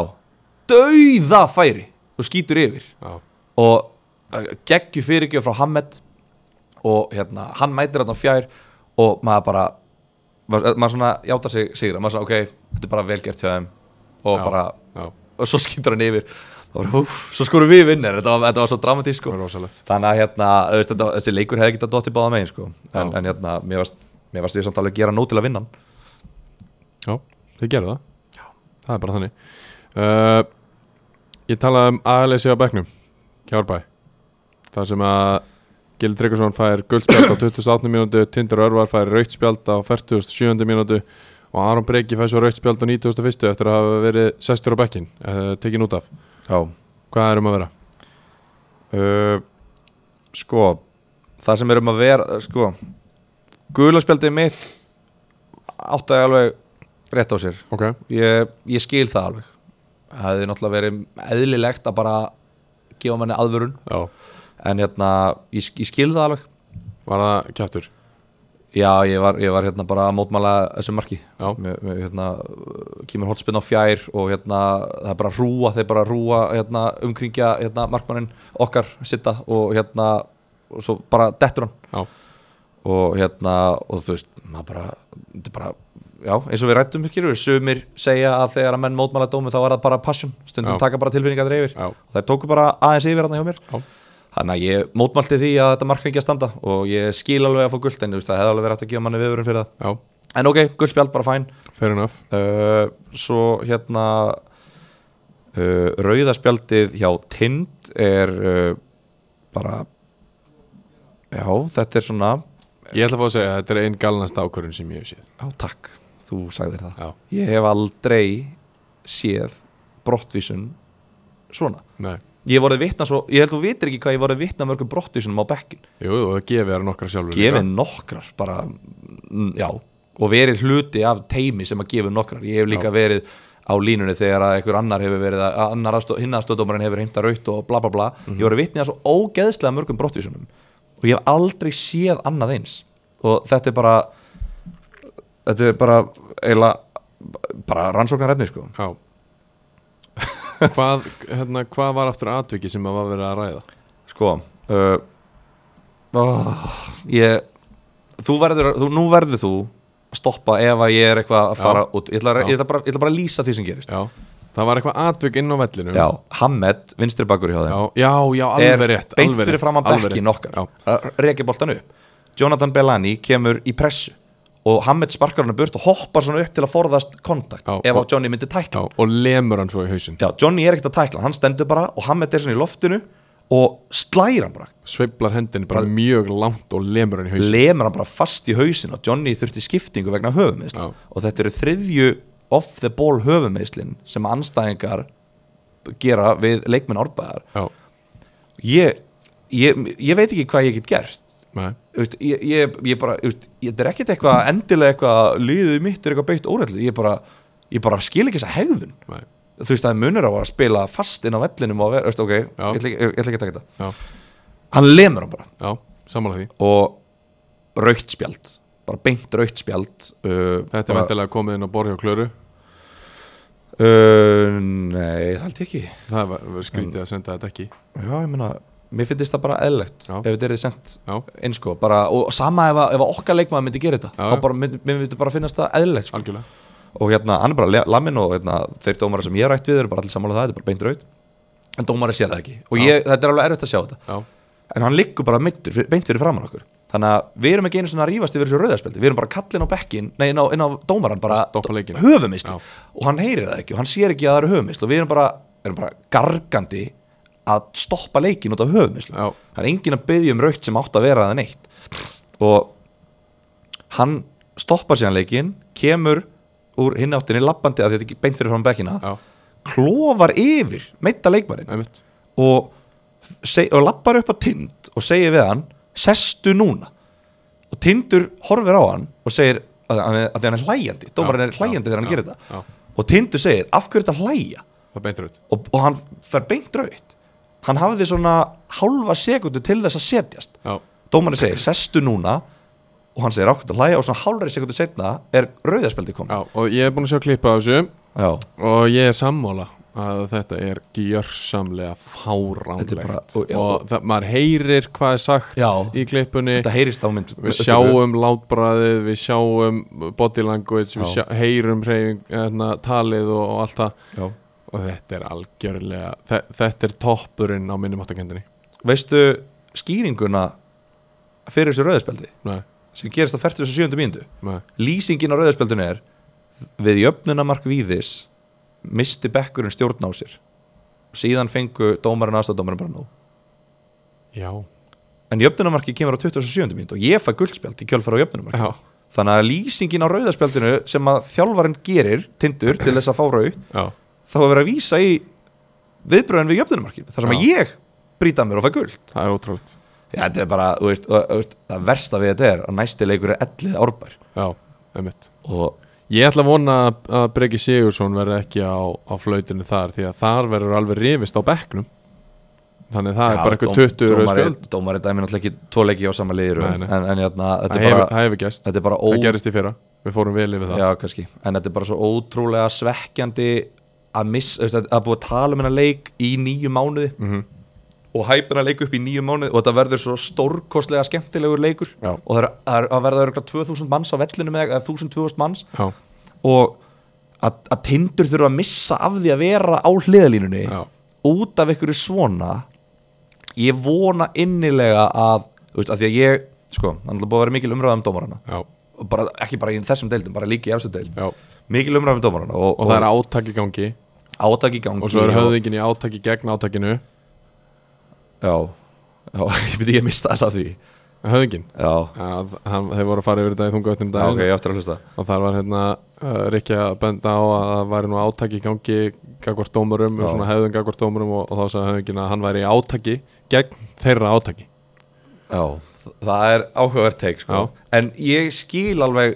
Speaker 2: dauða færi og skýtur yfir
Speaker 1: Já,
Speaker 2: og eh, geggju fyrirgjöf frá Hammett og hérna, hann mætir hann á fjær og maður bara maður, maður svona játa sig sigra, maður svona ok, þetta þetta er bara vel gert hjá þeim og
Speaker 1: Já.
Speaker 2: bara,
Speaker 1: Já,
Speaker 2: og svo skýtur hann yfir og bara, úf, svo skorum við vinnir þetta var, þetta var svo
Speaker 1: það
Speaker 2: dramatísk sko.
Speaker 1: var rosalegt
Speaker 2: þannig að hérna, þú veist, þetta, þessi leikur hefði getað dottið báða megin sko. en,
Speaker 1: Já.
Speaker 2: en hérna, mér varst, mér varst ég samt alveg gera nóg til að vinna hann.
Speaker 1: Já, þið gerðu það Það er bara þannig uh, Ég talaði um ALS á bekknum Kjárbæ þar sem að Gil Tryggvason fær guldspjald á 28. mínútu Tindur Örvar fær rautspjald á 47. mínútu og Aron Breki fær svo rautspjald á 91. eftir að hafa verið sestur á bekkin uh, tekin út af
Speaker 2: Já.
Speaker 1: Hvað er um að vera?
Speaker 2: Uh, sko það sem er um að vera sko, gulaspjaldið mitt áttaði alveg rétt á sér
Speaker 1: Ok,
Speaker 2: ég, ég skil það alveg það hefði náttúrulega verið eðlilegt að bara gefa manni aðvörun
Speaker 1: já
Speaker 2: en hérna, ég, sk- ég skil það alveg
Speaker 1: Var það kjáttur?
Speaker 2: já, ég var, ég var hérna bara að mótmæla þessu marki
Speaker 1: Já,
Speaker 2: Mér- mér, hérna, uh, kemur hotspinn á fjær og hérna, það er bara rúa þeir bara rúa hérna, umkringja hérna, markmannin okkar sitta og hérna og svo bara dettur hann
Speaker 1: já,
Speaker 2: og hérna og þú veist, maður bara, þetta er bara já, eins og við rættum ekki, sumir segja að þegar að menn mótmæla dómi þá er það bara passion, stundum
Speaker 1: Já.
Speaker 2: taka bara tilfinningar yfir
Speaker 1: já,
Speaker 2: og þær tóku bara aðeins yfir hann hjá mér
Speaker 1: já.
Speaker 2: þannig að ég mótmælti því að þetta mark fengi að standa og ég skil alveg að fá guld en þú veist, það hefði alveg verið hægt að gefa manni viðurinn fyrir það
Speaker 1: já.
Speaker 2: en ok, guldspjald bara fæn
Speaker 1: Fair enough
Speaker 2: uh, svo hérna uh, rauðaspjaldið hjá Tind er uh, bara já, þetta er svona
Speaker 1: Ég ætla að fá að segja að þetta er einn galnast ákvörðun sem ég hef séð
Speaker 2: já, takk, þú sagðir það
Speaker 1: Já,
Speaker 2: ég hef aldrei séð brottvísun svona
Speaker 1: nei
Speaker 2: ég hef vorið vitna svo, ég held þú vitir ekki hvað ég hef vorið vitna mörgum brottvísunum á bekkin
Speaker 1: Jú, jú, og gefið er nokkra sjálfur líka.
Speaker 2: gefið nokkrar bara, mm, já, og verið hluti af teimi sem að gefa nokkrar ég hef líka verið á línunni þegar að einhver annar hefur verið, að að annar aðstó, hinn aðstóðdómarinn hefur heimta raut og bla bla bla ég voru vitnið að svo ógeðslega mörgum brottvísunum og ég hef aldrei séð annað eins og þetta er bara þetta er bara eiginlega bara rannsóknarefni sko
Speaker 1: Já hvað, hérna, hvað var aftur atviki sem að var verið að ræða?
Speaker 2: sko uh, oh, ég þú verður, þú, nú verður þú að stoppa ef að ég er eitthvað að fara út ég ætla, að-
Speaker 1: Já.
Speaker 2: ég, ætla bara, ég ætla bara að lýsa því sem gerist
Speaker 1: Já, það var eitthvað atvik inn á vellinu
Speaker 2: já, Hamed, vinstri bakur hjá þeim
Speaker 1: já, já, já, alveg rétt
Speaker 2: beint
Speaker 1: alveg
Speaker 2: fyrir
Speaker 1: rétt,
Speaker 2: fram að
Speaker 1: alveg
Speaker 2: bekki
Speaker 1: rétt.
Speaker 2: nokkar
Speaker 1: Já,
Speaker 2: reykja boltan upp Jonathan Bellani kemur í pressu og Hamed sparkar hann burt og hoppar svona upp til að forðast kontakt
Speaker 1: Já,
Speaker 2: ef
Speaker 1: og-
Speaker 2: að Johnny myndi
Speaker 1: já,
Speaker 2: tækla
Speaker 1: og lemur hann svo í hausinn
Speaker 2: já, Johnny er ekkert að tækla, hann stendur bara og Hamed er svona í loftinu og slæra hann bara
Speaker 1: Sveiflar hendinni bara mjög langt og lemur hann í hausinn
Speaker 2: lemur hann bara fast í hausin og Johnny þurfti skiptingu vegna höfumeðsla
Speaker 1: Já.
Speaker 2: og þetta eru þriðju off the ball höfumeðslin sem anstæðingar gera við leikmenn árbæðar
Speaker 1: Já,
Speaker 2: ég, ég, ég veit ekki hvað ég get gert
Speaker 1: nei,
Speaker 2: Þú veist, ég, ég, ég bara þú veist, ég, þetta er ekkert eitthvað endilega eitthvað liðið mitt er eitthvað beitt óreitlu ég bara, ég bara skil ekki þessa hegðun
Speaker 1: nei,
Speaker 2: þú veist það er munur á að spila fast inn á vellinum og að vera, þú veist, ok,
Speaker 1: Já.
Speaker 2: ég ætla ekki- ég ætla ekki að taka þetta
Speaker 1: já,
Speaker 2: hann lemur hann bara
Speaker 1: já, sammála því
Speaker 2: og raukt spjald bara beint raukt spjald uh,
Speaker 1: Þetta er
Speaker 2: bara,
Speaker 1: væntilega komið inn á borð hjá Klöru
Speaker 2: uh, Nei, það held ég ekki
Speaker 1: Það var, var skrítið að senda þetta ekki
Speaker 2: Já, ég meina, mér finnst það bara eðlegt
Speaker 1: Já.
Speaker 2: ef þetta er þið sendt
Speaker 1: Já,
Speaker 2: eins sko bara, og sama ef, að- ef að okkar leikmaður myndi gera þetta
Speaker 1: Já, já.
Speaker 2: þá bara, myndi, mér myndi bara finnast það eðlilegt sko.
Speaker 1: algjörlega
Speaker 2: og hérna, hann er bara le- laminn og hérna, þeir dómarar sem ég er rætt við eru bara allir sammála um það, þetta er bara beint raut en dómarar sér það ekki og
Speaker 1: Já.
Speaker 2: ég, þetta er alveg erfitt að sjá þetta
Speaker 1: Já,
Speaker 2: en hann liggur bara meittur, fyrir- beint fyrir framann okkur þannig að við erum ekki einu svona að rífast yfir þessu rauðarspeldi, við erum bara kallin á bekkin nei, inn á, inn á dómaran, bara
Speaker 1: Stoppa leikinn.
Speaker 2: höfumisli
Speaker 1: Já.
Speaker 2: og hann heyrir það ekki og hann sér ekki að það eru höfumisli og við erum bara, erum bara gargandi að stoppa leikin út af höfumisli
Speaker 1: já,
Speaker 2: það er engin að byggja um raukt sem átt að vera það neitt og hann stoppar síðan leikin kemur úr hinn áttinni lappandi að þetta er beint fyrir framann bekkina
Speaker 1: já,
Speaker 2: klófar yfir, meita leikmannin
Speaker 1: einmitt
Speaker 2: og, seg, og lappar upp á tind og segir við hann sestu núna og tindur horfir á hann og segir að, að, að hann er hlæjandi, dómarinn er
Speaker 1: Já,
Speaker 2: hlæjandi
Speaker 1: já,
Speaker 2: þegar hann
Speaker 1: já,
Speaker 2: gerir þetta
Speaker 1: já.
Speaker 2: og tindur segir af hverju er þetta að hlæja
Speaker 1: Það er beint raut
Speaker 2: og, og hann fer beint raut hann hafði svona hálfa sekundu til þess að setjast
Speaker 1: Já,
Speaker 2: dómarinn segir sestu núna og hann segir af hverju er þetta að hlæja og svona hálfri sekundu setna er rauðaspeldi komið
Speaker 1: já, og ég er búin að sjá klippa af þessu
Speaker 2: já,
Speaker 1: og ég er sammála að þetta er gjörsamlega fáránlegt
Speaker 2: Þetta er bara-
Speaker 1: og,
Speaker 2: og-
Speaker 1: það, maður heyrir hvað er sagt
Speaker 2: Já.
Speaker 1: í klippunni
Speaker 2: Þetta heyrist á mynd
Speaker 1: við sjáum látbræðið, við sjáum body language, við
Speaker 2: Já.
Speaker 1: sjá, heyrum hreyfing, hérna, talið og, og allt það
Speaker 2: Já.
Speaker 1: og þetta er algjörlega þe þetta er toppurinn á minni máttakendinni
Speaker 2: Veistu skýringuna fyrir þessu rauðspjaldi
Speaker 1: nei,
Speaker 2: sem gerist á 47. mínútu
Speaker 1: nei,
Speaker 2: Lýsingin á rauðspjaldinu er við jöfnunamark víðis misti bekkurinn stjórn á sér síðan fengu dómarinn aðstofdómarinn bara nóg
Speaker 1: já,
Speaker 2: en jöfnunamarki kemur á 27. mínútu og ég fæ guldspjald í kjölfara á jöfnunamarki
Speaker 1: já,
Speaker 2: þannig að lýsingin á rauðaspjaldinu sem að þjálfarinn gerir tindur til þess að fá rauð
Speaker 1: já
Speaker 2: þá að vera að vísa í viðbröðin við jöfnunamarkinu þar sem að
Speaker 1: Já.
Speaker 2: ég brýta mér og fæ guld
Speaker 1: það er ótrúlegt
Speaker 2: Já, þetta er bara, þú veist, og, þú veist, það versta við þetta er að næsti leikur er ellið árbær
Speaker 1: já, einmitt
Speaker 2: og
Speaker 1: Ég ætla að vona að- að Breki Sigursson verði ekki á, á flautinu þar því að þar verður alveg rifist á bekknum þannig að það er bara eitthvað 20 rauð
Speaker 2: dómari,
Speaker 1: spjöld
Speaker 2: dómari dæmi náttúrulega ekki tvo leiki á sama liður
Speaker 1: Nei,
Speaker 2: en,
Speaker 1: nei.
Speaker 2: en jörna, þetta,
Speaker 1: Það
Speaker 2: er
Speaker 1: hefur-
Speaker 2: bara,
Speaker 1: það hefur gæst,
Speaker 2: þetta er bara ó,
Speaker 1: það gerist í fyrra Við fórum vel yfir það
Speaker 2: já, kannski, en þetta er bara svo ótrúlega svekkjandi að, miss, þú veist, að- að búið að tala um hennar leik í nýju mánuði
Speaker 1: Mhm.
Speaker 2: og hæpina leik upp í nýju mánuði og þetta verður svo stórkostlega skemmtilegur leikur
Speaker 1: Já.
Speaker 2: og það er, það er að verða örgulega 2000 manns á vellinu með eða 1000-2000 manns
Speaker 1: Já,
Speaker 2: og að, að tindur þurfa að missa af því að vera á hliðalínunni
Speaker 1: já,
Speaker 2: út af einhverju svona ég vona innilega að, þú veist, að því að ég sko, það er náttúrulega búið að vera mikil umræða um dómarana
Speaker 1: já,
Speaker 2: og bara, ekki bara í þessum deildum, bara líka í efstu deild
Speaker 1: já.
Speaker 2: mikil umræða um dómarana og,
Speaker 1: Og það er átak í gangi
Speaker 2: átak í gangi
Speaker 1: og svo er höfðingin í átaki gegn átakinu
Speaker 2: já, já, ég myndi ég mista þess að því
Speaker 1: höfðingin
Speaker 2: já,
Speaker 1: að hann, þeir voru að fara yfir þetta í þungavættinum
Speaker 2: já ok,
Speaker 1: daginn
Speaker 2: ég á eftir að hlusta
Speaker 1: og þar var hérna uh, Rikki að benda á að það væri nú átaki í gangi gagvart dómurum, um
Speaker 2: Já.
Speaker 1: svona hefðum gagvart dómurum og, og þá sagði höfðingin að hann væri í átaki gegn þeirra átaki
Speaker 2: Já, það er áhugavert teik sko. En ég skil alveg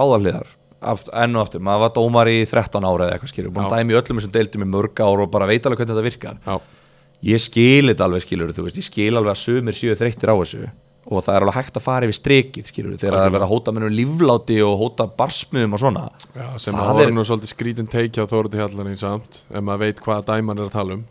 Speaker 2: báðarliðar aft, Enn og aftur, maður var dómar í 13 ára eða eitthvað skilur Búin
Speaker 1: Já.
Speaker 2: að dæmi í öllum þessum deildum í mörg ár og bara veit alveg hvernig þetta virkar
Speaker 1: Já,
Speaker 2: Ég skil þetta alveg skilur, þú veist Ég skil alveg að sumir séu þreyttir á þessu Og það er alveg hægt að fara yfir strikið skilur Þegar það er verið að hóta mennum lífláti og hóta barsmiðum og svona
Speaker 1: já sem
Speaker 2: Það
Speaker 1: það voru
Speaker 2: er-
Speaker 1: nú svolítið skrítin teikja á Þóruði Hjallarinn samt ef maður veit hvaða dæman er að tala um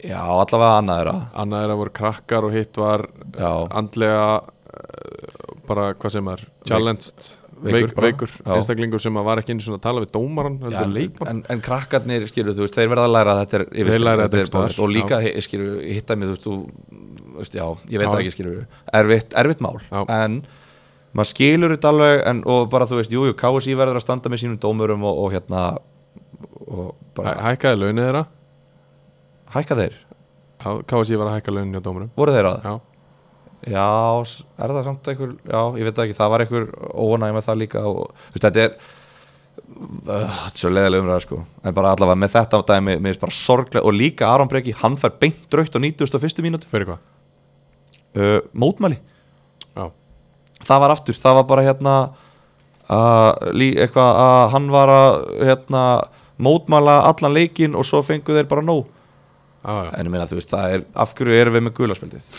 Speaker 2: Já, allavega annað er að
Speaker 1: annað er að voru krakkar og hitt var uh,
Speaker 2: Já.
Speaker 1: andlega uh, bara hvað sem er challenged,
Speaker 2: Veikur
Speaker 1: veikur,
Speaker 2: bara.
Speaker 1: veikur
Speaker 2: Já.
Speaker 1: einstaklingur sem að var ekki einu svona að tala við dómaran
Speaker 2: Já,
Speaker 1: heldur leikmann
Speaker 2: en, en krakkarnir skilur þú veist, þeir verða að læra að þetta er yfirskilur,
Speaker 1: læra þetta
Speaker 2: er
Speaker 1: einhvers staðar,
Speaker 2: bálið. og líka hi- skilur, hitta mig þú veist, þú, þú veist, já, ég
Speaker 1: Já.
Speaker 2: veit það ekki skilur erfitt, erfitt mál,
Speaker 1: Já.
Speaker 2: en maður skilur þetta alveg en, og bara þú veist, jú, jú, KSI verður að standa með sínum dómurum og, og hérna og bara,
Speaker 1: Hæ- hækkaði launið þeirra
Speaker 2: hækka þeir
Speaker 1: KSI var að hækka launin hjá dómurum
Speaker 2: voru þeir að,
Speaker 1: já,
Speaker 2: já, s- er það samt einhver, já, ég veit það ekki, það var einhver óanæg með það líka og, þú veist, þetta er Uh, þetta er svo leiðilega umræða sko en bara allavega með þetta á dæmi mér finnst bara sorglega og líka Aron Breki hann fær beint draugt á 91. mínútu
Speaker 1: fyrir hvað
Speaker 2: uh, mótmæli
Speaker 1: já,
Speaker 2: það var aftur, það var bara hérna uh, lí, eitthvað að hann var að hérna, mótmæla allan leikinn og svo fengu þeir bara nóg
Speaker 1: já, já,
Speaker 2: en ég meina þú veist, það er, af hverju erum við með gulaspildið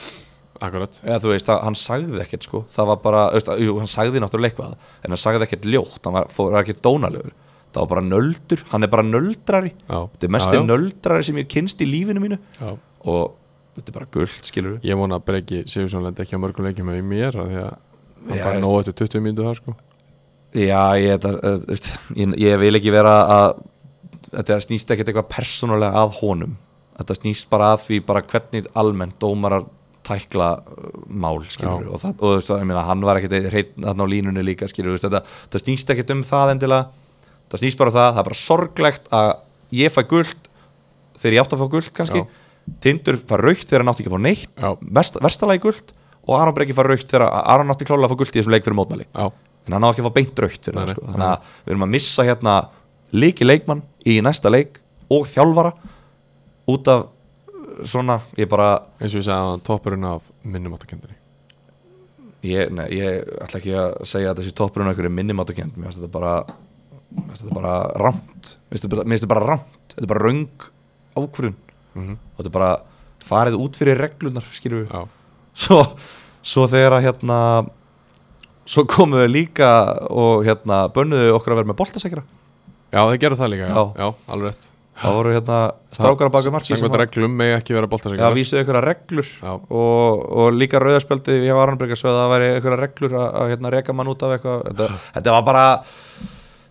Speaker 1: akkurat
Speaker 2: eða þú veist, það, hann sagði ekkert sko það var bara, þú veist, jú, hann sagði náttúrulega eitthvað en hann sagði ekkert ljótt, hann var, fór, var ekkert dónalegur það var bara nöldur, hann er bara nöldrari
Speaker 1: já,
Speaker 2: þetta er mesti
Speaker 1: já, já,
Speaker 2: nöldrari sem ég kynst í lífinu mínu
Speaker 1: já.
Speaker 2: og þetta er bara guld, skilur
Speaker 1: ég vona að Breki Sigursson lendi ekki á mörgum leikjum með mér af því að hann
Speaker 2: Já,
Speaker 1: fari
Speaker 2: veist.
Speaker 1: nóg eftir 20 mínútu þar sko
Speaker 2: Já, ég, þetta, eh, þú veist, ég, ég vil ekki vera að þetta snýst ekkert eitthvað persónulega að honum þetta snýst bara að því bara hvernig almennt dómarar tækla eh, mál
Speaker 1: Já.
Speaker 2: skilur, og, það, og þú veist, ég meina, hann var ekkert hreitn þarna á línunni líka skilur, þú veist, þetta, þetta snýst ekkert um það endilega það snýst bara um það, það er bara sorglegt að ég fæ guld þegar ég átt að fá guld kannski
Speaker 1: Já.
Speaker 2: Tindur fær raukt þegar hann átti ekki að fá neitt
Speaker 1: Já.
Speaker 2: Mest- verstalagi guld og Aron Breki fær raukt þegar Aron átti klálega að fá guld í þessum leik fyrir mótmæli
Speaker 1: já,
Speaker 2: en hann á ekki að fá beint draugt fyrir
Speaker 1: Nei,
Speaker 2: það
Speaker 1: nei,
Speaker 2: sko.
Speaker 1: nei.
Speaker 2: þannig að við erum að missa hérna líki leikmann í næsta leik og þjálfara út af uh, svona, ég bara
Speaker 1: eins og ég sagði að toppurinn af minnumáttakendinni
Speaker 2: ég, nei, ég ætla ekki að segja að þessi toppurinn á einhverju minnimátakend mér finnst þetta bara mér finnst þetta bara rámt mér finnst þetta bara- mér finnst þetta bara rámt, þetta er bara röng ákvörðun
Speaker 1: Mhm.
Speaker 2: og þetta er bara farið út fyrir reglunar skilur við
Speaker 1: já,
Speaker 2: svo, svo þegar að hérna svo komum við líka og hérna bönnuðu okkur að vera með boltasekra
Speaker 1: já, þeir gerðu það líka já,
Speaker 2: Já.
Speaker 1: já alveg rétt
Speaker 2: það voru hérna strákar að baka marki sem
Speaker 1: Samkvæmt
Speaker 2: að-
Speaker 1: reglum megi ekki vera
Speaker 2: Já,
Speaker 1: boltasækjum
Speaker 2: vísuðu ykkur að reglur
Speaker 1: Já.
Speaker 2: og, og líka rauðarspjaldi ég var Arnberg að sögða að það væri ykkur að reglur að, að hérna, reka mann út af eitthvað þetta, þetta var bara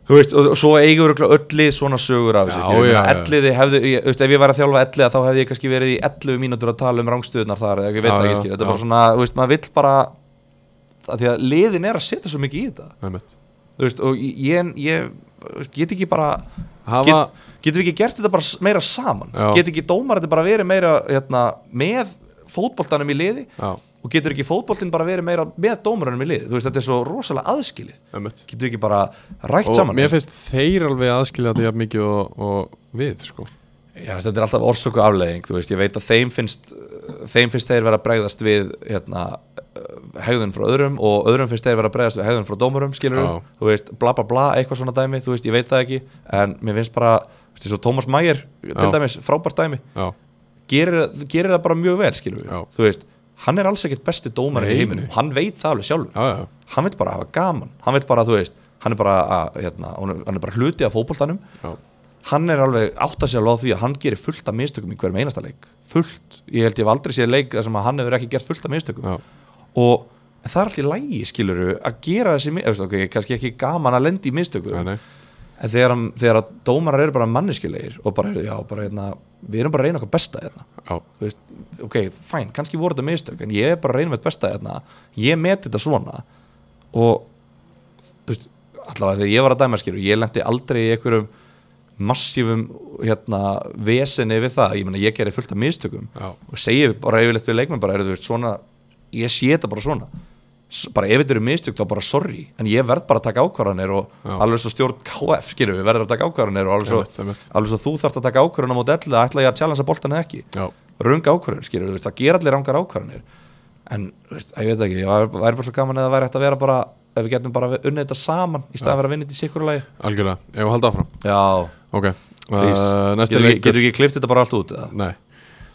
Speaker 2: þú veist, og, og svo eigur öllu svona sögur af
Speaker 1: Já,
Speaker 2: þessu skilur. Ég
Speaker 1: já,
Speaker 2: meina,
Speaker 1: já.
Speaker 2: elliði hefðu, ég, þú veist, ef ég væri að þjálfa elliða þá hefði ég kannski verið í 11 mínútur að tala um rangstöðunar þar eða ég veit
Speaker 1: Já,
Speaker 2: það ekki,
Speaker 1: já,
Speaker 2: skilur. þetta
Speaker 1: já.
Speaker 2: er bara svona, þú veist, maður vill bara að því að liðin er að setja svo mikið í þetta þú veist, og ég, ég, ég get ekki bara
Speaker 1: Hafa
Speaker 2: Get, getum við ekki gert þetta bara s- meira saman
Speaker 1: Já.
Speaker 2: getur ekki dómar þetta bara verið meira hérna, með fótboltanum í liði
Speaker 1: Já,
Speaker 2: og getur ekki fótboltin bara verið meira með dómarunum í liði þú veist þetta er svo rosalega aðskilið
Speaker 1: einmitt
Speaker 2: getur við ekki bara rætt
Speaker 1: Og
Speaker 2: saman
Speaker 1: mér finnst þeir alveg aðskilja þetta jafn mikið og, og við sko
Speaker 2: Já, veist, þetta er alltaf orsöku afleðing þú veist, ég veit að þeim finnst þeim finnst þeir vera að bregðast við hérna, eh, hegðun frá öðrum og öðrum finnst þeir vera að bregðast við hegðun frá dómurum skilur
Speaker 1: Já.
Speaker 2: þú veist, bla bla bla, eitthvað svona dæmi þú veist, ég veit það ekki, en mér finnst bara þú veist, svo Thomas Mayer, til
Speaker 1: Já.
Speaker 2: dæmis, frábært dæmi
Speaker 1: Já,
Speaker 2: gerir, gerir það bara mjög vel skilur við,
Speaker 1: Já.
Speaker 2: þú veist hann er alls ekkert besti dómar í
Speaker 1: Nei,
Speaker 2: heiminum
Speaker 1: nei.
Speaker 2: hann veit það alveg sjálfur,
Speaker 1: já, já,
Speaker 2: hann veit bara að hafa gaman hann veit bara, þú veist, hann er bara að, hérna, hann er- hann er bara hluti af fótboltanum
Speaker 1: já.
Speaker 2: hann er alveg átt að sér alveg á því að hann gerir fullt af mistökum í hverjum einasta leik fullt, ég held ég hef aldrei séð leik þar sem að hann hefur ekki gert fullt af mistökum
Speaker 1: já.
Speaker 2: og það er alltaf í lægi skilur að gera þessi, mi- þú veist, ok, kannski ekki gaman að lendi í mistökum
Speaker 1: Nei, nei.
Speaker 2: en þegar, hann- þegar að dómarar eru bara manniskilegir og bara, heyrðu, já, bara, hérna, við erum bara að reyna okkar besta hérna
Speaker 1: já.
Speaker 2: þú veist, ok, fæn, kannski voru þetta mistök en ég er bara að reyna með besta hérna ég meti þetta svona og þú veist, allavega þegar ég var að dæma skilur, ég lendi aldrei í einhverjum massífum hérna, vesenni við það, ég meina ég gerði fullt af mistökum
Speaker 1: Já.
Speaker 2: og segi bara yfirleitt við leikmenn bara, er, veist, svona, ég sé þetta bara svona S- bara ef þetta eru mistök þá bara sorry en ég verð bara að taka ákvarðanir og
Speaker 1: Já.
Speaker 2: alveg svo stjórn KF skilur við verður að taka ákvarðanir og alveg
Speaker 1: Einmitt,
Speaker 2: svo,
Speaker 1: einmitt.
Speaker 2: alveg svo þú þarft að taka ákvarðan á mót ellu að ætla ég að challengea boltan eða ekki
Speaker 1: já.
Speaker 2: röng ákvarðun, skilur, þú veist, það ger allir rangar ákvarðunir en, þú veist, ég veit ekki ég væri væri bara svo gaman eða væri hægt að vera bara ef við getum bara unnið þetta saman í staðan að vera að vinna þetta í sikurulagi
Speaker 1: Algjörlega, ef við halda áfram
Speaker 2: Já,
Speaker 1: Ok, uh,
Speaker 2: please,
Speaker 1: næsti
Speaker 2: getur ekki,
Speaker 1: leikur
Speaker 2: getur ekki klift þetta bara allt út eða?
Speaker 1: Nei,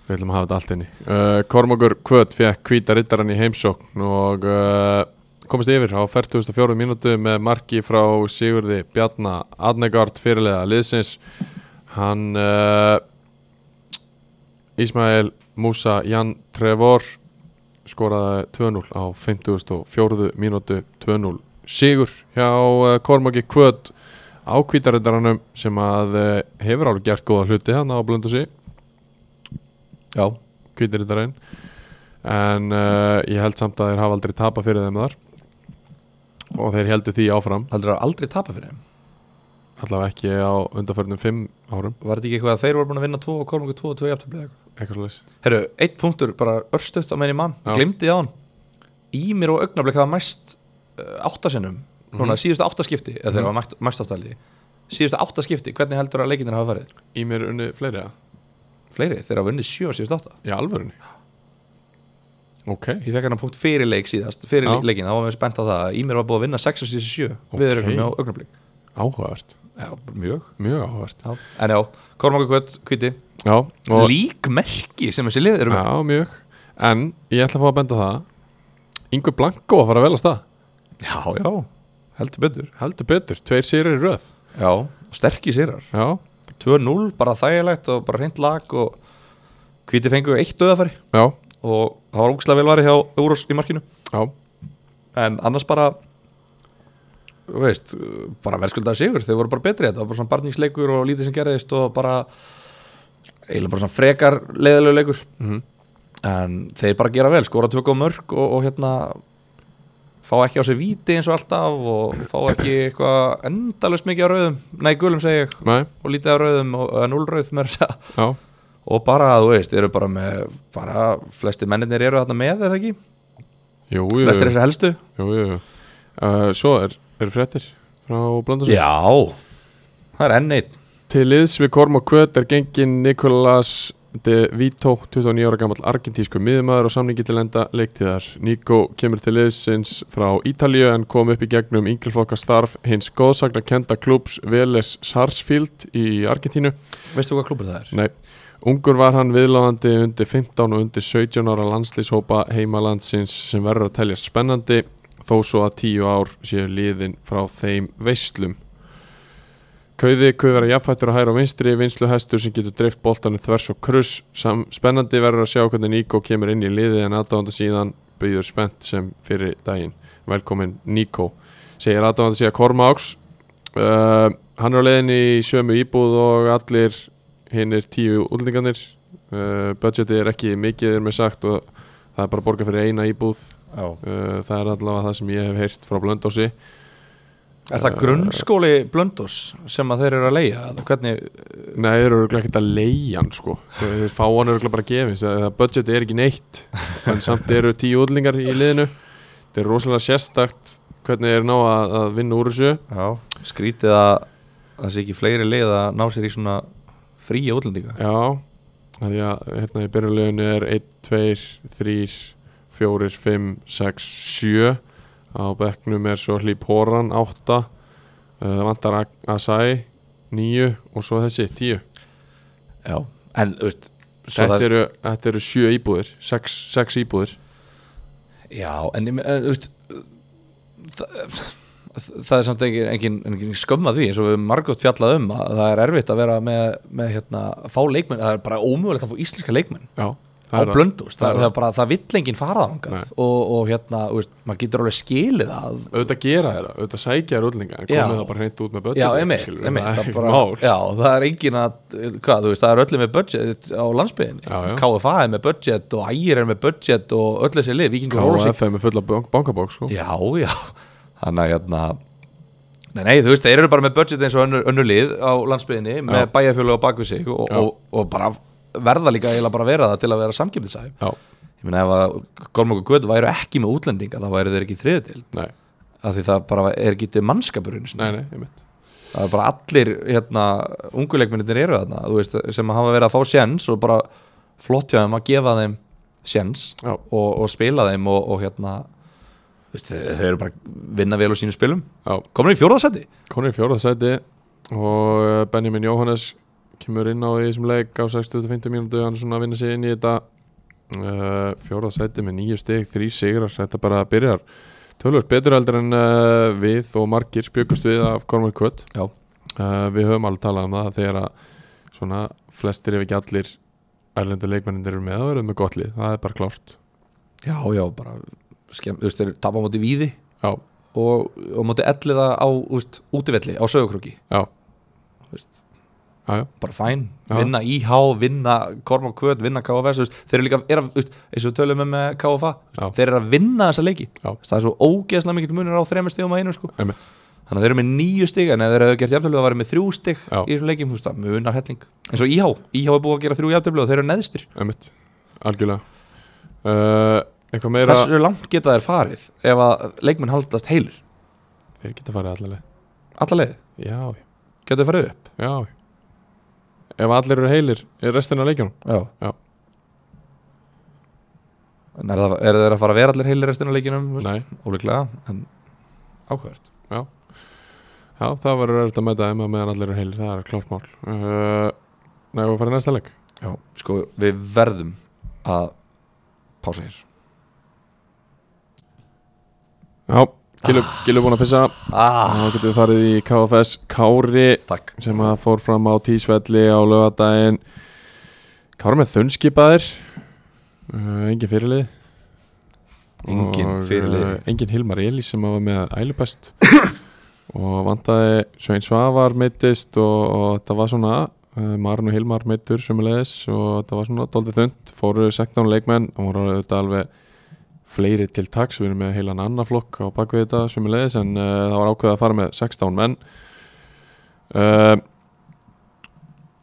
Speaker 1: við ætlum að hafa þetta allt inni uh, Kormokur Kvöt fekk hvíta rittaran í heimsókn og uh, komist yfir á 44 mínútu með marki frá Sigurði Bjarnar Adnegard fyrirlega liðsins hann uh, Ismail Musa Jan Trevor skoraði 2-0 á 54 mínútu 2-0 sigur hjá uh, Kormaki Kvöt á kvítarindaranum sem að uh, hefur alveg gert góða hluti hann á blöndusi
Speaker 2: Já,
Speaker 1: kvítarindarinn en uh, ég held samt að þeir hafa aldrei tapa fyrir þeim þar og þeir heldur því áfram
Speaker 2: heldur það aldrei tapa fyrir þeim
Speaker 1: allavega ekki á undanförnum 5 árum
Speaker 2: Var þetta ekki eitthvað að þeir voru búin að vinna 2 og kolmungu 2 og 2 jafntöflega eitthvað?
Speaker 1: eitthvað slags
Speaker 2: Herru, eitt punktur, bara örstuðt á meðin mann,
Speaker 1: Já.
Speaker 2: glimtið á hann Ímir og augnablik hafa mæst uh, áttasinnum, núna síðustu áttaskipti eða þeir
Speaker 1: Mhm.
Speaker 2: hafa mæst, mæst áttaldi síðustu áttaskipti, hvernig heldur að leikinir hafa farið?
Speaker 1: í mér unni fleiri að
Speaker 2: fleiri, þeir hafa unnið sjö og síðust átta
Speaker 1: í alvörunni ok,
Speaker 2: ég fekk hann að punkt fyrir leik síðast fyrir
Speaker 1: Já.
Speaker 2: leikin, þá var mér spennt að það Ímir var búið að vinna 6 og síðust sjö
Speaker 1: Ok.
Speaker 2: við erum á augnablík
Speaker 1: áhugavert
Speaker 2: já, mjög
Speaker 1: mjög áhugavert
Speaker 2: já. en já, Kormáku Kvöt, Kviti
Speaker 1: já, og
Speaker 2: líkmerki sem þessi lið eru með
Speaker 1: Já, mjög En ég ætla að fá að benda á það Yngve Blanko að fara vel á stað
Speaker 2: já, já, heldur betur
Speaker 1: Heldur betur, tveir sýrir í röð
Speaker 2: já, og sterkir sérar
Speaker 1: Já,
Speaker 2: 2-0, bara þægilegt og bara hreint lag og Kviti fengu eitt döðafæri
Speaker 1: já,
Speaker 2: og það var ógslag velværi hjá Úrós í markinu
Speaker 1: já
Speaker 2: en annars bara þú veist, bara verðskuldað sigur þau voru bara betri, þetta var bara svona barningsleikur og lítið sem gerðist og bara eiginlega bara svona frekar leiðilegu leikur
Speaker 1: Mhm.
Speaker 2: en þeir bara gera vel skora tvö góð mörg og, og hérna fá ekki á sig víti eins og alltaf og fá ekki eitthvað endalust mikið á rauðum, nei gulum segi ég
Speaker 1: Nei,
Speaker 2: og lítið á rauðum og eða núl rauð með þess að segja.
Speaker 1: já,
Speaker 2: og bara, þú veist, eru bara með bara, flesti menninir eru þarna með eða ekki,
Speaker 1: jú, jú,
Speaker 2: flestir
Speaker 1: jú,
Speaker 2: þessir helstu
Speaker 1: jú, jú. Uh, Svo er, er fréttir frá Blöndarsson
Speaker 2: Já Það er enn eitt
Speaker 1: Til liðs við Korm og Kvöt er gengin Nikolas de Vito 29 ára gammal argentísku miðumæður og samningi til enda leiktíðar. Nico kemur til liðsins frá Ítalíu en kom upp í gegnum yngleflokka starf hins góðsakna kenda klúps Veles Sarsfield í Argentínu.
Speaker 2: Veistu hvað klubur það er?
Speaker 1: Nei, ungur var hann viðláðandi undir 15 og undir 17 ára landslýshópa heimalandsins sem verður að telja spennandi þó svo að 10 ár séu liðin frá þeim veislum Kauði, kauði vera jafnfættur á hæra og vinstri, vinslu hestur sem getur dreift boltanum þvers og kruss. Sam, spennandi verður að sjá hvernig Níko kemur inn í liðið en aðdáðanda síðan byggður spennt sem fyrir daginn. Velkomin Níko, segir aðdáðanda síðan Kormáks. Uh, hann er á leiðin í sömu íbúð og allir hinn er tíu útlendingarnir. Uh, budgetið er ekki mikið, er mér sagt, og það er bara að borga fyrir eina íbúð.
Speaker 2: Já.
Speaker 1: Uh, það er allavega það sem ég hef heyrt frá Blöndósi.
Speaker 2: Er það grunnskóli Blöndós sem að þeir eru að leiða? eða Hvernig,
Speaker 1: Nei, þeir eru örugglega ekkert að leiða hann sko Þeir þeir fá hann örugglega bara að gefins Það budget er ekki neitt En samt eru tíu útlingar í liðinu Þetta er rosalega sérstakt Hvernig þeir ná að, að vinna úr þessu
Speaker 2: já, skrítið að það sé ekki fleiri leið að ná sér í svona fríja útlendinga?
Speaker 1: Já af Því að hérna í byrjunleginu er 1, 2, 3, 4, 5, 6, 7 Á bekknum er svo Hlýp Horan 8 uh, Það vantar Asai 9 og svo þessi 10
Speaker 2: Já, en þú veist, svo
Speaker 1: Þetta
Speaker 2: það,
Speaker 1: eru, þetta eru 7 íbúðir 6, 6 íbúðir
Speaker 2: já, en ég me- en, þú veist, það, það er samt engin, engin, engin skömm að því eins og við margótt fjallað um að það er erfitt að vera með, með hérna, fá leikmenn, það er bara ómögulegt að fá íslenska leikmenn.
Speaker 1: Já
Speaker 2: á
Speaker 1: það er það.
Speaker 2: blöndust, það,
Speaker 1: er
Speaker 2: það, það, bara, það vill enginn farað
Speaker 1: Nei.
Speaker 2: ángað og, og hérna, þú veist, maður getur alveg skilið að
Speaker 1: auðvitað gera þeirra, auðvitað sækja þér útlinga en
Speaker 2: Já.
Speaker 1: komið það bara hreint út með budget
Speaker 2: Já, emitt,
Speaker 1: skilurðu,
Speaker 2: emitt
Speaker 1: það
Speaker 2: það,
Speaker 1: er
Speaker 2: bara,
Speaker 1: ekkert mál
Speaker 2: já, það er engin að, hvað, þú veist, það er öllum með budget á
Speaker 1: Já, já.
Speaker 2: landsbyðinni KFA er með budget og ægir er með budget og öll þessi lið, vikingur og Rólsík
Speaker 1: KFM er fulla bank, bankabók sko.
Speaker 2: Já, já, þannig að hérna Nei, nei, þú veist, þeir eru bara með budget eins og önnur, önnur lið á landsbyðinni með bæjarfjölu á bakvið sig og,
Speaker 1: Já.
Speaker 2: og, og bara verða líka eiginlega bara að vera það til að vera samkiptisæf
Speaker 1: já,
Speaker 2: Ég meina ef að Gormok og Göt væru ekki með útlendinga þá væru þeir ekki í þriðutil
Speaker 1: nei,
Speaker 2: af því það bara er ekki til mannskapurinn
Speaker 1: nei, nei, emitt
Speaker 2: það er bara allir hérna, unguleikmennir eru þarna þú veist, sem hafa verið að fá sjens og bara flott hjá þeim að gefa þeim sjens
Speaker 1: já,
Speaker 2: og, og spila þeim og, og hérna þú veist, þau, þau eru bara að vinna vel á sínum spilum
Speaker 1: já,
Speaker 2: komin í fjórðarsæti
Speaker 1: konur í fjórðasæti og eh, Benjamin Jóhannes kemur inn á í þessum leik á 60-50 mínútu hann er svona að vinna sig inn í þetta uh, fjórðasæti með nýju stig, þrý sigrar þetta bara byrjar tölvöld betur heldur en uh, við og margir bjökust við af Kormar Kvöt
Speaker 2: já,
Speaker 1: Uh, við höfum alveg talað um það að þegar að svona flestir ef ekki allir erlendu leikmennir eru með og eru með gott lið, það er bara klárt
Speaker 2: já, já bara skemm, þú veist, þeir tapa á móti víði
Speaker 1: Já,
Speaker 2: og, og móti elliða á þú veist, útivelli á sögurkróki
Speaker 1: já,
Speaker 2: Veist.
Speaker 1: já, já,
Speaker 2: bara fæn,
Speaker 1: Já.
Speaker 2: vinna IH, vinna Korma Kvöt, vinna KFS þú veist, þeir eru líka, er að, þú veist, eins og við tölum um eh, KFA, þú
Speaker 1: Já.
Speaker 2: veist, þeir eru að vinna þessa leiki
Speaker 1: Já.
Speaker 2: Þú veist, það er svo ógeðslega mikill munur á þremur stigum að einu sko.
Speaker 1: einmitt
Speaker 2: þannig að þeir eru með nýju stig en ef þeir eru gert jafntölu að vera með þrjú stig
Speaker 1: Já.
Speaker 2: í þessum leikim, þú veist, það munar helling eins og IH, IH er búið að gera þrjú jafntölu og þeir eru neðstir
Speaker 1: einmitt, algjörlega uh, Eitthvað meira
Speaker 2: hversu langt geta þeir farið ef að leikmenn haldast heilir,
Speaker 1: Þeir geta farið allir leið
Speaker 2: alla leið
Speaker 1: Já, já,
Speaker 2: geta þeir farið upp
Speaker 1: já Ef allir eru heilir, er restina af leikjunum?
Speaker 2: Já.
Speaker 1: Já.
Speaker 2: En er, það, er þeir að fara að vera allir heilir restina af leikinum, þú veist?
Speaker 1: Nei,
Speaker 2: ólíklega, en áhverð
Speaker 1: já, það verður verið að mæta þeim að meðan allir eru heilir, það er klárt mál uh, Nei, við farið næsta leik
Speaker 2: Já, sko, við verðum að pása hér
Speaker 1: Já, Gilu búin að pissa
Speaker 2: ah,
Speaker 1: Þá getum við farið í KFS Kári
Speaker 2: Takk
Speaker 1: sem að fór fram á tísvelli á lögadaginn Kára með þunnskipaðir uh, engin fyrirlið
Speaker 2: Engin
Speaker 1: Og,
Speaker 2: fyrirliði.
Speaker 1: eh, engin Hilmar Elís sem að var með ælupest og vantaði Svein Svavar meittist og, og þetta var svona uh, Marun og Hilmar meittur sömulegis og þetta var svona doldið þund fóru 16 leikmenn og voru auðvitað alveg fleiri til taks, við erum með heilan annar flokk á bakvið þetta sömulegis en uh, það var ákveðið að fara með 16 menn uh,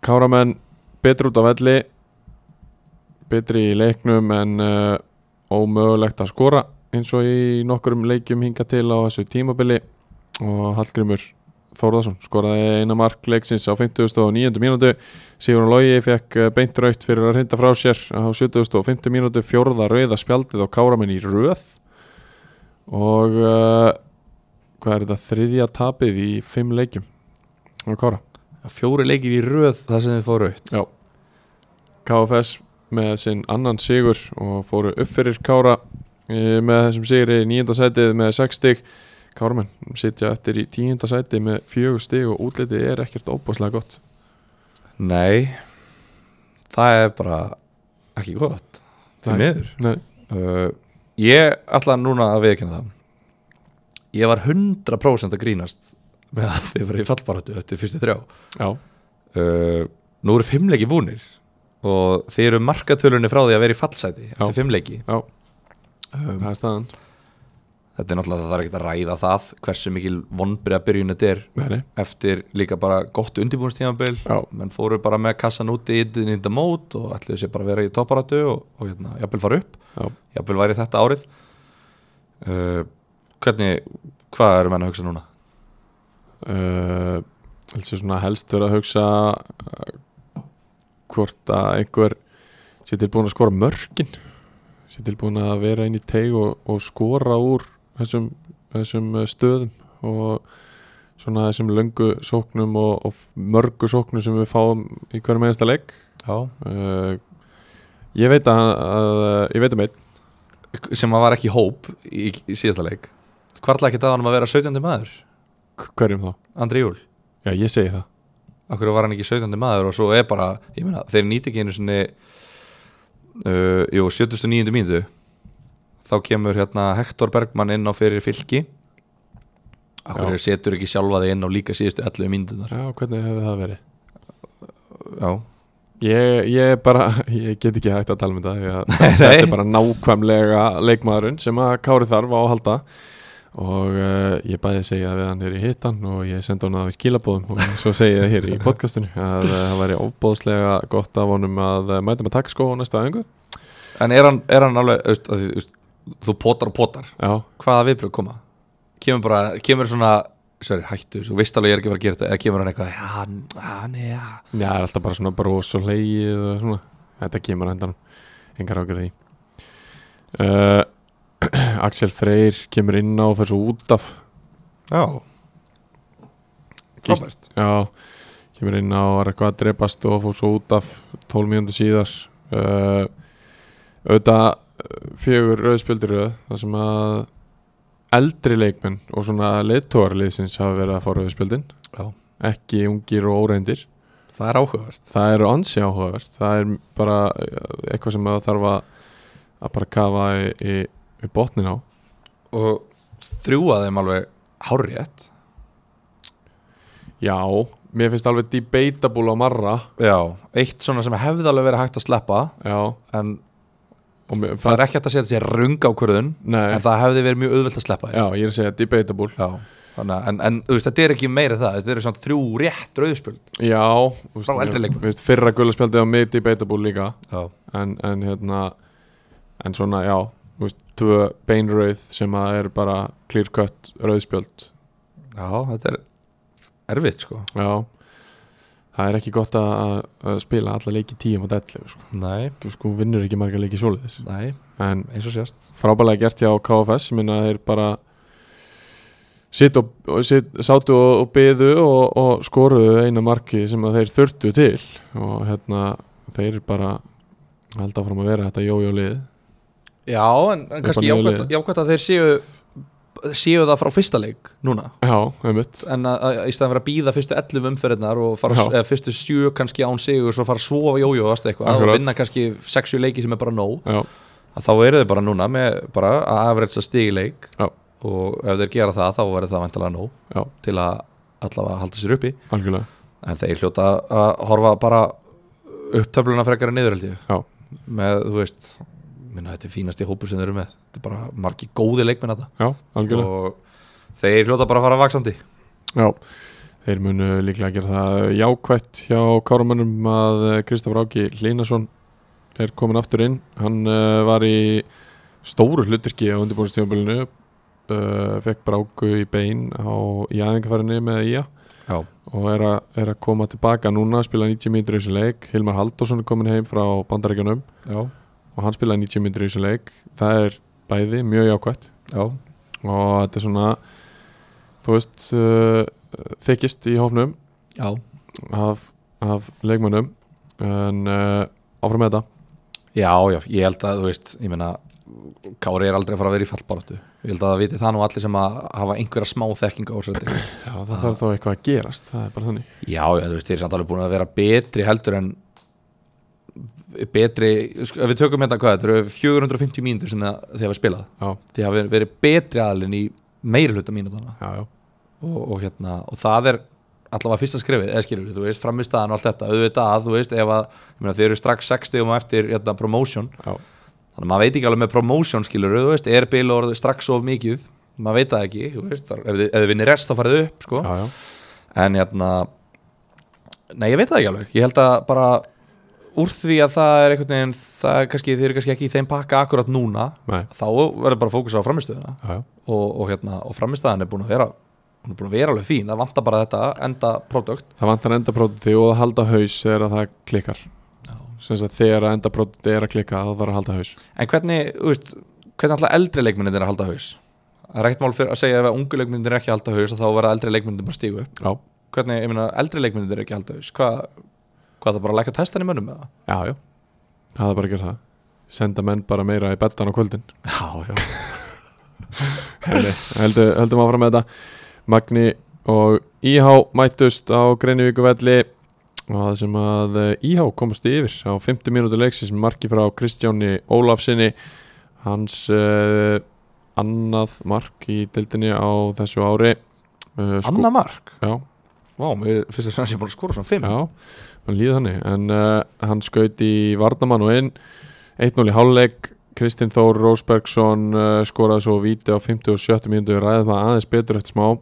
Speaker 1: Káramenn betur út á velli betri í leiknum en uh, ómögulegt að skora eins og í nokkurum leikjum hinga til á þessu tímabili og Hallgrimur Þórðarsson skoraði eina mark leiksins á 59. mínútu Sigurinn Logi fekk eh, beint raut fyrir að hrinda frá sér á 75. mínútu fjórða rauða spjaldið á Káramenn í röð og uh, hvað er þetta þriðja tapið í fimm leikjum á Kára
Speaker 2: Fjóri leikir í röð það sem þið fóru aukt
Speaker 1: Já KFS með sinn annan sigur e, og fóru upp fyrir Kára eh, með þessum sigri í nýjönda sætið með 6 stig Kármenn sitja eftir í tíunda sæti með fjögur stig og útlitið er ekkert óbúslega gott
Speaker 2: Nei Það er bara ekki gott Því
Speaker 1: Nei.
Speaker 2: miður
Speaker 1: Nei,
Speaker 2: uh, Ég ætla núna að viðkynna það Ég var 100% að grínast með að þið verið í fallbaratu eftir fyrstu þrjá
Speaker 1: já,
Speaker 2: uh, Nú eru fimmleiki búnir og þið eru markatölunni frá því að vera í fallsæti eftir
Speaker 1: Já.
Speaker 2: fimmleiki
Speaker 1: já
Speaker 2: Um,
Speaker 1: Það er staðan
Speaker 2: Þetta er náttúrulega það þarf ekki að ræða það hversu mikil vonbriða byrjun þetta er
Speaker 1: Nei, nei.
Speaker 2: eftir líka bara gott undirbúinstíðanbyrl
Speaker 1: Já.
Speaker 2: menn fóru bara með kassan úti í þetta mót og ætluðu sér bara að vera í topparatu og, og hérna, jafnvel fara upp
Speaker 1: Já,
Speaker 2: jafnvel væri þetta árið uh, hvernig hvað eru menn að hugsa núna?
Speaker 1: uh, held sér svona helst verið að hugsa uh, hvort að einhver sé tilbúin að skora mörkin sé tilbúin að vera inn í teig og, og skora úr þessum, þessum eh, stöðum og svona þessum löngu sóknum og, og mörgu sóknum sem við fáum í hverjum einasta leik
Speaker 2: Já.
Speaker 1: uh, ég veit að, að ég veit um einn
Speaker 2: sem að var ekki í hóp í, í síðasta leik hvarla ekki það hann að vera 17. maður
Speaker 1: H- hverjum þá,
Speaker 2: Andri Júl,
Speaker 1: já ég segi það
Speaker 2: okkur var hann ekki 17. maður og svo er bara, ég meina, þeir nýti ekki einu sinni uh, jú, 79. mínútu þá kemur hérna Hector Bergmann inn á fyrir fylki okkur
Speaker 1: Já.
Speaker 2: setur ekki sjálfa þig inn á líka síðustu 11 mínútunar
Speaker 1: já hvernig hefði það verið
Speaker 2: já,
Speaker 1: Ég, ég bara, ég get ekki hægt að tala um þetta því að þetta er bara nákvæmlega leikmaðurinn sem að Kári þarf á að halda og uh, ég bæði segja við hann hér í hittan og ég sendi hann að skilabóðum og svo segi ég það hér í podcastinu að uh, það væri óbóðslega gott af honum að uh, mæta með takkaskó á næsta aðingu
Speaker 2: en er hann, er hann alveg veist, að, því, veist, þú potar og potar
Speaker 1: Já,
Speaker 2: hvaða viðbröð koma kemur bara, kemur svona sverri, hættu, þessu, þú veist alveg ég er ekki að fara að gera þetta eða kemur hann eitthvað, já, hann, hann, já
Speaker 1: Já, það er alltaf bara svona bros og leið og svona, þetta kemur að hendan engar ágjörði því uh, Axel Freyr kemur inn á og fyrir svo út af
Speaker 2: já
Speaker 1: Gísli-
Speaker 2: Robert,
Speaker 1: Já, kemur inn á var eitthvað að drepast og fór svo út af 12 mínúndu síðar uh, auðvitað uh, fjögur rauðspjölduröð þar sem að eldri leikmenn og svona leittóarliðsins hafa verið að fá rauðspjöldin
Speaker 2: já,
Speaker 1: ekki ungir og óreindir
Speaker 2: það er áhugavert
Speaker 1: það eru ansi áhugavert það er bara uh, eitthvað sem það þarf að, að bara kafa í, í, í botnin á
Speaker 2: og þrjú að þeim alveg hárrétt
Speaker 1: Já, mér finnst alveg debatable á marra
Speaker 2: já, eitt svona sem hefði alveg verið hægt að sleppa
Speaker 1: Já,
Speaker 2: en
Speaker 1: og mér
Speaker 2: það er ekki hægt að setja sér runga á hverðun
Speaker 1: Nei,
Speaker 2: en það hefði verið mjög auðvelt að sleppa því.
Speaker 1: já, ég er að segja debatable
Speaker 2: já. Þannig, að- en, en þú veist, þetta er ekki meira það þetta eru svona þrjú rétt rauðspjöld
Speaker 1: Já, þú veist,
Speaker 2: Frá eldri
Speaker 1: mér-
Speaker 2: leikmönnum.
Speaker 1: mér finnst fyrra gulaspjaldið á mig debatable líka
Speaker 2: já,
Speaker 1: en, en hérna en svona, já, þú veist, tvö beinrauð sem að er bara clear cut rauðspjöld
Speaker 2: já, þetta er erfitt sko
Speaker 1: já, það er ekki gott að, að- að spila alla leiki 10 mot 11 sko.
Speaker 2: nei,
Speaker 1: Þú sko, vinnur ekki marga leiki svoleiðis
Speaker 2: nei,
Speaker 1: en
Speaker 2: eins og sérst
Speaker 1: frábælega gert hjá KFS ég minna þeir bara sitt og, og sitt, sátu og, og byðu og, og skoruðu eina marki sem að þeir þurftu til og hérna þeir bara halda fram að vera þetta jójólið
Speaker 2: Já, en, en
Speaker 1: Upp
Speaker 2: kannski
Speaker 1: á nýju
Speaker 2: jákvæmt,
Speaker 1: liði.
Speaker 2: jákvæmt að þeir séu séu það frá fyrsta leik núna
Speaker 1: já, einmitt
Speaker 2: en að, að, í staðan fyrir að býða fyrstu 11 umferðinar og fara,
Speaker 1: Já.
Speaker 2: eða, fyrstu 7 kannski án sig og svo fara að sofa jójóast eitthvað og
Speaker 1: Akkurat.
Speaker 2: vinna kannski 6 leiki sem er bara nóg
Speaker 1: já,
Speaker 2: að þá eru þeir bara núna með bara að afreitsa stigileik
Speaker 1: Já.
Speaker 2: og ef þeir gera það þá verður það vantilega nóg
Speaker 1: já,
Speaker 2: til að allavega halda sér uppi
Speaker 1: algjörlega
Speaker 2: en þeir hljóta að horfa bara upptöfluna frekar en niður held ég
Speaker 1: Já.
Speaker 2: með, þú veist minna, þetta er fínasti hópur sem þeir eru með þetta er bara margi góði leikmenn þetta
Speaker 1: já, algjörlega
Speaker 2: og þeir hljóta bara að fara vaksandi
Speaker 1: já. þeir munu líklega gera það jákvætt hjá kárumönnum að Kristofur Áki Línason er komin aftur inn hann uh, var í stóru hlutverki á undirbúinstjóðbölinu uh, fekk bráku í bein á, í aðingafærinni með IA
Speaker 2: já,
Speaker 1: og er, a, er að koma tilbaka núna spila 90 mínútur í þessu leik Hilmar Halldórsson er komin heim frá bandarækjunum
Speaker 2: já,
Speaker 1: og hann spilaði 90 mínútur í þessu leik það er bæði mjög jákvætt
Speaker 2: já,
Speaker 1: og þetta er svona þú veist uh, þykist í hófnum
Speaker 2: já.
Speaker 1: af, af leikmönnum en uh, áfram með þetta
Speaker 2: já, já, ég held að þú veist, ég meina Kári er aldrei að fara að vera í fallbaratu ég held að það viti það nú allir sem að hafa einhverja smá þekkinga á þessu deild.
Speaker 1: Já, það þarf þá eitthvað að gerast, það er bara þannig
Speaker 2: Já, já, þú veist, þeir eru samt alveg búin að vera betri heldur en betri, sko, ef við tökum hérna hvað, þetta eru 450 mínútur sem það- þið hafa spilað
Speaker 1: Já,
Speaker 2: þið hafa verið- verið betri aðalinn í meiri hluta mínútana
Speaker 1: já, já,
Speaker 2: og, og hérna, og það er allavega fyrsta skrifið, eða skilur við, þú veist, framistæðan og allt þetta, auðvitað að, þú veist, ef að ég meina, þið eru strax 60 um eftir hérna, promotion
Speaker 1: já,
Speaker 2: þannig að maður veit ekki alveg með promotion skilur þú veist, er bil orðið strax of mikið maður veit það ekki, þú veist, þar- ef þið, ef þið vinnir rest þá farið þið upp, sko
Speaker 1: já, já.
Speaker 2: en hérna, nei ég veit það ekki alveg ég held að bara úr því að það er einhvern veginn, það er kannski þið eru kannski ekki í þeim pakka akkurat núna
Speaker 1: Nei,
Speaker 2: þá verður bara fókus á framistöðuna
Speaker 1: já, já,
Speaker 2: og, og hérna, og framistöðan er búin að vera hún er búin að vera alveg fín, það vantar bara þetta enda product,
Speaker 1: það vantar endaprótiti og að halda haus þegar að það klikkar
Speaker 2: Já.
Speaker 1: sem sagt þegar að endaprótiti er að klikka þá þarf að halda haus
Speaker 2: en hvernig þú veist, hvernig alltaf eldri leikmyndin er að halda haus það er ekkert mál fyrir að segja ef að ungu leikmyndin er ekki að halda haus að þá verða eldri leikmyndin bara stígu upp
Speaker 1: Já,
Speaker 2: hvernig, ég meina, eldri leikmyndir er ekki alltaf veist, hvað, hvað það bara að læka testan í mönnum með það?
Speaker 1: já, já, það er bara að gera það senda menn bara meira í bettan á kvöldin
Speaker 2: Já, já
Speaker 1: heldur, heldum áfram með þetta Magni og IH mættust á Greinivíku velli og það sem að eh, IH komast yfir á 50 mínútur leiksins með marki frá Kristjáni Ólafsinni hans uh, annað mark í dildinni á þessu ári uh,
Speaker 2: Anna mark?
Speaker 1: Já,
Speaker 2: Vá, mér finnst það sem sé búin að skora svona 5
Speaker 1: já, hann líði þannig en uh, hann skaut í Vardamann og inn 1-0 í hálfleik Kristinn Þór Rósbergsson uh, skoraði svo víti á 57 mínútu við ræðum það aðeins betur eftir smá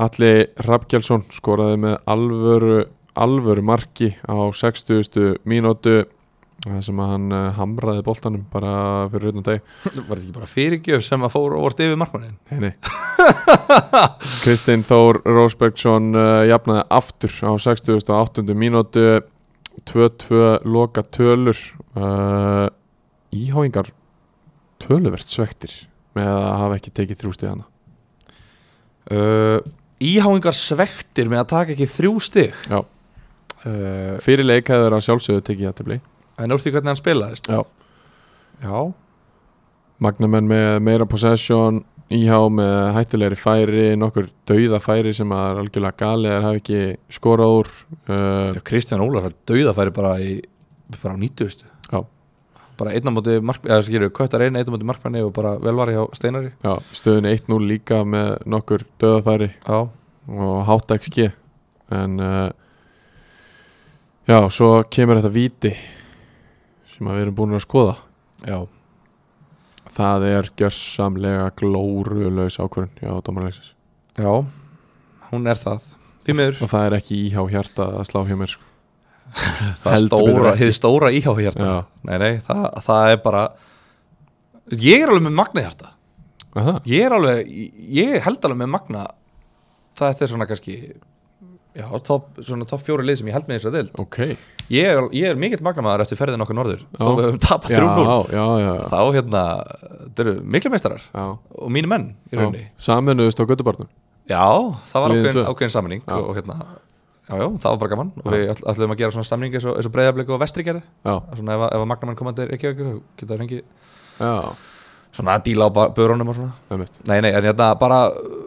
Speaker 1: Alli Rappkjálsson skoraði með alvöru, alvöru marki á 60. mínútu það sem að hann uh, hamraði boltanum bara fyrir utan deg
Speaker 2: Var þetta ekki bara fyrirgjöf sem að fór og vort yfir markmannin?
Speaker 1: Nei, nei Kristinn Þór Rósbergsson uh, jafnaði aftur á 68. mínútu 2-2 loka tölur uh, Íháingar töluvert svektir með að hafa ekki tekið þrjústið hana
Speaker 2: Uh, íháingar svektir með að taka ekki þrjú stig
Speaker 1: Já.
Speaker 2: uh,
Speaker 1: Fyrir leik hefur þeirra sjálfsögðu tekið jættibli
Speaker 2: En úr því hvernig hann spilaðist
Speaker 1: Já.
Speaker 2: Já,
Speaker 1: Magnamenn með meira possession Íhá með hættulegri færi nokkur dauða færi sem að er algjörlega gali eða hafi ekki skorað úr uh,
Speaker 2: Já Kristján Ólaf er dauðafæri bara, í, bara á 90
Speaker 1: Já.
Speaker 2: Bara einn á móti markmanni, eða skilur, köttar einn einn á móti markmanni og bara velvari hjá Steinari
Speaker 1: Já, stöðun 1-0 líka með nokkur döðafæri
Speaker 2: Já,
Speaker 1: og hátt XG en uh, já, svo kemur þetta víti sem að við erum búin að skoða
Speaker 2: já
Speaker 1: það er gjörsamlega glórulaus ákvörðun já, dómarlegsins
Speaker 2: Já, hún er það Því miður
Speaker 1: og það er ekki íhá hjarta að slá hjá mér sko.
Speaker 2: það
Speaker 1: Heldur
Speaker 2: stóra,
Speaker 1: betur ekki.
Speaker 2: hið stóra íhá hjarta
Speaker 1: Já.
Speaker 2: nei, nei, það, það er bara ég er alveg með magna hjarta
Speaker 1: Er það?
Speaker 2: ég er alveg, ég held alveg með magna það þetta er svona kannski já, top, svona topp fjóri lið sem ég held með þess að deild
Speaker 1: ok
Speaker 2: ég er, ég er mikill magna maður eftir ferðin okkur norður
Speaker 1: Já.
Speaker 2: þó við höfum tapað
Speaker 1: já,
Speaker 2: 3-0
Speaker 1: já, já, já.
Speaker 2: þá hérna, þetta eru miklu meistarar
Speaker 1: já.
Speaker 2: og mínu menn í rauninni
Speaker 1: já. saminuðust á göttubarnum
Speaker 2: Já, það var
Speaker 1: Liðin
Speaker 2: ákveðin,
Speaker 1: tvö.
Speaker 2: ákveðin samning
Speaker 1: Já.
Speaker 2: og hérna, já, já, það var bara gaman og við ætl- ætluðum að gera svona samning eins og, eins og breyðablík og vestri gerði
Speaker 1: já,
Speaker 2: svona ef, að- ef að Magnamenn komandi er ekki okkur geta það fengið
Speaker 1: já,
Speaker 2: svona að díla á ba- börunum og svona
Speaker 1: það er mitt
Speaker 2: nei, nei, en hérna bara uh,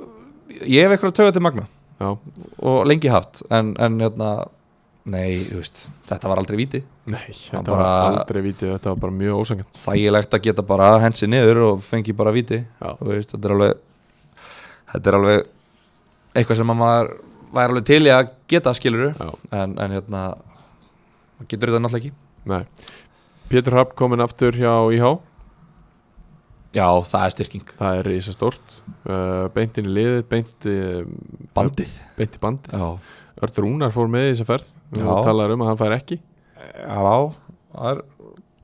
Speaker 2: ég hef eitthvað tögað til Magna
Speaker 1: já,
Speaker 2: og lengi haft en, en hérna, nei, þú veist þetta var aldrei víti
Speaker 1: nei, þetta
Speaker 2: bara-
Speaker 1: var aldrei vítið þetta var bara mjög ósangjönd
Speaker 2: þægilegt að geta bara hensi niður og fengi bara víti
Speaker 1: Já.
Speaker 2: Þú veist, þetta er alveg þetta er alveg eitthvað sem að maður væri alveg til í að geta skiluru
Speaker 1: já
Speaker 2: en, en hérna maður getur þetta náttúrulega ekki
Speaker 1: Nei Pétur Hrapp kominn aftur hjá IH
Speaker 2: já, það er styrking,
Speaker 1: Það er risastórt uh, Beint inn í liðið, beint, eh,
Speaker 2: bandið
Speaker 1: beint í band
Speaker 2: já,
Speaker 1: Örd Rúnar fór með í þessa ferð
Speaker 2: Já.
Speaker 1: Þú talar um að hann fær ekki
Speaker 2: já það er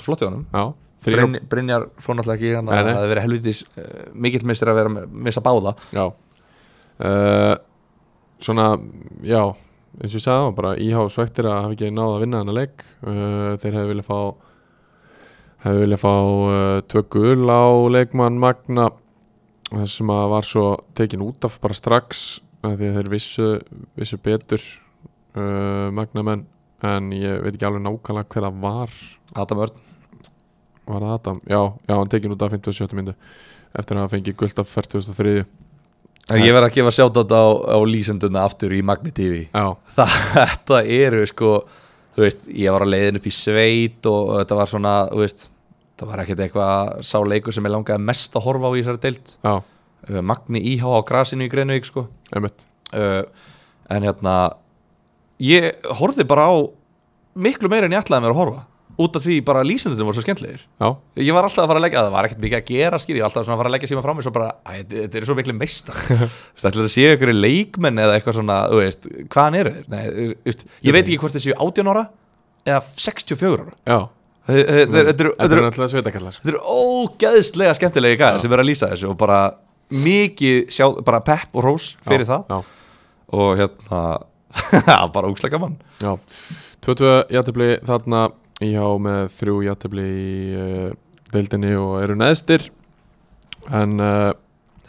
Speaker 2: flott í honum
Speaker 1: Já, þrír
Speaker 2: Bryn, Brynjar fór náttúrulega ekki þannig
Speaker 1: Nei,
Speaker 2: að
Speaker 1: nei.
Speaker 2: það hefði verið helvitis uh, mikill mistir að vera með, missa báða
Speaker 1: Já uh, Svona, já eins og ég sagði, bara IH svektir að hafa ekki náð að vinna hennar leik uh, þeir hefði viljað fá hefði viljað fá uh, tvö gul á leikmann Magna það sem að var svo tekin út af bara strax af því að þeir vissu, vissu betur eh, uh, Magna menn en ég veit ekki alveg nákvæmlega hver það var
Speaker 2: Adam Örn,
Speaker 1: var það Adam já, já, hann tekin út af 57. myndu eftir að hann fengi guld af 43.
Speaker 2: Ég verð að gefa sjátt á, á lýsenduna aftur í Magni TV
Speaker 1: Já,
Speaker 2: það, þetta eru sko þú veist, ég var á leiðin upp í sveit og þetta var svona, þú veist það var ekkert eitthvað sá leikur sem ég langaði mest að horfa á í þessari deilt
Speaker 1: já,
Speaker 2: Magni Íhá á grasinu í Greinvík sko
Speaker 1: einmitt
Speaker 2: uh, en hérna ég horfði bara á miklu meira en ég ætlaði mér að horfa út af því bara lýsendunum voru svo skemmtilegir
Speaker 1: Já,
Speaker 2: ég var alltaf að fara að leggja, það var ekkert mikið að gera skýr ég var alltaf svona að fara að leggja síma frá mig svo bara, æ, þetta- þetta eru svo miklu meistar þetta ætlaði að séu ykkur leikmenn eða eitthvað svona, þú veist, hvaðan eru þeir Nei, þú veist, ég veit ekki hvort þeir séu 18 ára eða 64 ára
Speaker 1: já
Speaker 2: Þe- þe- þeir- þetta
Speaker 1: Þetta
Speaker 2: eru- þetta
Speaker 1: er
Speaker 2: eru-
Speaker 1: náttúrulega sveitakallar
Speaker 2: þetta eru ógeðslega skemmtilegi gæðir sem vera að lýsa þessu og bara mikið sjá, bara pepp og rós fyrir það
Speaker 1: Já,
Speaker 2: og hérna, það var bara ógeðslega gaman
Speaker 1: já 2-2 játtöfli þarna íhá með þrjú játtöfli í uh, deildinni og eru neðstir en uh,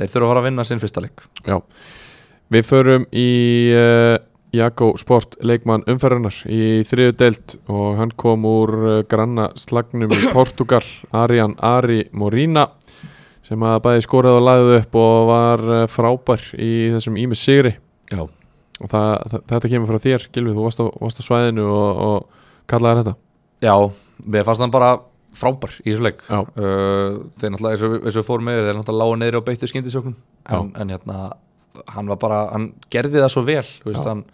Speaker 2: þeir þurfa að fara að vinna sinn fyrsta leik
Speaker 1: já við förum í uh, Jakko Sport leikmann umferðarnar í þriðu deild og hann kom úr uh, granna slagnum í Portugal Arian Ari Morina sem að bæði skoraði og lagði upp og var uh, frábær í þessum Ímis sigri
Speaker 2: já,
Speaker 1: og það, það, þetta kemur frá þér Gilvið, þú varst á, varst á svæðinu og, og kallaði þetta
Speaker 2: Já, mér fannst hann bara frábær í þessu leik
Speaker 1: Já.
Speaker 2: uh, þeir náttúrulega, eins og, við- eins og við fórum með þeir náttúrulega lágu neyri og beittu skyndisjóknum en, en hérna, hann var bara hann gerði það svo vel þú veist,
Speaker 1: Já.
Speaker 2: hann,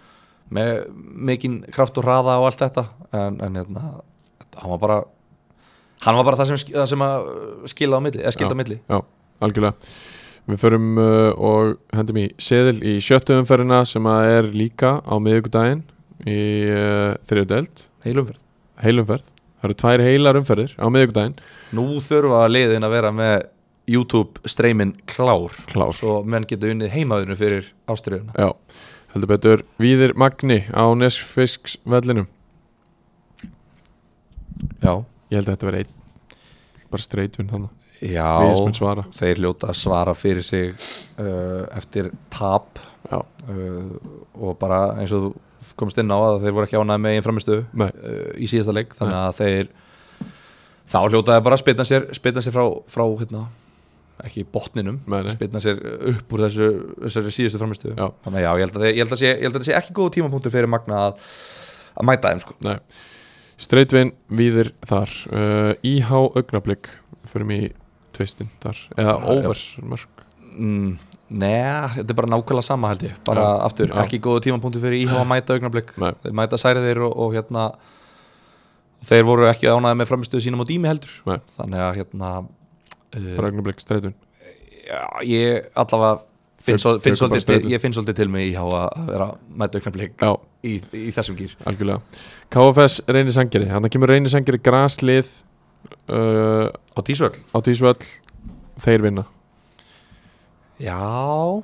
Speaker 2: með mikinn kraft og hraða og allt þetta en, en hérna, hann var bara hann var bara það sem, sk- það sem að uh, skila á milli, eða skilda á milli
Speaker 1: Já, algjörlega Við förum uh, og hendum í seðil í sjöttu umferðina sem að er líka á miðvikudaginn í uh, þriðudeld,
Speaker 2: heilumferð
Speaker 1: heilumferð Það eru tvær heilar umferðir á miðvikudaginn
Speaker 2: Nú þurfa liðin að vera með YouTube streymin klár
Speaker 1: Klár
Speaker 2: svo menn geta unnið heimaðinu fyrir ástriðuna
Speaker 1: Já, heldur betur Víðir Magni á Nesfisksvellinum
Speaker 2: Já,
Speaker 1: Ég held að þetta verið einn bara streitvinn þannig,
Speaker 2: Já.
Speaker 1: viðismenn svara
Speaker 2: þeir hljóta að svara fyrir sig uh, eftir tap
Speaker 1: Já.
Speaker 2: uh, og bara eins og þú komst inn á að þeir voru ekki ánæði með einn framistu uh,
Speaker 1: Nei,
Speaker 2: í síðasta leik þannig að þeir þá hljótaði bara að spilna sér, spilna sér frá, frá hérna, ekki botninum
Speaker 1: Nei, nei.
Speaker 2: spilna sér upp úr þessu, þessu síðustu framistu
Speaker 1: Já.
Speaker 2: þannig að já, ég held að, þeir, ég, held að sé, ég held að þetta sé ekki góð tímapunktu fyrir Magna að, að mæta þeim sko.
Speaker 1: nei Streitvinn, Víðir þar uh, IH Augnablík förum í tvistin þar eða
Speaker 2: Ah, Já, já.
Speaker 1: Óvers mörg
Speaker 2: mm, Nei, þetta er bara nákvæmlega sama held ég bara
Speaker 1: Já.
Speaker 2: aftur,
Speaker 1: Já.
Speaker 2: ekki góðu tímapunktu fyrir íhá að mæta augnablik
Speaker 1: Nei.
Speaker 2: þeir mæta særiðir og, og hérna þeir voru ekki ánæði með framistuðu sínum og dými heldur
Speaker 1: Nei.
Speaker 2: þannig að hérna uh,
Speaker 1: bara augnablik streitun
Speaker 2: já, ég allavega finn,
Speaker 1: Þeir-
Speaker 2: svo,
Speaker 1: þeir kom
Speaker 2: finn,
Speaker 1: bara
Speaker 2: svolítið,
Speaker 1: streitu.
Speaker 2: til, ég finn svolítið til mig íhá að vera að mæta augnablik
Speaker 1: já,
Speaker 2: í, í þessum gýr
Speaker 1: algjörlega KFS reynir sangeri, þannig kemur reynir sangeri graslið uh,
Speaker 2: og tísvöld
Speaker 1: á tísvöll þeir vinna,
Speaker 2: Já,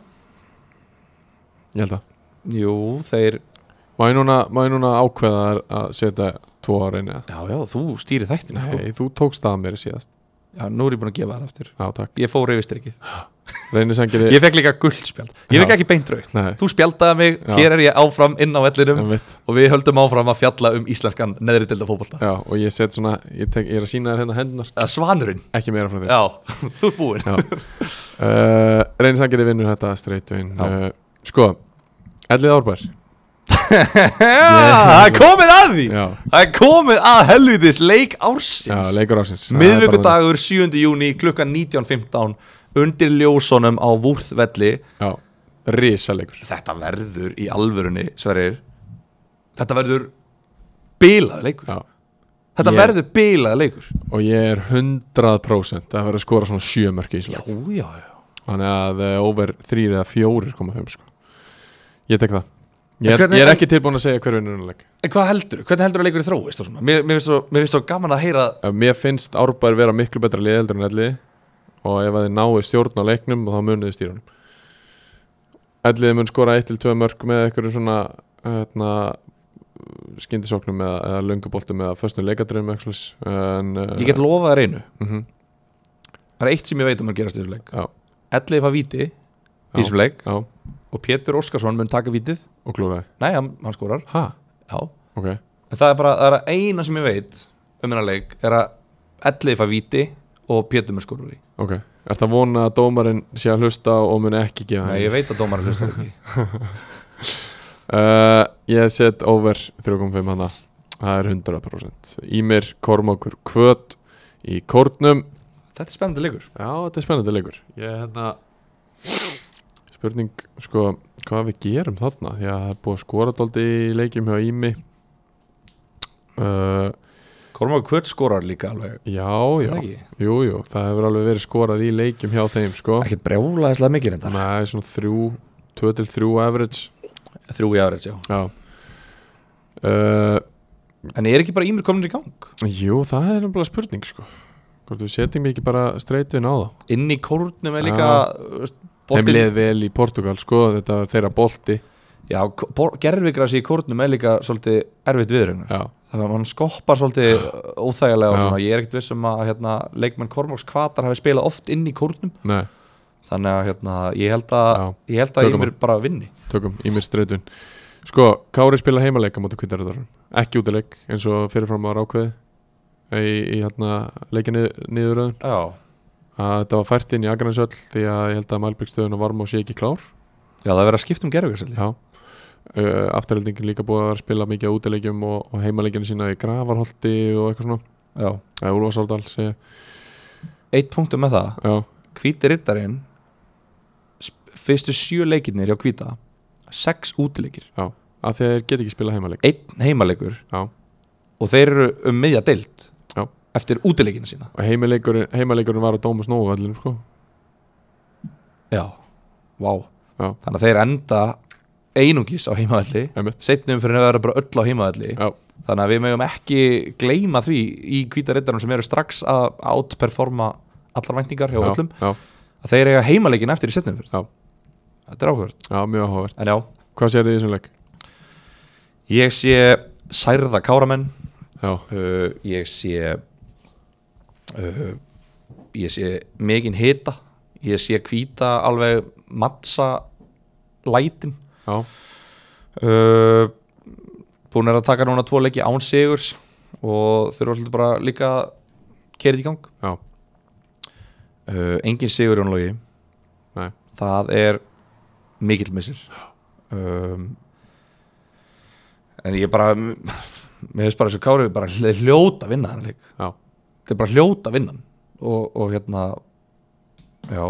Speaker 1: ég held að
Speaker 2: jú, þeir
Speaker 1: má ég núna, má ég núna ákveða þær að setja tvo á reyni
Speaker 2: Já, já, þú stýri þættinu sko.
Speaker 1: nei, þú tókst það að mér síðast
Speaker 2: Já, nú er ég búin að gefa það aftur
Speaker 1: já, takk,
Speaker 2: Ég fór yfir streikið
Speaker 1: reynir sangeri
Speaker 2: Ég fekk líka guldspjald Ég fekk
Speaker 1: Já.
Speaker 2: ekki beint rauð
Speaker 1: nei,
Speaker 2: Þú spjaldaði mig,
Speaker 1: Já.
Speaker 2: hér er ég áfram inn á vellinum
Speaker 1: en mitt
Speaker 2: og við höldum áfram að fjalla um íslenskan neðri delda fótbolta
Speaker 1: já, og ég set svona, ég, tek, ég er að sína þér hérna hendunar
Speaker 2: Eða Svanurinn,
Speaker 1: ekki meira frá þér
Speaker 2: já, þú er búinn
Speaker 1: Já. uh, reynir sangeri vinnur þetta streitvin uh,
Speaker 2: Já.
Speaker 1: sko, Ellið Árbær
Speaker 2: Það er komið að því
Speaker 1: já,
Speaker 2: Það er komið að helvitis leik
Speaker 1: já,
Speaker 2: ársins
Speaker 1: leikur ásins
Speaker 2: Miðvikudagur 7. júni klukkan 19.15 undir ljósunum á Vúrþvelli
Speaker 1: já, risaleikur
Speaker 2: Þetta verður í alvörunni, Sverrir Þetta verður bilaður leikur
Speaker 1: Já.
Speaker 2: Þetta
Speaker 1: Ég-
Speaker 2: verður bilaður leikur
Speaker 1: og ég er 100% að vera að skora svona 7 mörki í
Speaker 2: Já,
Speaker 1: slag
Speaker 2: já, já
Speaker 1: þannig að eh, over 3 eða 4,5 sko. ég tek það
Speaker 2: En
Speaker 1: ég,
Speaker 2: hvernig-
Speaker 1: ég er ekki tilbúin að segja hver vinnur þennan leik.
Speaker 2: En hvað heldur, hvernig heldur að leikur þróist og svona? Mér, mér, finnst svo, mér finnst svo gaman að heyra
Speaker 1: Eh, mér finnst Árbær vera miklu betra liðeldur en Elliði og ef að þið náu stjórn á leiknum þá muniði stýrunum Elliði mun skora 1-2 mörg með einhverjum svona hérna, skyndisóknum eða, eða lunguboltum eða föstum leikadröfum en uh,
Speaker 2: Ég get lofað þér einu
Speaker 1: mm
Speaker 2: Það er eitt sem ég veit að maður gerast í þessum leik
Speaker 1: Já.
Speaker 2: Ellið fá víti í þessum leik
Speaker 1: já,
Speaker 2: og Pétur Óskarsson mun taka vítið
Speaker 1: og klúraði
Speaker 2: Nei, hann, hann skorar
Speaker 1: ha,
Speaker 2: Já.
Speaker 1: ok
Speaker 2: En það er bara það er að eina sem ég veit um hennar leik er að Elleif að víti og Pétur með skorur í
Speaker 1: ok, er það vona að dómarinn sé að hlusta og mun ekki gefa
Speaker 2: Nei,
Speaker 1: henni?
Speaker 2: ég veit að dómar hlustar ekki
Speaker 1: Uh, ég set over 3.5 hana Það er 100% Ímir Kormákur Kvöt Í Kórnum
Speaker 2: Þetta er spennandi leikur
Speaker 1: Já, þetta er spennandi leikur Ég er hérna Spurning, sko, hvað við gerum þarna Því að það er búið að skora dóldi í leikjum hjá Ími uh,
Speaker 2: Kormáku Kvöt skorar líka alveg
Speaker 1: Já, já
Speaker 2: Það ekki?
Speaker 1: Jú, jú, það hefur alveg verið skorað í leikjum hjá þeim, sko
Speaker 2: Ekkert brjálaðislega mikið þetta
Speaker 1: Nei, svona þrjú 2-3 average
Speaker 2: Þrjú í árið, já
Speaker 1: Já uh,
Speaker 2: En er ekki bara Ímir komin í gang?
Speaker 1: Jú, það er nefnilega spurning sko Hvort við setjum ekki bara streitin á þá
Speaker 2: Inn í kórnum er líka
Speaker 1: Já.
Speaker 2: uh,
Speaker 1: Þeim
Speaker 2: boltinn-
Speaker 1: leið vel í Portugal sko Þetta var þeirra bolti
Speaker 2: Já, gerðvigrasi í kórnum er líka svolítið erfitt viðrögnar
Speaker 1: Já,
Speaker 2: þannig að hann skoppar svolítið uh, óþægilega og
Speaker 1: Já.
Speaker 2: svona, ég er ekkert viss um að hérna, leikmenn Kormáks Kvatar hafi spilað oft inn í kórnum
Speaker 1: nei,
Speaker 2: þannig að hérna, ég held að
Speaker 1: Já.
Speaker 2: ég held að
Speaker 1: Tökum
Speaker 2: ég mér bara vinni
Speaker 1: tökum í mér streitin Sko, Kári spila heimaleika mútið kvittarðarum Ekki útileik eins og fyrirfram var ákveði Í, í hérna leikinni niðuröðun
Speaker 2: Já,
Speaker 1: að þetta var fært inn í Akranesöll því að ég held að Malbyggstöðun og Varmá sé ekki klár
Speaker 2: Já það er verið að skipta um gerðvigrasi
Speaker 1: Já uh, Afturheldingin líka búið að vera að spila mikið á útileikjum og, og heimaleikinu sína í Gravarholti og eitthvað svona
Speaker 2: Já,
Speaker 1: eða Úlfarsárdal segja
Speaker 2: eitt punktum með það
Speaker 1: Já,
Speaker 2: Hvíti rittarinn sp- fyrstu sjö leikirnir hjá Hvíta sex útileikir,
Speaker 1: Já, af því að þeir get ekki spila heimaleik
Speaker 2: einn heimaleikur
Speaker 1: Já,
Speaker 2: og þeir eru um miðja deilt
Speaker 1: Já.
Speaker 2: eftir útileikina sína
Speaker 1: og heimaleikurinn, heimaleikurinn var á Dómus Nóvöllinu sko
Speaker 2: Já, vá
Speaker 1: Já.
Speaker 2: Þannig að þeir enda einungis á heimavalli
Speaker 1: Einmitt.
Speaker 2: Setnum fyrir að vera bara öll á heimavalli
Speaker 1: Já,
Speaker 2: Þannig að við mögum ekki gleyma því í kvítarittarnum sem eru strax að outperforma allar væntingar hjá
Speaker 1: já,
Speaker 2: öllum
Speaker 1: já,
Speaker 2: að þeir eiga heimaleikin eftir í setnum fyrir
Speaker 1: Já.
Speaker 2: Þetta er áhverð
Speaker 1: já, mjög áhugavert
Speaker 2: En já,
Speaker 1: Hvað sér þið í þessum leik?
Speaker 2: ég sé særða káramenn
Speaker 1: Já,
Speaker 2: uh, ég sé uh, ég sé megin hita ég sé hvíta alveg mattsa lætin
Speaker 1: já,
Speaker 2: uh, búin er að taka núna tvo leiki án sigurs og þurfa svolítið bara líka kerið í gang
Speaker 1: já,
Speaker 2: uh, engin sigur í honlogi
Speaker 1: nei,
Speaker 2: það er mikill missir um, en ég bara mér finnst bara þessu kári bara hl- hljóta að vinna hann leik
Speaker 1: já
Speaker 2: þetta er bara hljóta að vinna hann og, og hérna já,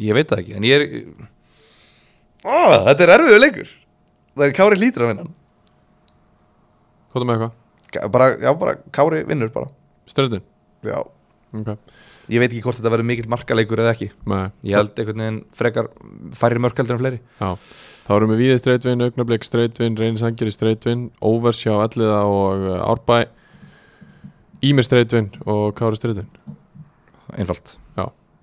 Speaker 2: ég veit það ekki en ég er oh, þetta er erfiður leikur það er kári hlýtur að vinna hann
Speaker 1: Hvað með eitthvað?
Speaker 2: Ka- bara, já, bara kári vinnur bara
Speaker 1: Ströndin?
Speaker 2: já.
Speaker 1: Ok,
Speaker 2: ég veit ekki hvort þetta verður mikill markaleikur eða ekki
Speaker 1: nei,
Speaker 2: ég held einhvern veginn frekar færri mörkaldur en fleiri
Speaker 1: já Þá erum við Víði streitvin, Augnablík streitvin, Reynisangeri streitvin, Óvers hjá Elliða og uh, Árbæ Ímir streitvin og Kári streitvin
Speaker 2: einfalt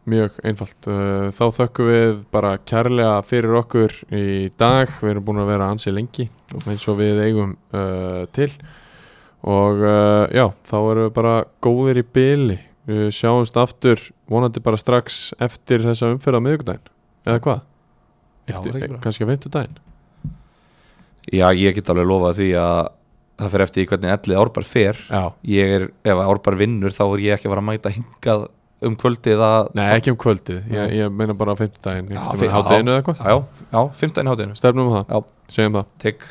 Speaker 1: Mjög einfalt. Uh, Þá þökkum við bara kærlega fyrir okkur í dag. Við erum búin að vera ansi lengi eins og við eigum uh, til. Og uh, já, þá erum við bara góðir í byli. Við sjáumst aftur vonandi bara strax eftir þessa umferð á miðugdæn. Eða hvað?
Speaker 2: Já,
Speaker 1: Eftir,
Speaker 2: það er ekki bra.
Speaker 1: kannski að veintudæn.
Speaker 2: já, ég get alveg lofað því að það fer eftir í hvernig ellið árbar fer
Speaker 1: Já.
Speaker 2: ég er, ef árbar vinnur þá er ég ekki að fara að mæta hingað um kvöldið að
Speaker 1: Nei, ekki um kvöldið. Ég, ég meina bara á fimmtudæn.
Speaker 2: Já,
Speaker 1: Ég
Speaker 2: fi-
Speaker 1: meina hátæðinu eða eitthvað.
Speaker 2: já, já, já, 15. hátinu
Speaker 1: Stefnum um það.
Speaker 2: Já.
Speaker 1: Segjum það.
Speaker 2: Tigg